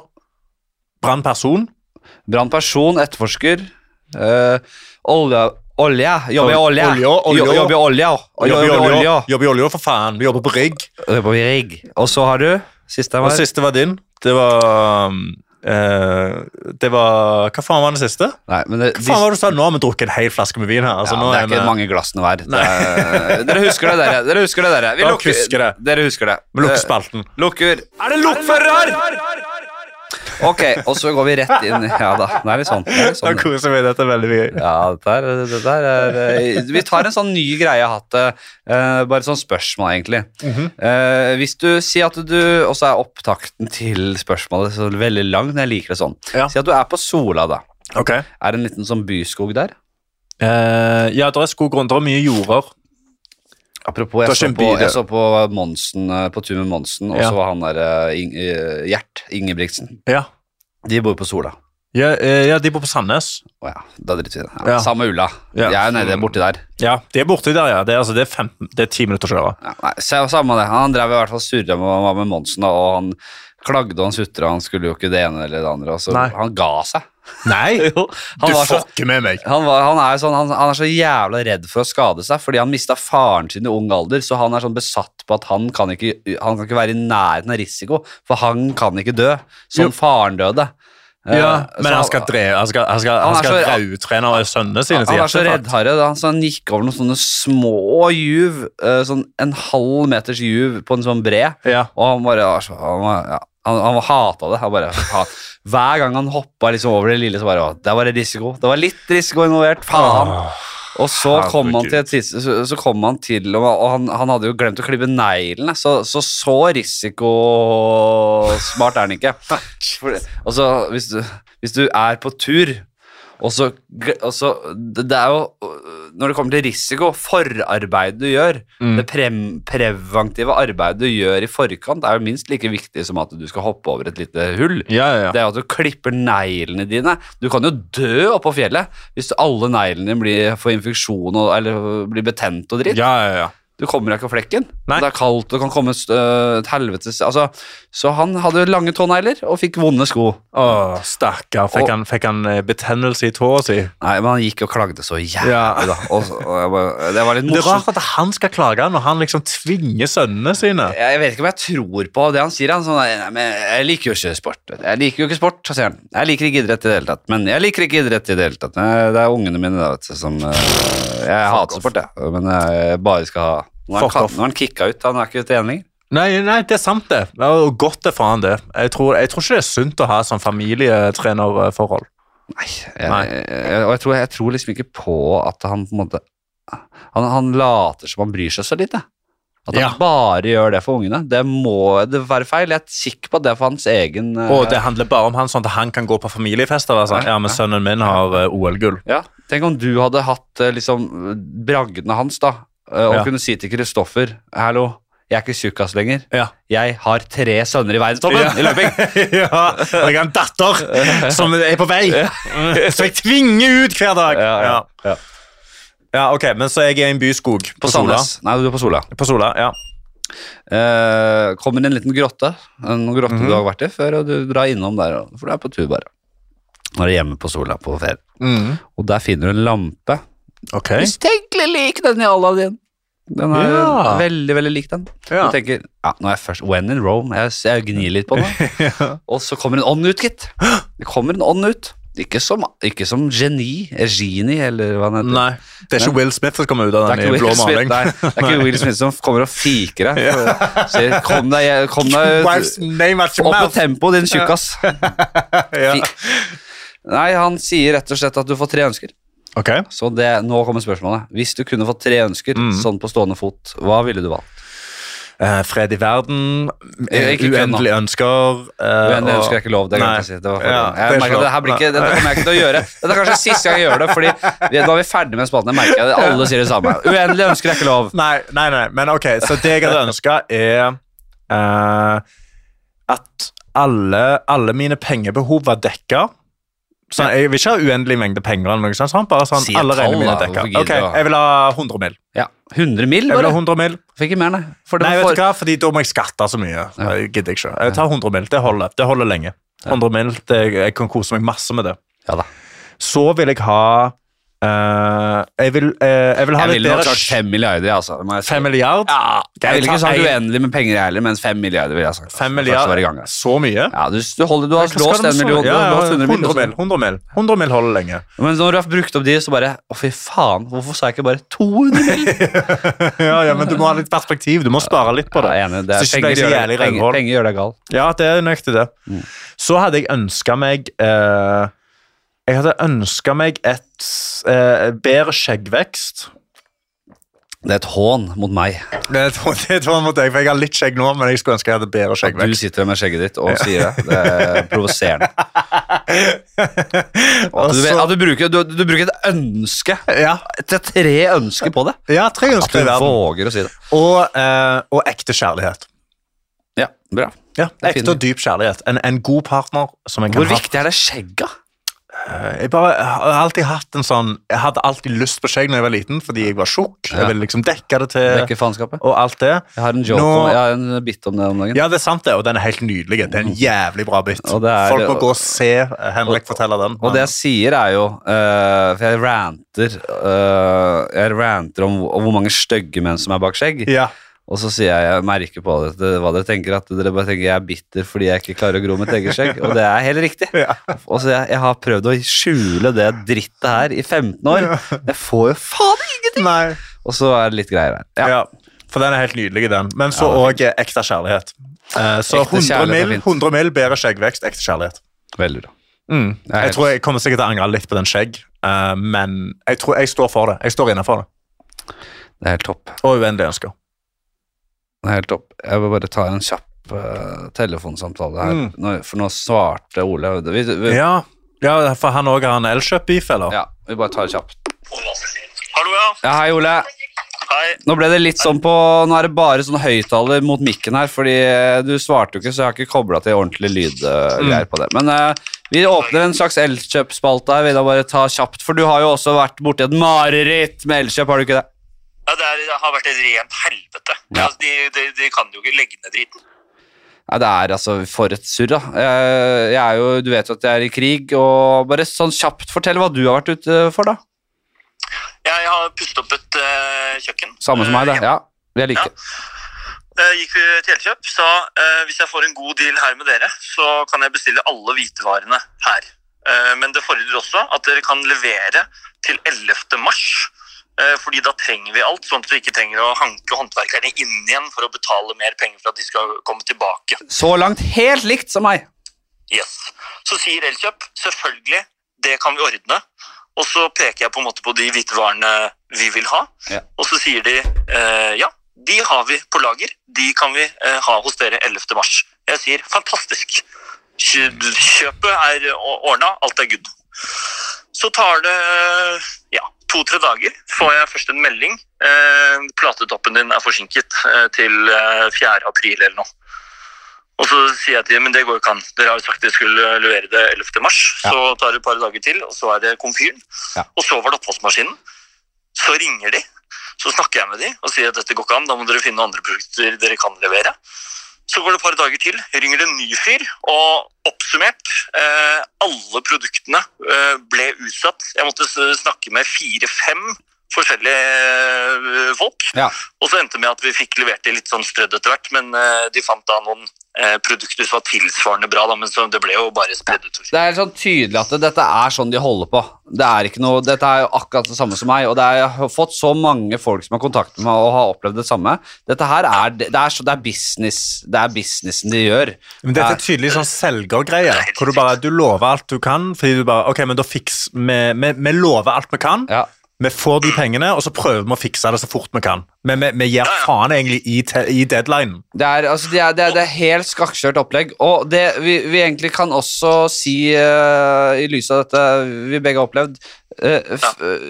Speaker 2: Brannperson.
Speaker 1: Brannperson, etterforsker. eh, olje. Olje. Jobber i olje.
Speaker 2: Olje, olje.
Speaker 1: Jo- Jobber i olje. og-
Speaker 2: Jobber i
Speaker 1: Jobber i olje.
Speaker 2: olja. Jobber i olja, for faen. Vi jobber på rigg.
Speaker 1: Jobber i rigg. Og så har du Siste
Speaker 2: Og
Speaker 1: var
Speaker 2: siste var din. Det var um, eh, det var Hva faen var den siste?
Speaker 1: Nei, men det,
Speaker 2: Faen hva du sa, Nå har vi drukket en hel flaske med vin her. Altså,
Speaker 1: ja,
Speaker 2: nå
Speaker 1: det er
Speaker 2: vi,
Speaker 1: ikke mange glassene hver. Det er, dere husker det, dere. Dere husker det, dere. Vi
Speaker 2: Dere
Speaker 1: lukker-
Speaker 2: husker det.
Speaker 1: Dere husker det.
Speaker 2: vi lukker spalten.
Speaker 1: Eh, Lukker. Er det lokfører? Ok, og så går vi rett inn Ja da, det er litt sånn. Det er litt
Speaker 2: Da
Speaker 1: sånn.
Speaker 2: koser vi dette er veldig mye.
Speaker 1: Ja, det der, det der er eh, Vi tar en sånn ny greie jeg har hatt. eh, bare sånn spørsmål, egentlig.
Speaker 2: Mhm.
Speaker 1: Eh, hvis du sier at du Og så er opptakten til spørsmålet så veldig lang, men jeg liker det sånn.
Speaker 2: Ja.
Speaker 1: Si at du er på Sola, da.
Speaker 2: Ok.
Speaker 1: Er det en liten sånn byskog der?
Speaker 2: Eh, ja, det er skogrunn. Det er mye jorder.
Speaker 1: Apropos,
Speaker 2: Det er
Speaker 1: jeg så,
Speaker 2: ikke en
Speaker 1: på,
Speaker 2: by, det.
Speaker 1: jeg så på Monsen, eh, på tur med Monsen, og
Speaker 2: Ja.
Speaker 1: så var han der eh, Ing- eh, Gjert Ingebrigtsen.
Speaker 2: Ja.
Speaker 1: De bor på Sola.
Speaker 2: Ja, eh, ja, de bor på Sandnes.
Speaker 1: Å ja, da driter vi i det. Ja,
Speaker 2: Ja.
Speaker 1: Samme ulla.
Speaker 2: Ja.
Speaker 1: Jeg er nede borti der.
Speaker 2: Ja, De er borti der, ja. Det er, altså, det er, 15, det er 10 minutter å kjøre.
Speaker 1: Ja, nei, sa- samme det. Han drev i hvert fall surra med, han var med Monsen, da, og han klagde og han sutra. Han skulle jo ikke det ene eller det andre. Og så
Speaker 2: Nei.
Speaker 1: han ga seg.
Speaker 2: Nei,
Speaker 1: Jo,
Speaker 2: du
Speaker 1: han, var så,
Speaker 2: fucker med meg.
Speaker 1: han, var, han, er jo sånn, han, han er så jævla redd for å skade seg fordi han mista faren sin i ung alder. Så han er sånn besatt på at han kan ikke, han kan ikke være i nærheten av risiko, for han kan ikke dø som
Speaker 2: Jo.
Speaker 1: faren døde. Eh,
Speaker 2: Ja,
Speaker 1: så
Speaker 2: men han skal, dre, han skal, han skal,
Speaker 1: Han
Speaker 2: han
Speaker 1: er
Speaker 2: skal
Speaker 1: så-
Speaker 2: rautrene sønnene sine
Speaker 1: Han
Speaker 2: til
Speaker 1: var så
Speaker 2: hjerteinfarkt.
Speaker 1: reddharre. da. Han, så han gikk over noen sånne små juv, eh, sånn en halv meters juv på en sånn bre.
Speaker 2: Ja.
Speaker 1: Og han bare var så- Han, var- ja, han, han hata det. Han bare, ha- hver gang han hoppa liksom over det lille, så bare å, Der var det risiko. Det var litt risiko involvert. Faen. Og så kom han til et tids- så, så kom han til Og, og han, han hadde jo glemt å klippe neglene, så, så så risikosmart er han ikke. For, og så hvis du, hvis du er på tur og så, gle- og så det, det er jo øh, Når det kommer til risiko, forarbeidet du gjør, det prem, preventive arbeidet du gjør i forkant, er jo minst like viktig som at du skal hoppe over et lite hull.
Speaker 2: Ja, ja, ja.
Speaker 1: Det er jo at du klipper neglene dine. Du kan jo dø oppå fjellet hvis alle neglene dine blir, får infeksjon og, eller blir betent og dritt.
Speaker 2: ja, ja, ja.
Speaker 1: Du kommer deg ikke av flekken.
Speaker 2: Nei.
Speaker 1: Det er kaldt, det kan komme et øh, et helvetes altså, Så han hadde lange tånegler og fikk vonde sko.
Speaker 2: Åh, stakkar. Fikk,
Speaker 1: Og-
Speaker 2: han- fikk han eh, betennelse i tåa si?
Speaker 1: Nei, men han gikk og klagde så jævlig,
Speaker 2: Ja.
Speaker 1: da. Og, så- og jeg bare, det var litt
Speaker 2: Det er
Speaker 1: morsomt.
Speaker 2: rart at han skal klage når han liksom tvinger sønnene sine.
Speaker 1: Jeg vet ikke om jeg tror på det han sier. Han, er sånn, nei, men jeg liker jo ikke sport. Jeg liker jo ikke sport, så sier han. Jeg liker ikke idrett i det hele tatt. Men jeg liker ikke idrett i det hele tatt. Nei, Det er ungene mine da, vet du, som eh, Jeg hater sport, jeg. Men jeg bare skal ha Nå er han,
Speaker 2: Fuck
Speaker 1: kan,
Speaker 2: off.
Speaker 1: nå er han kicka ut. Han er ikke ute igjen lenger.
Speaker 2: Nei, nei, det er sant, det. Ja, Og godt det er for han, det. Jeg tror, jeg tror ikke det er sunt å ha sånn familietrenerforhold.
Speaker 1: Nei.
Speaker 2: Nei.
Speaker 1: Jeg, jeg, og jeg tror, jeg tror liksom ikke på at han på en måte Han, han later som han bryr seg så lite. At han
Speaker 2: Ja.
Speaker 1: bare gjør det for ungene. Det må det være feil. Jeg er sikker på at det er for hans egen eh,
Speaker 2: Og det handler bare om han, sånn at han kan gå på familiefester. og være sånn, Ja, men sønnen min har eh, OL-gull.
Speaker 1: Ja, Tenk om du hadde hatt eh, liksom bragdene hans, da, eh, og
Speaker 2: Ja.
Speaker 1: kunne si til Kristoffer Hallo, jeg er ikke tjukkas lenger.
Speaker 2: Ja.
Speaker 1: Jeg har tre sønner i verdenstoppen
Speaker 2: Ja.
Speaker 1: i løping!
Speaker 2: ja, og jeg har en datter som er på vei, som jeg tvinger ut hver dag.
Speaker 1: Ja, ja, ja.
Speaker 2: Ja, ok, men så jeg er i en byskog på,
Speaker 1: På
Speaker 2: Sola.
Speaker 1: Sandnes. Nei, du er på Sola.
Speaker 2: På Sola, ja.
Speaker 1: Eh, kommer en liten grotte, en grotte
Speaker 2: Mhm.
Speaker 1: du har vært i før, og du drar innom der, og- for du er på tur, bare. Nå er du hjemme på Sola på ferie. Og der finner du en lampe.
Speaker 2: Ok.
Speaker 1: Mistenkelig lik den i Aladdin. Den er
Speaker 2: Ja.
Speaker 1: veldig, veldig lik den.
Speaker 2: Ja.
Speaker 1: Du tenker ja, nå er jeg først When in Rome. Jeg, jeg gnir litt på den. Og så kommer en ånd ut, gitt. Det kommer en ånd ut. Ikke som, ikke som geni, eh, genie, eller hva han heter.
Speaker 2: Nei, det er ikke Will Smith som kommer ut av
Speaker 1: Det er, ikke
Speaker 2: den i blå
Speaker 1: Will Smith,
Speaker 2: maling.
Speaker 1: nei, det er ikke Will Smith som kommer og fiker deg. Sier, kom deg, kom deg
Speaker 2: Wife's name at your
Speaker 1: opp på
Speaker 2: mouth.
Speaker 1: tempo, din tjukkas. Fi- Nei, han sier rett og slett at du får tre ønsker.
Speaker 2: Ok.
Speaker 1: Så det, nå kommer spørsmålet. Hvis du kunne fått tre ønsker
Speaker 2: Mm.
Speaker 1: sånn på stående fot, hva ville du valgt?
Speaker 2: Eh, fred i verden,
Speaker 1: Eh, ikke kødd nå.
Speaker 2: uendelige ønsker eh,
Speaker 1: Men det
Speaker 2: og-
Speaker 1: ønsker jeg ikke lov. Det glemte jeg å si. Det var forrige
Speaker 2: Ja,
Speaker 1: gang.
Speaker 2: det er
Speaker 1: jeg merker
Speaker 2: ikke
Speaker 1: at det her blir ikke, dette kommer jeg ikke til å gjøre. Dette er kanskje siste gang jeg gjør det, fordi vi, da er vi ferdig med spalten. Jeg merker at alle sier det samme. Uendelig ønsker jeg ikke lov.
Speaker 2: Nei, nei, nei, men ok, så det jeg hadde ønska er eh, at alle, alle mine pengebehov var dekka. Sånn, jeg vil ikke ha uendelig mengde penger, eller noe sånt, sånn, bare sånn,
Speaker 1: Si et
Speaker 2: alle
Speaker 1: tall,
Speaker 2: regnene mine
Speaker 1: da,
Speaker 2: er
Speaker 1: hvorfor
Speaker 2: dekka.
Speaker 1: gidder
Speaker 2: Ok,
Speaker 1: du å-
Speaker 2: jeg vil ha 100 mil.
Speaker 1: Ja, 100 mill,
Speaker 2: Jeg vil ha
Speaker 1: bare.
Speaker 2: 100 mil.
Speaker 1: Fikk ikke mer, nei. For det
Speaker 2: Nei,
Speaker 1: var
Speaker 2: vet du
Speaker 1: for,
Speaker 2: hva, fordi da må jeg skatte så mye. Jeg gidder ikke. Jeg tar 100 mil, det holder. Det holder lenge. 100 mil, det, jeg kan kose meg masse med det.
Speaker 1: ja da.
Speaker 2: Så vil jeg ha Eh, jeg vil, eh, jeg vil ha
Speaker 1: Jeg
Speaker 2: litt
Speaker 1: ville nok
Speaker 2: bedre
Speaker 1: klart fem milliarder, ja, altså. det må jeg si.
Speaker 2: Fem milliard?
Speaker 1: Ja,
Speaker 2: Jeg
Speaker 1: jeg ville ikke sagt
Speaker 2: tar en-
Speaker 1: uendelig med penger, jeg heller, men fem milliarder ville jeg sagt. altså,
Speaker 2: Fem
Speaker 1: for å være i gang,
Speaker 2: milliard?
Speaker 1: altså.
Speaker 2: Så mye?
Speaker 1: Ja, du, du, holder, du har
Speaker 2: Hva skal
Speaker 1: låst
Speaker 2: det
Speaker 1: en
Speaker 2: med så-
Speaker 1: million, du
Speaker 2: Ja,
Speaker 1: har
Speaker 2: ja,
Speaker 1: låst 100
Speaker 2: 100
Speaker 1: millioner.
Speaker 2: mil. 100 mil. 100 mil holder lenge.
Speaker 1: Men når du har brukt opp de, så bare Å, fy faen, hvorfor sa jeg ikke bare 200 mill.?
Speaker 2: Ja, ja, men du må ha litt perspektiv. Du må spare litt på
Speaker 1: Ja,
Speaker 2: det.
Speaker 1: jeg er enig, det er,
Speaker 2: Så ikke
Speaker 1: penger,
Speaker 2: blir
Speaker 1: gjør
Speaker 2: så
Speaker 1: deg-
Speaker 2: jævlig
Speaker 1: penger,
Speaker 2: røvhål.
Speaker 1: penger gjør deg gal.
Speaker 2: Ja, det er nøyaktig det. Så hadde jeg ønska meg eh, Jeg hadde ønska meg et eh, bedre skjeggvekst.
Speaker 1: Det er et hån mot meg.
Speaker 2: Det tror det tror jeg mot deg, for jeg har litt skjegg nå, men jeg skulle ønske jeg hadde bedre
Speaker 1: Du
Speaker 2: skjeggvekst.
Speaker 1: sitter med skjegget ditt og sier det. Det er provoserende.
Speaker 2: Og
Speaker 1: At du,
Speaker 2: så-
Speaker 1: at du, bruker, du, du bruker et ønske,
Speaker 2: Altså- ja,
Speaker 1: et tre ønsker på det.
Speaker 2: ja, tre
Speaker 1: At
Speaker 2: ønsker
Speaker 1: du
Speaker 2: i verden.
Speaker 1: våger å si det.
Speaker 2: Og, eh, og ekte kjærlighet.
Speaker 1: Ja, bra.
Speaker 2: Ja,
Speaker 1: Det
Speaker 2: ekte
Speaker 1: finner
Speaker 2: og dyp kjærlighet. En, en god partner som en kan
Speaker 1: Hvor
Speaker 2: ha. Eh.
Speaker 1: viktig er det skjegget?
Speaker 2: Jeg, bare, jeg har alltid hatt en sånn Jeg hadde alltid lyst på skjegg når jeg var liten, fordi jeg var tjukk.
Speaker 1: Ja.
Speaker 2: Jeg ville liksom dekke det til
Speaker 1: Dekker faenskapet.
Speaker 2: og alt det.
Speaker 1: Jeg har en joke
Speaker 2: Nå-
Speaker 1: om, jeg har en bit om det om dagen.
Speaker 2: Ja, det er sant, det, og den er helt nydelig. Det er en jævlig bra bit.
Speaker 1: Og det er-
Speaker 2: Folk må gå og se Henrik fortelle den.
Speaker 1: Og det jeg sier er jo eh, For jeg ranter eh, Jeg ranter om, om hvor mange stygge menn som er bak skjegg.
Speaker 2: ja.
Speaker 1: Og så sier jeg jeg merker på det, det, hva dere tenker, at dere bare tenker jeg er bitter fordi jeg ikke klarer å gro mitt eget skjegg. Og det er helt riktig. Og så jeg, jeg har prøvd å skjule det drittet her i 15 år. Jeg får jo faen ikke
Speaker 2: Nei.
Speaker 1: Og så er det litt greier her.
Speaker 2: Ja.
Speaker 1: Ja.
Speaker 2: For den er helt nydelig, den. Men så òg ekte kjærlighet. Eh, Så
Speaker 1: Ekte
Speaker 2: 100
Speaker 1: kjærlighet er
Speaker 2: mil,
Speaker 1: fint.
Speaker 2: 100 mil bedre skjeggvekst, ekte kjærlighet.
Speaker 1: Veldig bra.
Speaker 2: Mm.
Speaker 1: er
Speaker 2: Jeg
Speaker 1: helt-
Speaker 2: tror jeg kommer sikkert til å angre litt på den skjegg, eh, men jeg tror jeg står for det. Jeg står inne for det.
Speaker 1: Det er helt topp.
Speaker 2: Og uendelige ønsker.
Speaker 1: Det er helt topp. Jeg vil bare ta en kjapp eh, telefonsamtale her,
Speaker 2: Mm.
Speaker 1: nå, for nå svarte Ole. Vi, vi, ja.
Speaker 2: Ja, ja for han òg har en elkjøp-beef, eller?
Speaker 1: vi bare tar det kjapt.
Speaker 4: Hallo, ja.
Speaker 1: Ja, hei, Ole.
Speaker 4: Hei.
Speaker 1: Nå ble det litt sånn på Nå er det bare sånn høyttaler mot mikken her, fordi eh, du svarte jo ikke, så jeg har ikke kobla til ordentlig
Speaker 4: Mm.
Speaker 1: lydgreier på det. Men eh, vi åpner en slags Elkjøp-spalte her. Vil jeg bare ta kjapt, for du har jo også vært borti et mareritt med Elkjøp, har du ikke det?
Speaker 4: Ja, det, er, det har vært et rent helvete.
Speaker 1: Ja.
Speaker 4: Altså, de, de, de kan jo ikke legge ned driten.
Speaker 1: Nei, det er altså for et surr, da. Eh, Jeg, jeg er jo, du vet jo at jeg er i krig, og bare sånn kjapt fortell hva du har vært ute for, da.
Speaker 4: Jeg har pustet opp et eh, kjøkken.
Speaker 1: Samme som meg, det. Ja, jeg liker det.
Speaker 4: Eh, gikk vi til Elkjøp, sa eh, hvis jeg får en god deal her med dere, så kan jeg bestille alle hvitevarene her. Eh, men det fordrer også at dere kan levere til 11. mars, eh, fordi da trenger vi alt, sånn at vi ikke trenger å hanke håndverkerne inn igjen for å betale mer penger for at de skal komme tilbake.
Speaker 1: Så langt helt likt som meg.
Speaker 4: Yes. Så sier Elkjøp selvfølgelig, det kan vi ordne. Og så peker jeg på en måte på de hvite varene vi vil ha.
Speaker 1: Ja.
Speaker 4: Og så sier de eh, ja, de har vi på lager. De kan vi eh, ha hos dere 11. mars. Jeg sier fantastisk. Kjø- Kjøpet er ordna, alt er good. Så tar det eh, ja, to-tre dager, får jeg først en melding. Eh, platetoppen din er forsinket eh, til eh, 4. april eller noe. Og så sier jeg til dem, men det går jo ikke an. Dere har jo sagt dere skulle levere det 11. mars.
Speaker 1: Ja.
Speaker 4: Så tar det et par dager til, og så er det komfyren.
Speaker 1: Ja.
Speaker 4: Og så var det oppvaskmaskinen. Så ringer de. Så snakker jeg med de og sier at dette går ikke an, da må dere finne andre produkter dere kan levere. Så går det et par dager til, ringer det en ny fyr, og oppsummert eh, alle produktene eh, ble utsatt. Jeg måtte s- snakke med fire-fem forskjellige eh, folk.
Speaker 1: Ja.
Speaker 4: Og så endte det med at vi fikk levert det litt sånn strødd etter hvert, men eh, de fant da noen eh, produkter som var tilsvarende bra, da, men så det ble jo bare spredd utover.
Speaker 1: Det er sånn tydelig at dette er sånn de holder på. Det er ikke noe, dette er jo akkurat det samme som meg, og det er, jeg har fått så mange folk som har kontakt med meg og har opplevd det samme. Dette her er, det er, så, det er business, det er businessen de gjør.
Speaker 2: Men dette er tydelig sånn selgergreie, hvor du bare du lover alt du kan, fordi du bare Ok, men da fiks Vi, vi, vi lover alt vi kan,
Speaker 1: Ja,
Speaker 2: vi får de pengene, og så prøver vi å fikse det så fort vi kan. Men vi, vi gir faen egentlig i, te, i deadlinen.
Speaker 1: det er, altså, det er, det er, det er helt skakkjørt opplegg, og det vi, vi egentlig kan også si eh, i lys av dette vi begge har opplevd, eh, f, eh,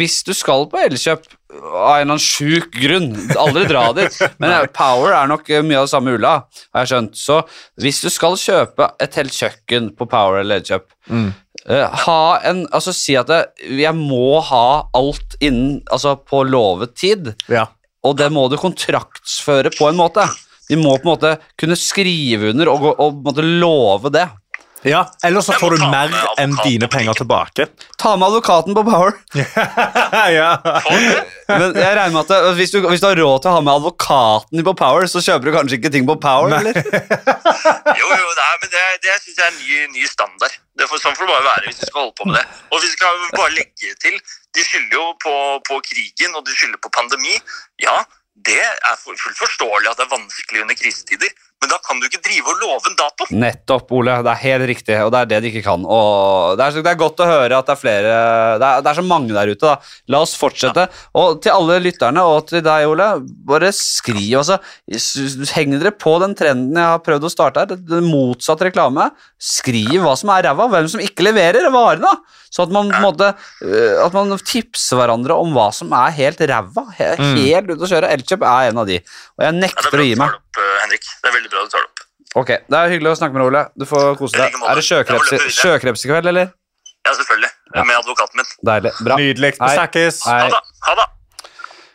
Speaker 1: hvis du skal på elkjøp av en eller annen sjuk grunn, aldri dra dit, men eh, Power er nok eh, mye av det samme ulla, har jeg skjønt. Så hvis du skal kjøpe et helt kjøkken på Power eller Elkjøp, eh, ha en, altså si at det, jeg må ha alt innen, altså på lovet tid,
Speaker 2: Ja.
Speaker 1: og det må du kontraktsføre på en måte. De må på en måte kunne skrive under og, gå- og på en måte love det.
Speaker 2: Ja, Eller så
Speaker 4: Jeg
Speaker 2: får
Speaker 4: må
Speaker 2: du
Speaker 4: ta
Speaker 2: mer
Speaker 4: med
Speaker 2: enn
Speaker 4: advokaten
Speaker 2: dine
Speaker 4: på
Speaker 2: penger tilbake.
Speaker 1: Ta med advokaten på Power.
Speaker 2: ja.
Speaker 4: Får du det?
Speaker 1: Men jeg regner med at det, hvis, du, hvis du har råd til å ha med advokaten på Power, så kjøper du kanskje ikke ting på Power? eller?
Speaker 4: Jo, jo, nei, men det, det syns jeg er en ny, ny standard. Det får, sånn får det bare være hvis vi skal holde på med det. Og vi skal bare legge til De skylder jo på, på krigen, og de skylder på pandemi. Ja, det er for- fullt forståelig at det er vanskelig under krisetider, men da kan du ikke drive og love en dato.
Speaker 1: Nettopp, Ole. Det er helt riktig, og det er det de ikke kan. Og det, er, så- det er godt å høre at det er flere det er, det er så mange der ute, da. La oss fortsette. Og til alle lytterne, og til deg, Ole, bare skriv, altså. S- Heng dere på den trenden jeg har prøvd å starte her. det- det Motsatt reklame. Skriv hva som er ræva, hvem som ikke leverer varene. da. Så at man, på en måte, øh, at man tipser hverandre om hva som er helt ræva. he- Helt ute å kjøre. Elkjøp er en av de. Og jeg
Speaker 4: Mm. Ja, det er
Speaker 1: nekter
Speaker 4: bra
Speaker 1: å gi
Speaker 4: du
Speaker 1: meg.
Speaker 4: tar det opp, eh, Henrik. Det er veldig bra du tar det opp.
Speaker 1: Ok, Det er hyggelig å snakke med deg, Ole. Du får kose
Speaker 4: I
Speaker 1: deg.
Speaker 4: like måte.
Speaker 1: Er det sjøkreps,
Speaker 4: Jeg må løpe videre.
Speaker 1: sjøkreps i kveld, eller?
Speaker 4: Ja, selvfølgelig. Med advokaten min.
Speaker 1: Deilig. Bra.
Speaker 2: Nydelig. Vi
Speaker 1: Hei.
Speaker 2: snakkes.
Speaker 1: Hei.
Speaker 4: Ha det. Ha det.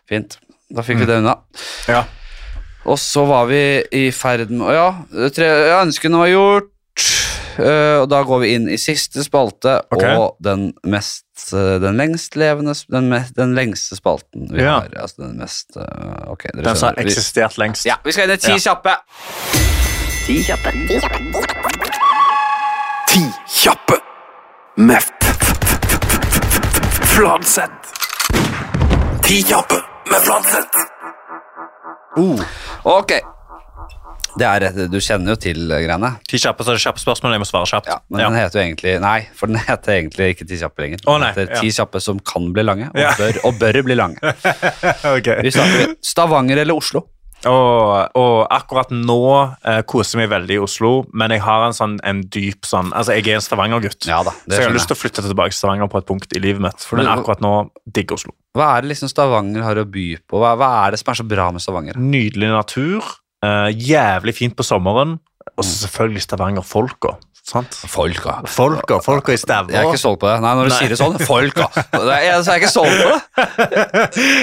Speaker 1: Fint. Da fikk vi det unna.
Speaker 2: Mm. Ja.
Speaker 1: Og så var vi i ferd med å Ja, tre, ja ønskene var gjort. Eh, og da går vi inn i siste spalte,
Speaker 2: Ok.
Speaker 1: og den mest eh, Den lengst levende sp- Den, me, den lengste spalten vi
Speaker 2: Ja.
Speaker 1: har. Altså den mest eh, Ok, dere
Speaker 2: Den som har
Speaker 1: skjønner. Vi-
Speaker 2: eksistert lengst.
Speaker 1: Ja, vi skal inn i Ti kjappe.
Speaker 3: Ti kjappe med f- f- f- f- f- Fladseth. Ti kjappe med Fladseth.
Speaker 1: Ok. Det er, et- du kjenner jo til eh, greiene.
Speaker 2: Ti kjappe, så er det kjappe spørsmål. Jeg må svare kjapt.
Speaker 1: Ja, men
Speaker 2: Ja.
Speaker 1: den heter jo egentlig Nei, for den heter egentlig ikke Ti kjappe lenger.
Speaker 2: Å, nei,
Speaker 1: den heter
Speaker 2: ja.
Speaker 1: Ti kjappe som kan bli lange, og,
Speaker 2: Ja.
Speaker 1: bør, og bør bli lange.
Speaker 2: Ok.
Speaker 1: Vi starter med Stavanger eller Oslo.
Speaker 2: Og, og akkurat nå eh, koser jeg meg veldig i Oslo, men jeg har en sånn en dyp sånn Altså, jeg er en Stavanger-gutt,
Speaker 1: Ja da, det
Speaker 2: så jeg har
Speaker 1: skjønner
Speaker 2: lyst til å flytte tilbake til Stavanger på et punkt i livet mitt. For men
Speaker 1: Men-
Speaker 2: akkurat nå digger Oslo.
Speaker 1: Hva er det liksom Stavanger har å by på? Hva, hva er det som er så bra med Stavanger?
Speaker 2: Nydelig natur, eh, jævlig fint på sommeren, og så selvfølgelig Stavanger-folka. Sant?
Speaker 1: Folka.
Speaker 2: Folka, folka i
Speaker 1: Jeg er ikke
Speaker 2: Stavanger.
Speaker 1: solgt på det. Nei, når du
Speaker 2: Nei.
Speaker 1: sier det sånn, folka. Det er, så er jeg ikke solgt på det.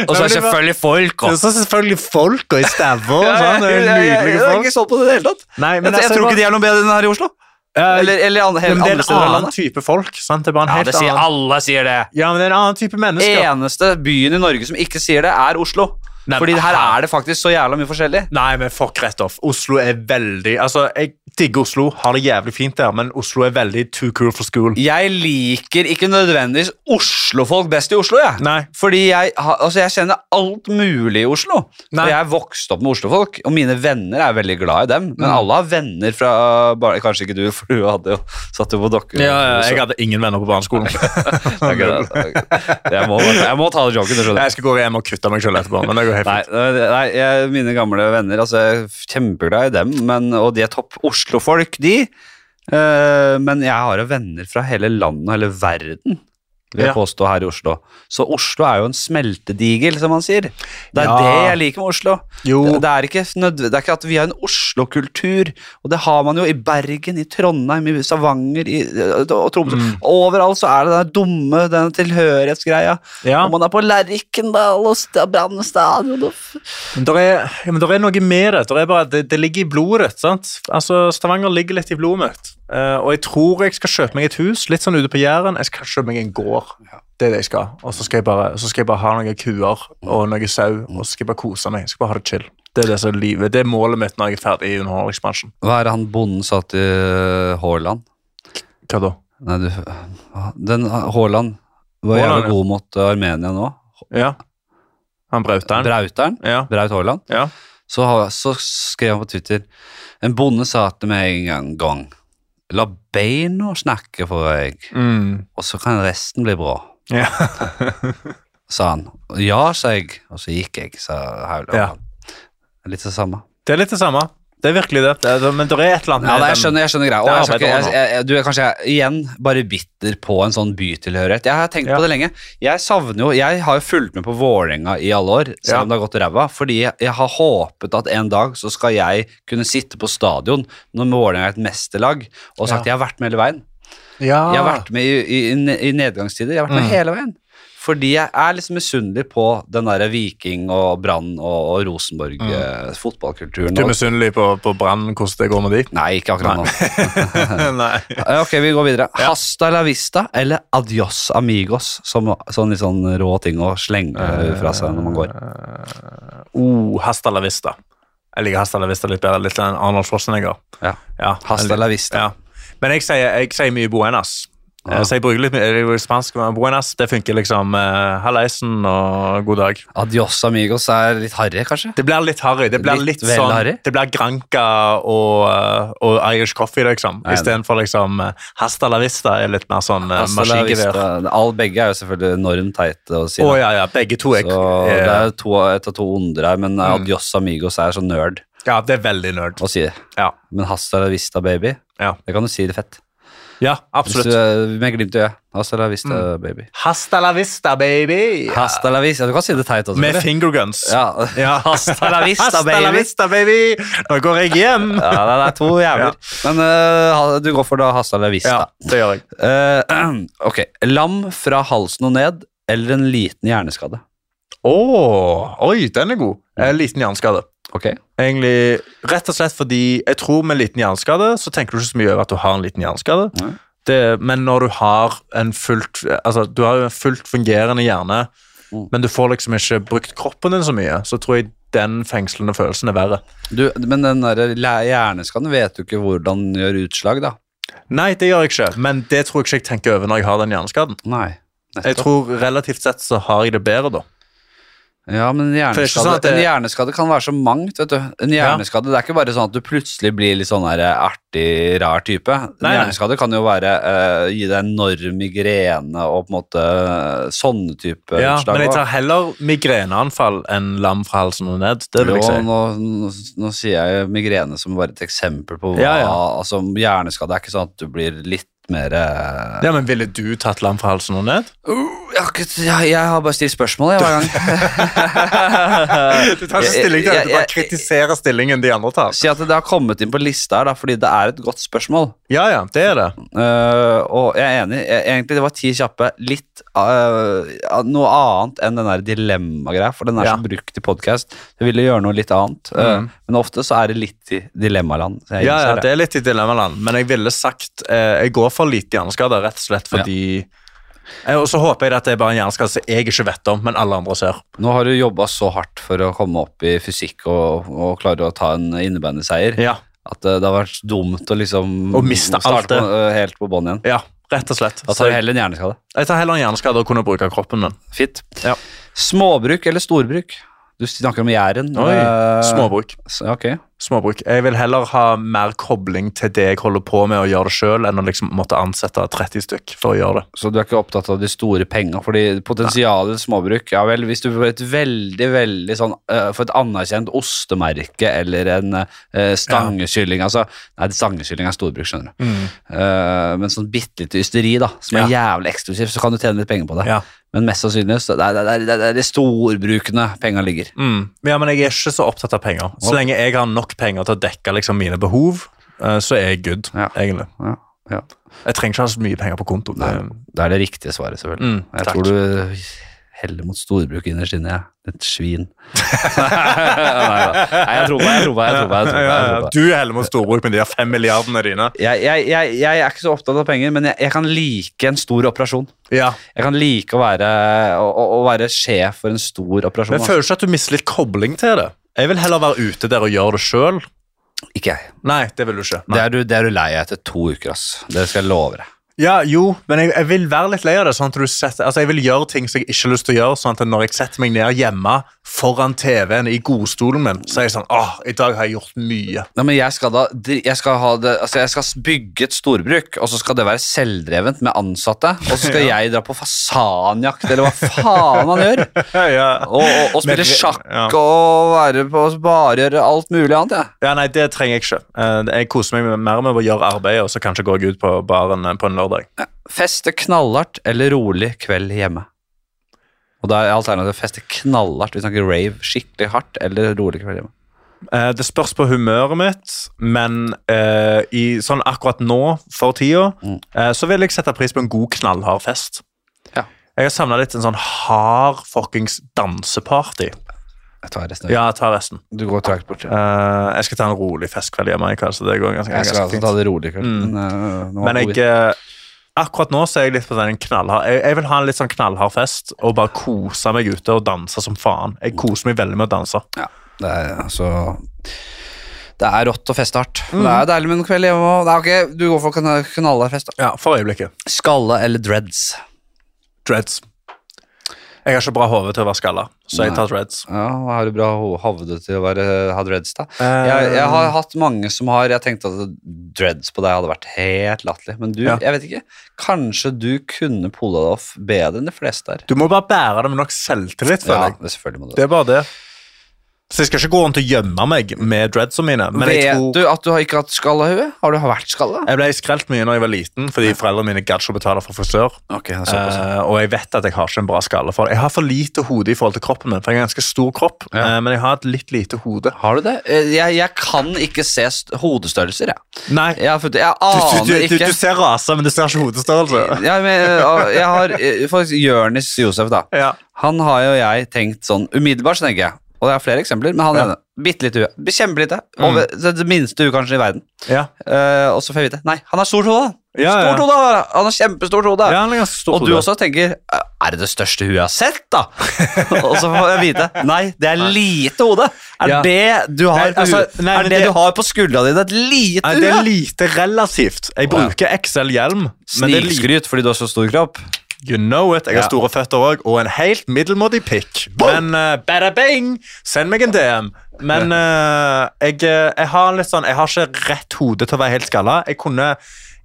Speaker 1: Og så er det selvfølgelig folka.
Speaker 2: Så selvfølgelig folka i Stavanger. sånn,
Speaker 1: jeg, jeg, jeg, jeg er ikke solgt på det i det hele tatt.
Speaker 2: Nei, altså,
Speaker 1: Jeg, jeg tror ikke de er noe bedre enn her i Oslo.
Speaker 2: Eh,
Speaker 1: Eller, eller an-
Speaker 2: Men
Speaker 1: helt
Speaker 2: det er
Speaker 1: andre
Speaker 2: en
Speaker 1: steder i
Speaker 2: annen
Speaker 1: landet.
Speaker 2: type folk. sant? Det er bare en
Speaker 1: Ja,
Speaker 2: helt
Speaker 1: det sier
Speaker 2: annen
Speaker 1: alle sier det.
Speaker 2: Ja, men det er en annen type mennesker.
Speaker 1: eneste byen i Norge som ikke sier det, er Oslo.
Speaker 2: Nei,
Speaker 1: Fordi
Speaker 2: men-
Speaker 1: her er det faktisk så jævla mye forskjellig.
Speaker 2: Nei, men fuck rett off. Oslo er veldig Altså, jeg digger Oslo, har det jævlig fint der, men Oslo er veldig too cool for school.
Speaker 1: Jeg liker ikke nødvendigvis Oslo-folk best i Oslo, jeg.
Speaker 2: Nei.
Speaker 1: Fordi jeg, har- altså jeg kjenner alt mulig i Oslo.
Speaker 2: Nei.
Speaker 1: Og jeg er vokst opp med Oslo-folk, og mine venner er veldig glad i dem.
Speaker 2: Mm.
Speaker 1: Men alle har venner fra bare, Kanskje ikke du, for du hadde jo satt jo på dokker.
Speaker 2: Jeg hadde ingen venner på barneskolen.
Speaker 1: Ok, da- jeg, må, jeg må ta den joggen, du skjønner.
Speaker 2: jeg skal gå hjem og kutte meg selv etterpå. Men det går helt
Speaker 1: Nei,
Speaker 2: fint.
Speaker 1: nei jeg, mine gamle venner, altså, jeg er kjempeglad i dem, men, og de er topp Oslo-folk, de. Eh, men jeg har jo venner fra hele landet og hele verden, vil jeg
Speaker 2: Ja.
Speaker 1: påstå, her i Oslo. Så Oslo er jo en smeltedigel, som man sier. Det er
Speaker 2: Ja.
Speaker 1: det jeg liker med Oslo.
Speaker 2: Jo.
Speaker 1: Det, det, er ikke nødv- det er ikke at vi har en Oslo-kultur, og det har man jo i Bergen, i Trondheim, i Stavanger, i, eh, og Tromsø.
Speaker 2: Mm.
Speaker 1: Overalt så er det den dumme, den tilhørighetsgreia.
Speaker 2: Ja.
Speaker 1: Om man er på Lerkendal og sta- Brann stadion og f-
Speaker 2: Men der er, ja, men der er noe med det. Der er bare, det. Det ligger i blodet ditt. sant? Altså, Stavanger ligger litt i blodet mitt. Eh, og jeg tror jeg skal kjøpe meg et hus litt sånn ute på Jæren. Jeg skal kjøpe meg en gård. Det er det jeg skal. Og så skal jeg bare, så skal jeg bare ha noen kuer og
Speaker 1: Mm.
Speaker 2: noe sau, og så skal jeg bare kose meg. Jeg skal bare ha det chill. Det er det som er livet. Det er målet mitt når jeg er ferdig i underholdningsbransjen.
Speaker 1: Hva er det han bonden sa til Haaland?
Speaker 2: Hva da?
Speaker 1: Nei, du Den Haaland var
Speaker 2: Haaland,
Speaker 1: jævlig
Speaker 2: ja.
Speaker 1: god mot eh, Armenia nå.
Speaker 2: Ja. Han Brauteren.
Speaker 1: Brauteren.
Speaker 2: Ja.
Speaker 1: Braut Haaland.
Speaker 2: ja.
Speaker 1: Så, ha- så skrev han på Twitter En bonde sa til meg en gang La beina snakke for deg,
Speaker 2: Mm.
Speaker 1: og så kan resten bli bra,
Speaker 2: ja.
Speaker 1: sa han. Ja, sa jeg, og så gikk jeg, sa
Speaker 2: Ja.
Speaker 1: Haaland. Litt det samme.
Speaker 2: Det er litt det samme. Det er virkelig det. det er, men det er et eller annet
Speaker 1: Ja,
Speaker 2: med
Speaker 1: nei, jeg
Speaker 2: den-
Speaker 1: skjønner, jeg skjønner greia. Og
Speaker 2: Det er
Speaker 1: jeg skal ikke,
Speaker 2: arbeid
Speaker 1: jeg,
Speaker 2: over nå.
Speaker 1: jeg, jeg- du er kanskje igjen bare bitter på en sånn bytilhørighet. Jeg har tenkt
Speaker 2: Ja.
Speaker 1: på det lenge. Jeg savner jo, jeg har jo fulgt med på Vålerenga i alle år, selv
Speaker 2: Ja.
Speaker 1: om det har gått ræva, fordi jeg, jeg har håpet at en dag så skal jeg kunne sitte på stadion når Vålerenga er et mesterlag, og sagt
Speaker 2: Ja.
Speaker 1: jeg har vært med hele veien.
Speaker 2: Ja.
Speaker 1: Jeg har vært med i, i, i nedgangstider, jeg har vært med
Speaker 2: Mm.
Speaker 1: hele veien. Fordi jeg er liksom misunnelig på den der Viking og Brann og, og Rosenborg eh, fotballkulturen.
Speaker 2: Du er
Speaker 1: og-
Speaker 2: Mm. misunnelig på, på Brann, hvordan det går med de?
Speaker 1: Nei, ikke akkurat nå.
Speaker 2: Nei.
Speaker 1: Eh, Ok, vi går videre. Hasta la vista eller adios amigos, som sånn litt sånn rå ting å slenge eh, fra seg når man går.
Speaker 2: Oh, Hasta la vista. Jeg liker Hasta la vista litt bedre. Litt enn Arnold Schwarzenegger.
Speaker 1: Ja.
Speaker 2: Ja,
Speaker 1: Hasta la vista.
Speaker 2: Ja. Men jeg sier, jeg sier mye buenas. Eh,
Speaker 1: Ja.
Speaker 2: Så jeg bruker litt mye jeg bruker spansk, men buenas det funker liksom eh, halleisen og god dag.
Speaker 1: Adios amigos er litt harry, kanskje?
Speaker 2: Det blir litt harry. Det blir
Speaker 1: Litt
Speaker 2: litt,
Speaker 1: vel
Speaker 2: sånn
Speaker 1: harry?
Speaker 2: Det blir granka og, eh, og Irish coffee, liksom.
Speaker 1: Nei,
Speaker 2: Istedenfor liksom eh, Hasta la vista er litt mer sånn eh,
Speaker 1: Hasta la
Speaker 2: maskingevær.
Speaker 1: vista. All begge er jo selvfølgelig enormt teite å si.
Speaker 2: Å
Speaker 1: det.
Speaker 2: ja, ja. Begge to er,
Speaker 1: Så det er Mm. jo to, et av to onder her, men adios amigos er så nerd
Speaker 2: Ja, det er veldig nerd.
Speaker 1: å si det.
Speaker 2: Ja.
Speaker 1: Men hasta la vista, baby,
Speaker 2: Ja.
Speaker 1: det kan du si det fett.
Speaker 2: ja,
Speaker 1: Hvis
Speaker 2: absolutt.
Speaker 1: du, er- med glimt i øyet. Hasta la vista, baby.
Speaker 2: Hasta la vista, baby!
Speaker 1: Hasta la vista. Du kan si det teit også.
Speaker 2: Med
Speaker 1: eller?
Speaker 2: fingerguns.
Speaker 1: Ja. Hasta la vista,
Speaker 2: Hasta la
Speaker 1: baby.
Speaker 2: vista, baby! Nå går jeg hjem.
Speaker 1: Ja, det er to jævler. Men øh, ha- du går for da hasta la vista.
Speaker 2: Ja, det gjør jeg.
Speaker 1: Eh, ok. Lam fra halsen og ned, eller en liten hjerneskade.
Speaker 2: Å, oi, den er god. Jeg er liten hjerneskade.
Speaker 1: Ok.
Speaker 2: Egentlig, rett og slett fordi jeg tror med liten hjerneskade, så tenker du ikke så mye over at du har en liten hjerneskade.
Speaker 1: Nei.
Speaker 2: Det, men når du har en fullt, altså, du har jo en fullt fungerende hjerne,
Speaker 1: Mm.
Speaker 2: men du får liksom ikke brukt kroppen din så mye, så tror jeg den fengslende følelsen er verre.
Speaker 1: Du, men den der læ- hjerneskaden vet du ikke hvordan den gjør utslag, da.
Speaker 2: Nei, det gjør jeg ikke, men det tror jeg ikke jeg tenker over når jeg har den hjerneskaden.
Speaker 1: Nei.
Speaker 2: Jeg tror relativt sett så har jeg det bedre da.
Speaker 1: Ja, men en
Speaker 2: For det er ikke
Speaker 1: hjerneskade,
Speaker 2: sånn at det-
Speaker 1: en hjerneskade kan være så mangt, vet du. En hjerneskade, Det er ikke bare sånn at du plutselig blir litt sånn her artig, rar type. En
Speaker 2: Nei, nei.
Speaker 1: hjerneskade kan jo være eh, gi deg enorm migrene og på en måte eh, sånne type
Speaker 2: Ja,
Speaker 1: utslag.
Speaker 2: men jeg
Speaker 1: også.
Speaker 2: tar heller migreneanfall enn lam fra halsen og ned, det vil jeg
Speaker 1: Jo,
Speaker 2: si.
Speaker 1: nå, nå, nå sier jeg jo migrene som bare et eksempel på hva
Speaker 2: Ja, ja.
Speaker 1: altså Hjerneskade er ikke sånn at du blir litt mer eh,
Speaker 2: Ja, men ville du tatt lam fra halsen og ned?
Speaker 1: Uh, jeg, har ikke- jeg, jeg har bare stilt spørsmål jeg, hver gang.
Speaker 2: Du tar ikke stilling til det, du
Speaker 1: Jeg- jeg-
Speaker 2: bare kritiserer stillingen de andre tar.
Speaker 1: Si at det har kommet inn på lista her, da, fordi det er et godt spørsmål.
Speaker 2: Ja, ja, det er det.
Speaker 1: Eh, og jeg er enig. Jeg, egentlig det var ti kjappe. Litt eh, noe annet enn den der dilemma-greia, for den er
Speaker 2: Ja.
Speaker 1: så brukt i podkast. Jeg ville gjøre noe litt annet. Eh, Men ofte så er det litt i dilemmaland. så jeg
Speaker 2: Ja, ja,
Speaker 1: innser
Speaker 2: det er litt i dilemmaland, men jeg ville sagt eh, jeg går for lite hjerneskade, rett og slett fordi Eh, Og så håper jeg at det er bare en hjerneskade som jeg ikke vet om, men alle andre ser.
Speaker 1: Nå har du jobba så hardt for å komme opp i fysikk og, og klare å ta en innebandyseier
Speaker 2: Ja,
Speaker 1: at eh, det har vært dumt å liksom
Speaker 2: Å miste
Speaker 1: starte
Speaker 2: alt det.
Speaker 1: på, eh, helt på bånn igjen.
Speaker 2: ja rett og slett.
Speaker 1: Da
Speaker 2: Så
Speaker 1: tar du
Speaker 2: jeg,
Speaker 1: heller en hjerneskade.
Speaker 2: jeg tar heller en hjerneskade og kunne bruke kroppen min.
Speaker 1: Fint.
Speaker 2: Ja.
Speaker 1: Småbruk eller storbruk? Du snakker om Jæren.
Speaker 2: Oi,
Speaker 1: eh,
Speaker 2: Småbruk.
Speaker 1: s- Ok.
Speaker 2: Småbruk. Jeg vil heller ha mer kobling til det jeg holder på med, og gjøre det sjøl, enn å liksom måtte ansette 30 stykk for å gjøre det.
Speaker 1: Så du er ikke opptatt av de store penga, fordi potensialet i småbruk Ja vel, hvis du får et veldig, veldig sånn eh, For et anerkjent ostemerke eller en eh, stangekylling Altså, nei, stangekylling er storbruk, skjønner du.
Speaker 2: Mm,
Speaker 1: Eh, men sånn bitte lite ysteri, da, som er jævlig eksklusivt, så kan du tjene litt penger på det.
Speaker 2: Ja.
Speaker 1: Men mest sannsynlig så det er det er- det er- det er de storbrukene penga ligger.
Speaker 2: Mm. Ja, men jeg er ikke så opptatt av penger. Så lenge jeg har nok penger til å dekke liksom, mine behov, eh, så er jeg good,
Speaker 1: Ja.
Speaker 2: egentlig.
Speaker 1: Ja, ja.
Speaker 2: Jeg trenger ikke ha så mye penger på konto. Det,
Speaker 1: Det er det riktige svaret, selvfølgelig.
Speaker 2: Mm,
Speaker 1: jeg
Speaker 2: takk.
Speaker 1: tror du heller mot storbruk innerst inne, jeg. Et svin. Neida. Nei, jeg tror på deg, jeg tror på deg, jeg tror på deg, jeg tror på deg, jeg tror på deg.
Speaker 2: Du er heller mot storbruk med de her fem milliardene dine.
Speaker 1: Jeg, jeg, jeg, jeg er ikke så opptatt av penger, men jeg, jeg kan like en stor operasjon.
Speaker 2: Ja.
Speaker 1: Jeg kan like å være, å, å- å være sjef for en stor operasjon.
Speaker 2: Men
Speaker 1: altså.
Speaker 2: føler du ikke at du mister litt kobling til det? Jeg vil heller være ute der og gjøre det sjøl.
Speaker 1: altså. Ikke jeg.
Speaker 2: Nei, det vil du ikke.
Speaker 1: Det er, du, det er du lei av etter to uker, ass. Det skal jeg love deg.
Speaker 2: Ja, jo, men jeg, jeg vil være litt lei av det. sånn at du setter, altså Jeg vil gjøre ting som jeg ikke har lyst til å gjøre. sånn at Når jeg setter meg ned hjemme foran TV-en i godstolen min, så er jeg sånn åh, i dag har jeg gjort mye.
Speaker 1: Nei, men jeg skal da dri- jeg skal, ha det, altså jeg skal bygge et storbruk, og så skal det være selvdrevent med ansatte. Og så skal jeg dra på fasanjakt, eller hva faen han gjør. Og, og, og spille
Speaker 2: Men-
Speaker 1: sjakk
Speaker 2: ja.
Speaker 1: og være på bare gjøre alt mulig annet, jeg.
Speaker 2: Ja, Nei, det trenger jeg ikke. Eh, Jeg koser meg med- mer med å gjøre arbeidet, og så kanskje går jeg ut på baren eh, på en lørdag.
Speaker 1: Feste knallhardt eller rolig kveld hjemme? Og da er alternativet feste knallhardt, vi snakker rave, skikkelig hardt, eller rolig kveld hjemme.
Speaker 2: Eh, Det spørs på humøret mitt, men eh, i, sånn akkurat nå, for tida,
Speaker 1: Mm.
Speaker 2: eh, så vil jeg sette pris på en god knallhard fest.
Speaker 1: Ja.
Speaker 2: Jeg har savna litt en sånn hard fuckings danseparty.
Speaker 1: Jeg tar resten.
Speaker 2: Ja, ta resten.
Speaker 1: Du går trakt bort. Ja.
Speaker 2: Eh, jeg skal ta en rolig festkveld hjemme i kveld, så det går ganske,
Speaker 1: Jeg skal
Speaker 2: ganske
Speaker 1: altså ta
Speaker 2: fint.
Speaker 1: det rolig. kanskje.
Speaker 2: Mm.
Speaker 1: Men, øh, nå
Speaker 2: Men
Speaker 1: er
Speaker 2: jeg, eh, akkurat nå så er jeg litt på den knallhard jeg, jeg vil ha en litt sånn knallhard fest og bare kose meg ute og danse som faen. Jeg koser meg veldig med å danse.
Speaker 1: Ja, det er altså Det er rått og feste hardt.
Speaker 2: Mm.
Speaker 1: Men Det er deilig med en kveld hjemme òg. Ok, du går for kana- knallhardfest, da.
Speaker 2: Ja, for øyeblikket.
Speaker 1: Skalle eller dreads?
Speaker 2: Dreads. Jeg har ikke bra hode til å være skalla, så jeg tar dreads.
Speaker 1: Ja, hva har du bra ho- havde til å være, ha dreads, da? Jeg,
Speaker 2: Eh.
Speaker 1: jeg har hatt mange som har Jeg tenkte at dreads på deg hadde vært helt latterlig, men du,
Speaker 2: Ja.
Speaker 1: jeg vet ikke. Kanskje du kunne pola deg off bedre enn de fleste der.
Speaker 2: Du må bare bære det med nok selvtillit,
Speaker 1: Ja,
Speaker 2: føler jeg.
Speaker 1: det selvfølgelig må du
Speaker 2: Det er bare det. Så jeg skal ikke gå rundt og gjemme meg med dreadsene mine, men
Speaker 1: Vet
Speaker 2: jeg tror
Speaker 1: du at du har ikke hatt skallahue? Har du vært skalla?
Speaker 2: Jeg ble skrelt mye når jeg var liten, fordi foreldrene mine gadd ikke å betale for frisør.
Speaker 1: Ok, det er såpass.
Speaker 2: Eh, og jeg vet at jeg har ikke en bra skalle for det. Jeg har for lite hode i forhold til kroppen min, for jeg har en ganske stor kropp,
Speaker 1: Ja.
Speaker 2: eh, men jeg har et litt lite hode.
Speaker 1: Har du det? Eh, Jeg, jeg kan ikke se st hodestørrelser, jeg.
Speaker 2: Nei,
Speaker 1: Jeg, har funnet- jeg
Speaker 2: du,
Speaker 1: aner
Speaker 2: du, du,
Speaker 1: ikke.
Speaker 2: du ser rase, men du ser ikke hodestørrelse.
Speaker 1: jeg, men, eh, jeg har eh, faktisk Jørnis Josef, da.
Speaker 2: Ja.
Speaker 1: Han har jo jeg tenkt sånn umiddelbart, så tenker jeg. Og det er flere eksempler, men han
Speaker 2: Ja. Mm.
Speaker 1: ene. Bitte lite hue. Kjempelite. Over- Det, det minste huet kanskje i verden.
Speaker 2: Ja.
Speaker 1: Eh, og så får jeg vite Nei, han har stort hode!
Speaker 2: Ja, ja.
Speaker 1: Stort hode! har han. Han har kjempestort hode!
Speaker 2: Ja, han har ganske stort
Speaker 1: og du
Speaker 2: hode.
Speaker 1: også tenker "Eh, Er det det største huet jeg har sett, da? og så får jeg vite Nei, det er lite hode! Er
Speaker 2: Ja.
Speaker 1: det du har
Speaker 2: Nei,
Speaker 1: på,
Speaker 2: altså,
Speaker 1: huet-
Speaker 2: nei,
Speaker 1: er det,
Speaker 2: men det-
Speaker 1: du har på skuldra dine, et lite
Speaker 2: Nei, det er
Speaker 1: hue?
Speaker 2: lite relativt. Jeg
Speaker 1: Å, ja.
Speaker 2: bruker XL-hjelm, men det er lite.
Speaker 1: Snikskryt fordi du har så stor kropp.
Speaker 2: You know it. Jeg har
Speaker 1: Ja.
Speaker 2: store føtter òg, og en helt middelmådig pikk. Men eh, bada bing! Send meg en DM. Men eh, jeg, eh, jeg har litt sånn Jeg har ikke rett hode til å være helt skalla. Jeg kunne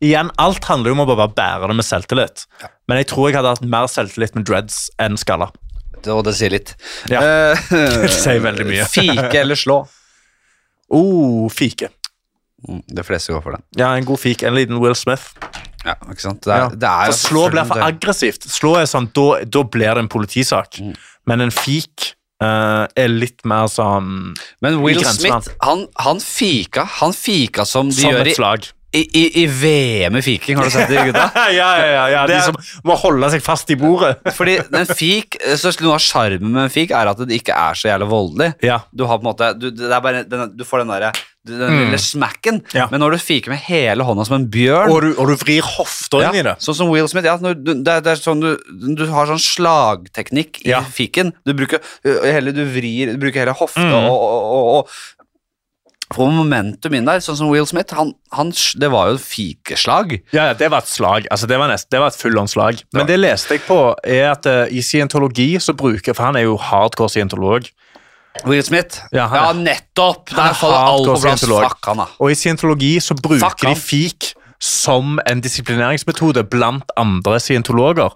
Speaker 2: Igjen, alt handler jo om å bare bære det med selvtillit. Men jeg tror jeg hadde hatt mer selvtillit med dreads enn skalla.
Speaker 1: Og det sier litt.
Speaker 2: Ja.
Speaker 1: Eh,
Speaker 2: Det sier veldig mye.
Speaker 1: Fike eller slå?
Speaker 2: Oh, fike.
Speaker 1: De fleste går for den.
Speaker 2: Ja, en god fik. En liten Will Smith.
Speaker 1: Ja, ikke sant? Det er,
Speaker 2: Ja.
Speaker 1: det er
Speaker 2: for slå blir for
Speaker 1: selvfølgelig-
Speaker 2: aggressivt. Slå er sånn, Da, da blir det en politisak.
Speaker 1: Mm.
Speaker 2: Men en fik eh, er litt mer sånn
Speaker 1: Men Will
Speaker 2: i grensen,
Speaker 1: Smith, han, han fika Han fika som de
Speaker 2: Som
Speaker 1: gjør
Speaker 2: et
Speaker 1: i,
Speaker 2: slag.
Speaker 1: i, i, i VM i fiking, har du sett det, gutta?
Speaker 2: ja, ja, ja, ja. De
Speaker 1: Det er-
Speaker 2: som må holde seg fast i bordet.
Speaker 1: Fordi en fik, så noe av sjarmen med en fik er at det ikke er så jævlig voldelig.
Speaker 2: Ja.
Speaker 1: Du har på en måte, du, det er bare, den, du får den derre du- den lille smacken,
Speaker 2: Mm. Ja.
Speaker 1: men når du fiker med hele hånda som en bjørn
Speaker 2: Og du, og du vrir hofta
Speaker 1: ja,
Speaker 2: inn i det.
Speaker 1: Sånn som Will Smith. Ja, når du, det, er, det er sånn du, du har sånn slagteknikk i
Speaker 2: Ja.
Speaker 1: fiken. Du bruker ø, hele, du vrir, du bruker hele hofta
Speaker 2: Mm.
Speaker 1: og, og, og, og Får momentum inn der. Sånn som Will Smith. Han, han, det var jo fikeslag.
Speaker 2: Ja, ja, Det var et slag. altså Det var, nest, det var et full-on slag. Men det leste jeg på, er at eh, i scientologi så bruker For han er jo hardcore scientolog.
Speaker 1: Will Smith.
Speaker 2: Ja, han er-
Speaker 1: nettopp!
Speaker 2: Han er
Speaker 1: Der faller alt på
Speaker 2: hardcore
Speaker 1: plass.
Speaker 2: scientolog.
Speaker 1: Fuck han, da.
Speaker 2: Og i scientologi så
Speaker 1: Fuck
Speaker 2: bruker
Speaker 1: han.
Speaker 2: de fik som en disiplineringsmetode blant andre scientologer.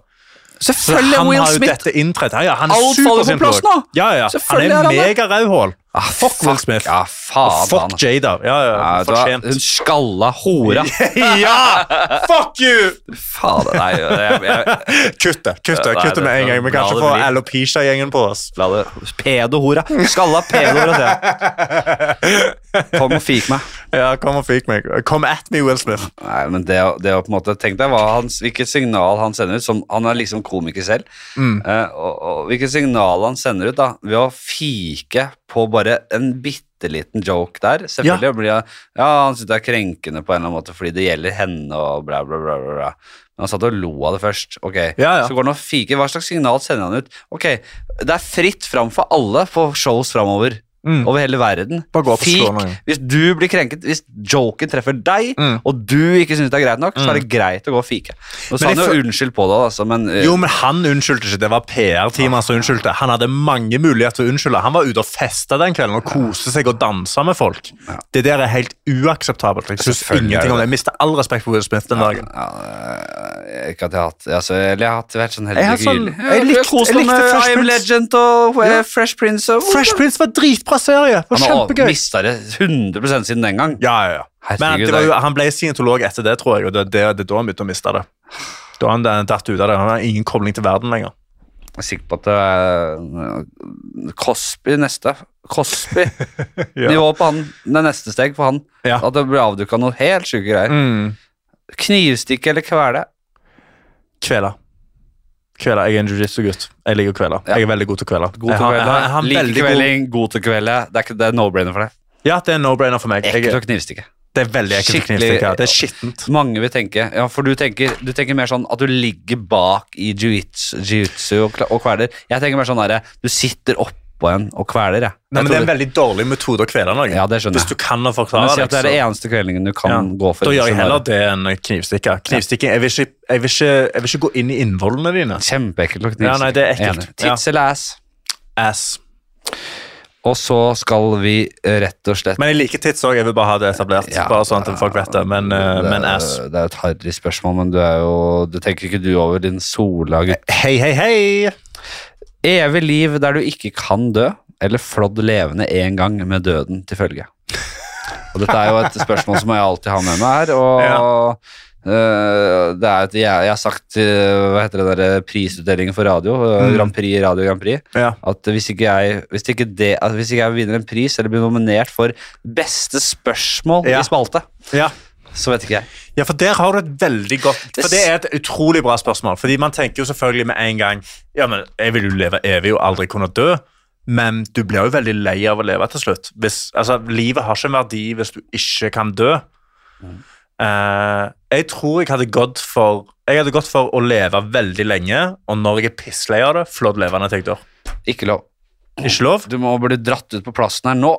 Speaker 2: Så
Speaker 1: Selvfølgelig er
Speaker 2: han
Speaker 1: Will
Speaker 2: har jo
Speaker 1: Smith!
Speaker 2: dette inntredd. Ja, ja, han er
Speaker 1: Alt faller på
Speaker 2: superscientolog.
Speaker 1: plass nå.
Speaker 2: Ja, ja. Han
Speaker 1: Selvfølgelig
Speaker 2: er
Speaker 1: er han det.
Speaker 2: megarauhål.
Speaker 1: Ah,
Speaker 2: Fuck Will Smith.
Speaker 1: Ja, faen.
Speaker 2: Og fuck
Speaker 1: han.
Speaker 2: Jada. Ja, ja,
Speaker 1: Ja, vet du hva?
Speaker 2: fortjent.
Speaker 1: Hun skalla hora.
Speaker 2: ja! Fuck you!
Speaker 1: Fader, nei. Jeg, jeg,
Speaker 2: Kutt det. Kutt det
Speaker 1: Nei,
Speaker 2: kutt det med
Speaker 1: det-
Speaker 2: en gang. Vi kan
Speaker 1: la
Speaker 2: ikke
Speaker 1: det
Speaker 2: få
Speaker 1: bli.
Speaker 2: Alopecia-gjengen på oss.
Speaker 1: La det Pedohora. Skalla altså, pedohora, sier jeg. Kom og fik meg.
Speaker 2: Ja, kom og fik meg. Kom at me, Will Smith.
Speaker 1: Nei, men det, å- det å på en måte Tenk deg hva hans, hvilket signal han sender ut. Som, han er liksom komiker selv.
Speaker 2: Mm.
Speaker 1: Eh, og, og hvilket signal han sender ut da ved å fike på bare en bitte liten joke der. Selvfølgelig blir jeg, Ja, han syns det er krenkende på en eller annen måte fordi det gjelder henne og bla, bla, bla. bla, bla. Men han satt og lo av det først. Ok,
Speaker 2: Ja, ja.
Speaker 1: Så går han og fiker. Hva slags signal sender han ut? Ok, Det er fritt fram for alle på shows framover.
Speaker 2: Mm.
Speaker 1: Over hele verden.
Speaker 2: Bare gå opp og
Speaker 1: Fik.
Speaker 2: slå noen.
Speaker 1: Hvis du blir krenket, hvis joken treffer deg,
Speaker 2: Mm.
Speaker 1: og du ikke syns det er greit nok, så er det greit å gå og fike. Nå sa
Speaker 2: jeg
Speaker 1: han jo
Speaker 2: føl-
Speaker 1: unnskyld på det, altså, men eh,
Speaker 2: Jo, men han unnskyldte ikke. Det var PR-teamet som unnskyldte. Han hadde mange muligheter til å unnskylde. Han var ute og festa den kvelden og koste seg og dansa med folk. Det der er helt uakseptabelt. Jeg synes
Speaker 1: Selvfølgelig er
Speaker 2: ingenting om
Speaker 1: det.
Speaker 2: det. Jeg mister all respekt for Will Smith den dagen.
Speaker 1: ja, eh, Ikke at jeg har hatt altså, Eller jeg har hatt vært sånn heldig
Speaker 2: Jeg har sånn-
Speaker 1: gryl.
Speaker 2: jeg likte- jeg likte
Speaker 1: med
Speaker 2: Fresh
Speaker 1: I Am
Speaker 2: Prince.
Speaker 1: Legend og eh, Fresh Prince og
Speaker 2: Fresh Prince var dritbra serie. Det var
Speaker 1: Han har
Speaker 2: kjempegøy.
Speaker 1: mista det 100 siden den gang.
Speaker 2: Ja, ja, ja.
Speaker 1: Herregud,
Speaker 2: Men det var jo,
Speaker 1: det
Speaker 2: han ble scientolog etter det, tror jeg, og det det- det er da han begynte å miste det. Da har han eh, datt ut av det. Han har ingen kobling til verden lenger.
Speaker 1: Jeg er sikker på at det er Cosby neste. Cosby.
Speaker 2: Ja.
Speaker 1: Nivået på han. Det er neste steg for han.
Speaker 2: Ja.
Speaker 1: At det blir avduka noe helt sjuke greier.
Speaker 2: Mm.
Speaker 1: Knivstikke eller kvele?
Speaker 2: Kvele. Kvele. Jeg er en jiu-jitsu-gutt. Jeg liker å kvele.
Speaker 1: Ja.
Speaker 2: Jeg er veldig god til å kvele.
Speaker 1: God til
Speaker 2: Jeg har-
Speaker 1: kvelde.
Speaker 2: jeg har en
Speaker 1: Lik
Speaker 2: veldig god-
Speaker 1: kvelding, god til kvelde. Det er, ikke- det er no-brainer for deg.
Speaker 2: Ja, det er en no-brainer for meg. Jeg,
Speaker 1: Ekkelt
Speaker 2: er-
Speaker 1: og knivstikke.
Speaker 2: det er veldig ekkelt å
Speaker 1: Skikkelig-
Speaker 2: knivstikke. Det er skittent.
Speaker 1: Mange vil tenke Ja, for du tenker, du tenker mer sånn at du ligger bak i jiu-jitsu jiu-jitsu og, kla- og kveler. Jeg tenker mer sånn herre Du sitter oppå en og kveler, jeg.
Speaker 2: Nei,
Speaker 1: jeg
Speaker 2: men Det er
Speaker 1: tror
Speaker 2: en veldig dårlig metode å kvele noen.
Speaker 1: Ja, det skjønner
Speaker 2: Hvis du
Speaker 1: jeg.
Speaker 2: kan å
Speaker 1: Men
Speaker 2: forklare
Speaker 1: si at det er det
Speaker 2: så-
Speaker 1: eneste kvelingen du kan
Speaker 2: Ja,
Speaker 1: gå for.
Speaker 2: Da gjør jeg
Speaker 1: Sånn der.
Speaker 2: heller det enn knivstikke. Knivstikking, jeg vil ikke, jeg vil ikke, jeg vil ikke gå inn i innvollene dine.
Speaker 1: Kjempeekkelt og knivstikke.
Speaker 2: Ja, nei, det er ekkelt.
Speaker 1: Enig. Tits eller ass.
Speaker 2: Ass.
Speaker 1: Og så skal vi eh, rett og slett
Speaker 2: Men jeg liker tits òg, jeg vil bare ha det etablert.
Speaker 1: Ja.
Speaker 2: bare sånn at folk vet det, men, eh, men ass.
Speaker 1: Det er et harry spørsmål, men du er jo Du tenker ikke du over din sola gutt.
Speaker 2: Hei, hei, hei!
Speaker 1: Evig liv der du ikke kan dø, eller flådd levende en gang med døden til følge. Og dette er jo et spørsmål som jeg alltid har med meg her, og øh, det er et, jeg, jeg har sagt øh, hva heter det der, prisutdelingen for radio, øh,
Speaker 2: Mm.
Speaker 1: Grand Prix, Radio Grand Prix,
Speaker 2: Ja.
Speaker 1: at hvis ikke jeg, hvis ikke det, at hvis ikke jeg vinner en pris eller blir nominert for beste spørsmål
Speaker 2: Ja.
Speaker 1: i spalte,
Speaker 2: Ja.
Speaker 1: så vet ikke jeg.
Speaker 2: ja, for der har du et veldig godt For det er et utrolig bra spørsmål. Fordi man tenker jo selvfølgelig med en gang Ja, men jeg vil jo leve evig og aldri kunne dø. Men du blir jo veldig lei av å leve til slutt. Hvis, altså, livet har ikke en verdi hvis du ikke kan dø. Eh, jeg tror jeg hadde gått for Jeg hadde gått for å leve veldig lenge, og når jeg er pisslei av det, flådd levende til jeg dør.
Speaker 1: Ikke lov.
Speaker 2: Ikke lov?
Speaker 1: Du må bli dratt ut på plassen her nå.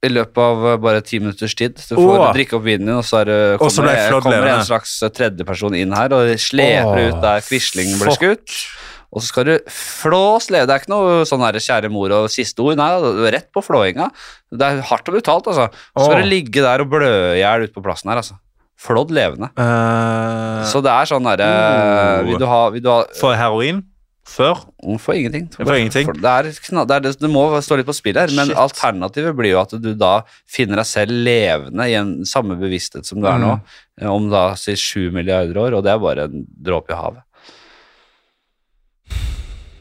Speaker 1: I løpet av eh, bare ti minutters tid. Du får
Speaker 2: Åh.
Speaker 1: drikke opp vinen din, og så er, det-
Speaker 2: Og så
Speaker 1: kommer,
Speaker 2: ble jeg
Speaker 1: det-
Speaker 2: flådd
Speaker 1: kommer det en
Speaker 2: levende.
Speaker 1: slags tredjeperson inn her og sleper
Speaker 2: Åh,
Speaker 1: ut der Quisling ble
Speaker 2: fuck.
Speaker 1: skutt. Og så skal du flås leve. Det er ikke noe sånn her, kjære mor og siste ord. Nei, altså, du er rett på flåinga. Det er hardt og brutalt, altså. Så skal
Speaker 2: Åh.
Speaker 1: du ligge der og blø i hjel ute på plassen her, altså. Flådd levende.
Speaker 2: Eh,
Speaker 1: Så det er sånn derre
Speaker 2: Oh.
Speaker 1: Vil du ha, vil du ha
Speaker 2: Får jeg heroin før?
Speaker 1: For ingenting.
Speaker 2: For ingenting.
Speaker 1: For det, er kna det, er det, det må stå litt på spill her, men
Speaker 2: Shit.
Speaker 1: alternativet blir jo at du da finner deg selv levende i en samme bevissthet som du er nå,
Speaker 2: Mm.
Speaker 1: eh, om da si sju milliarder år, og det er bare en dråpe i havet.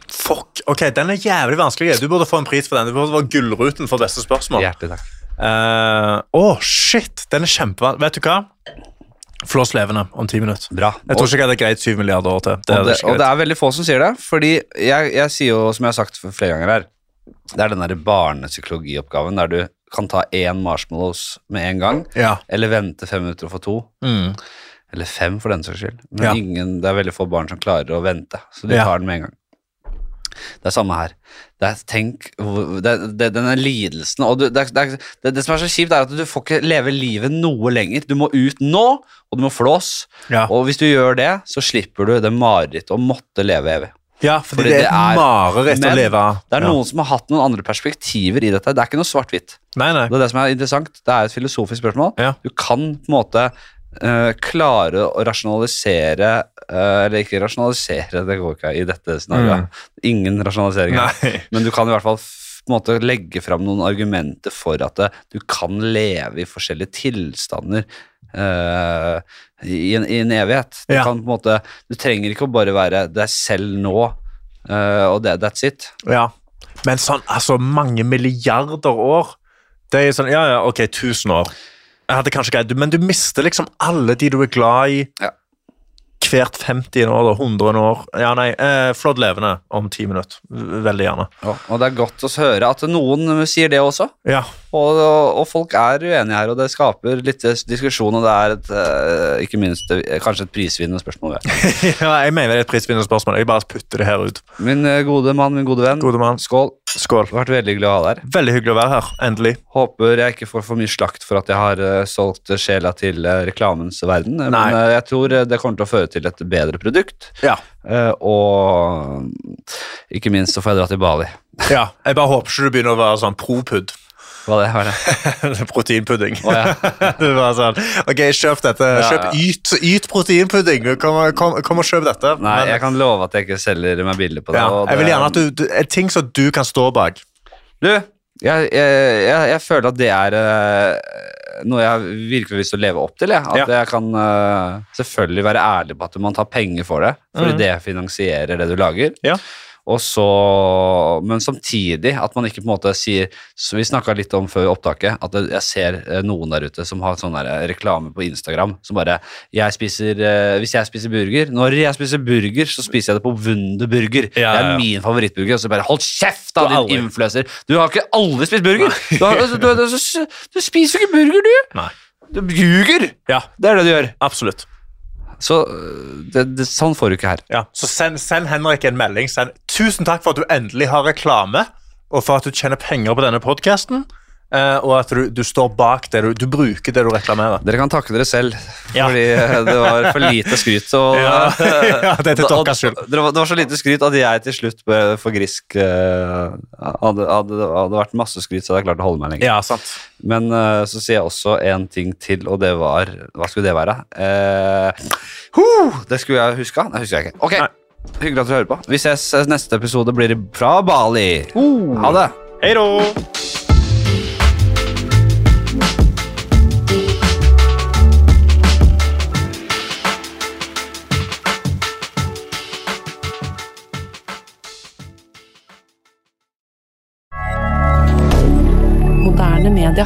Speaker 2: Fuck, ok, Den er jævlig vanskelig. Du burde få en pris for den. Du burde få Gullruten for beste spørsmål. Å,
Speaker 1: Hjertelig takk.
Speaker 2: shit! Den er kjempevanskelig. Vet du hva? Flås levende om ti minutter.
Speaker 1: Bra.
Speaker 2: Jeg tror ikke jeg hadde greid syv milliarder år til.
Speaker 1: og,
Speaker 2: hadde
Speaker 1: det,
Speaker 2: jeg ikke
Speaker 1: og
Speaker 2: greid.
Speaker 1: det er veldig få som sier det, fordi jeg, jeg sier jo, som jeg har sagt flere ganger her, det er den der barnepsykologioppgaven der du kan ta én marshmallows med en gang,
Speaker 2: Ja.
Speaker 1: eller vente fem minutter og få to,
Speaker 2: Mm.
Speaker 1: Eller fem, for den saks skyld. Men
Speaker 2: Ja.
Speaker 1: ingen, det er veldig få barn som klarer å vente, så de
Speaker 2: Ja.
Speaker 1: tar den med en gang. Det er samme her. Det er, tenk, hvor- det, det, denne lidelsen og du, det, er- det, er- det, det som er så kjipt, er at du får ikke leve livet noe lenger. Du må ut nå, og du må flås.
Speaker 2: Ja.
Speaker 1: Og hvis du gjør det, så slipper du det marerittet å måtte leve evig.
Speaker 2: ja,
Speaker 1: fordi
Speaker 2: fordi, det
Speaker 1: det
Speaker 2: er
Speaker 1: er-
Speaker 2: et mareritt å
Speaker 1: Men
Speaker 2: leve
Speaker 1: Det er
Speaker 2: ja.
Speaker 1: noen som har hatt noen andre perspektiver i dette. Det er ikke noe svart-hvitt.
Speaker 2: Nei, nei.
Speaker 1: Det er det som er interessant. Det er et filosofisk spørsmål.
Speaker 2: Ja.
Speaker 1: Du kan på en måte eh, klare å rasjonalisere eh, Eller ikke rasjonalisere, det går ikke i dette scenarioet. Ingen rasjonalisering. her.
Speaker 2: Mm. Nei.
Speaker 1: Men du kan i hvert fall f- på en måte legge fram noen argumenter for at eh, du kan leve i forskjellige tilstander eh, i, en, i en evighet. Du,
Speaker 2: Ja.
Speaker 1: kan på en måte, du trenger ikke å bare være deg selv nå, eh, og det, that's it.
Speaker 2: Ja. Men sånn, altså, mange milliarder år Det er sånn, ja, ja, ok, tusen år. Jeg hadde kanskje greid, Men du mister liksom alle de du er glad i
Speaker 1: Ja.
Speaker 2: hvert 50 år, da, 100 år. Ja, nei, eh, Flådd levende om ti minutter. V- Veldig gjerne.
Speaker 1: Og det er godt å høre at noen sier det også.
Speaker 2: Ja,
Speaker 1: Og, og, og folk er uenige her, og det skaper litt diskusjon, og det er et, eh, ikke minst eh, kanskje et prisvinnende spørsmål. vet jeg.
Speaker 2: ja Jeg mener det er et prisvinnende spørsmål. Jeg bare putter det her ut.
Speaker 1: Min eh, gode mann, min gode venn,
Speaker 2: Gode mann.
Speaker 1: skål.
Speaker 2: Skål.
Speaker 1: Det har vært veldig hyggelig å ha deg her.
Speaker 2: Veldig hyggelig å være her. Endelig.
Speaker 1: Håper jeg ikke får for mye slakt for at jeg har eh, solgt sjela til eh, reklamens verden, men
Speaker 2: Nei.
Speaker 1: eh, jeg tror eh, det kommer til å føre til et bedre produkt,
Speaker 2: Ja.
Speaker 1: eh, og mm, ikke minst så får jeg dra til Bali.
Speaker 2: ja. Jeg bare håper ikke du begynner å være sånn pro-pudd.
Speaker 1: Hva det var det?
Speaker 2: Proteinpudding.
Speaker 1: Å, ja.
Speaker 2: Det var sånn, ok, kjøp dette.
Speaker 1: Ja,
Speaker 2: Kjøp
Speaker 1: ja.
Speaker 2: yt, yt proteinpudding. Kom, kom, kom og kjøp dette.
Speaker 1: Nei,
Speaker 2: Men-
Speaker 1: jeg kan love at jeg ikke selger meg billig på det.
Speaker 2: ja,
Speaker 1: og
Speaker 2: jeg vil
Speaker 1: det-
Speaker 2: gjerne at du, du er Ting som du kan stå bak.
Speaker 1: Du, jeg, jeg, jeg, jeg føler at det er eh, noe jeg virkelig har lyst til å leve opp til. Jeg. At jeg kan eh, selvfølgelig være ærlig på at man tar penger for det, fordi
Speaker 2: Mhm.
Speaker 1: det finansierer det du lager.
Speaker 2: Ja.
Speaker 1: Og så, men samtidig at man ikke på en måte sier så Vi snakka litt om før opptaket at jeg ser eh, noen der ute som har sånn der, eh, reklame på Instagram som bare jeg spiser, eh, Hvis jeg spiser burger Når jeg spiser burger, så spiser jeg det på Wunderburger.
Speaker 5: Ja,
Speaker 1: Det
Speaker 5: ja, ja.
Speaker 1: er min favorittburger. Og så bare Hold kjeft, da,
Speaker 5: Du har aldri-
Speaker 1: din influenser! Du har ikke aldri spist burger! Du, har, altså, du, du, du, du spiser jo ikke burger, du!
Speaker 5: Nei.
Speaker 1: Du ljuger!
Speaker 5: Ja,
Speaker 1: Det er det du gjør.
Speaker 5: absolutt.
Speaker 1: Så øh, det, det, sånn får du ikke her.
Speaker 2: Ja, så send, send Henrik en melding. Send 'Tusen takk for at du endelig har reklame', og for at du tjener penger på denne podkasten, og at du, du står bak det du, du bruker det du reklamerer.
Speaker 1: Dere kan takke dere selv,
Speaker 5: Ja.
Speaker 1: fordi øh, det var for lite skryt. øh, Og,
Speaker 2: Ja, ja, det er til
Speaker 1: og-
Speaker 2: deres skyld.
Speaker 1: og Det var, det var så lite skryt at jeg til slutt ble for grisk. øh, hadde, hadde, hadde vært masse skryt, så hadde jeg klart å holde meg lenger.
Speaker 5: Ja, sant.
Speaker 1: Men øh, så sier jeg også en ting til, og det var Hva skulle det være? Eh, huh, det skulle jeg huska. Nei, husker jeg ikke. Ok,
Speaker 5: Nei.
Speaker 1: Hyggelig at du hører på. Vi ses eh, neste episode. blir det fra Bali. Ha det.
Speaker 5: Hei da!
Speaker 6: Moderne media.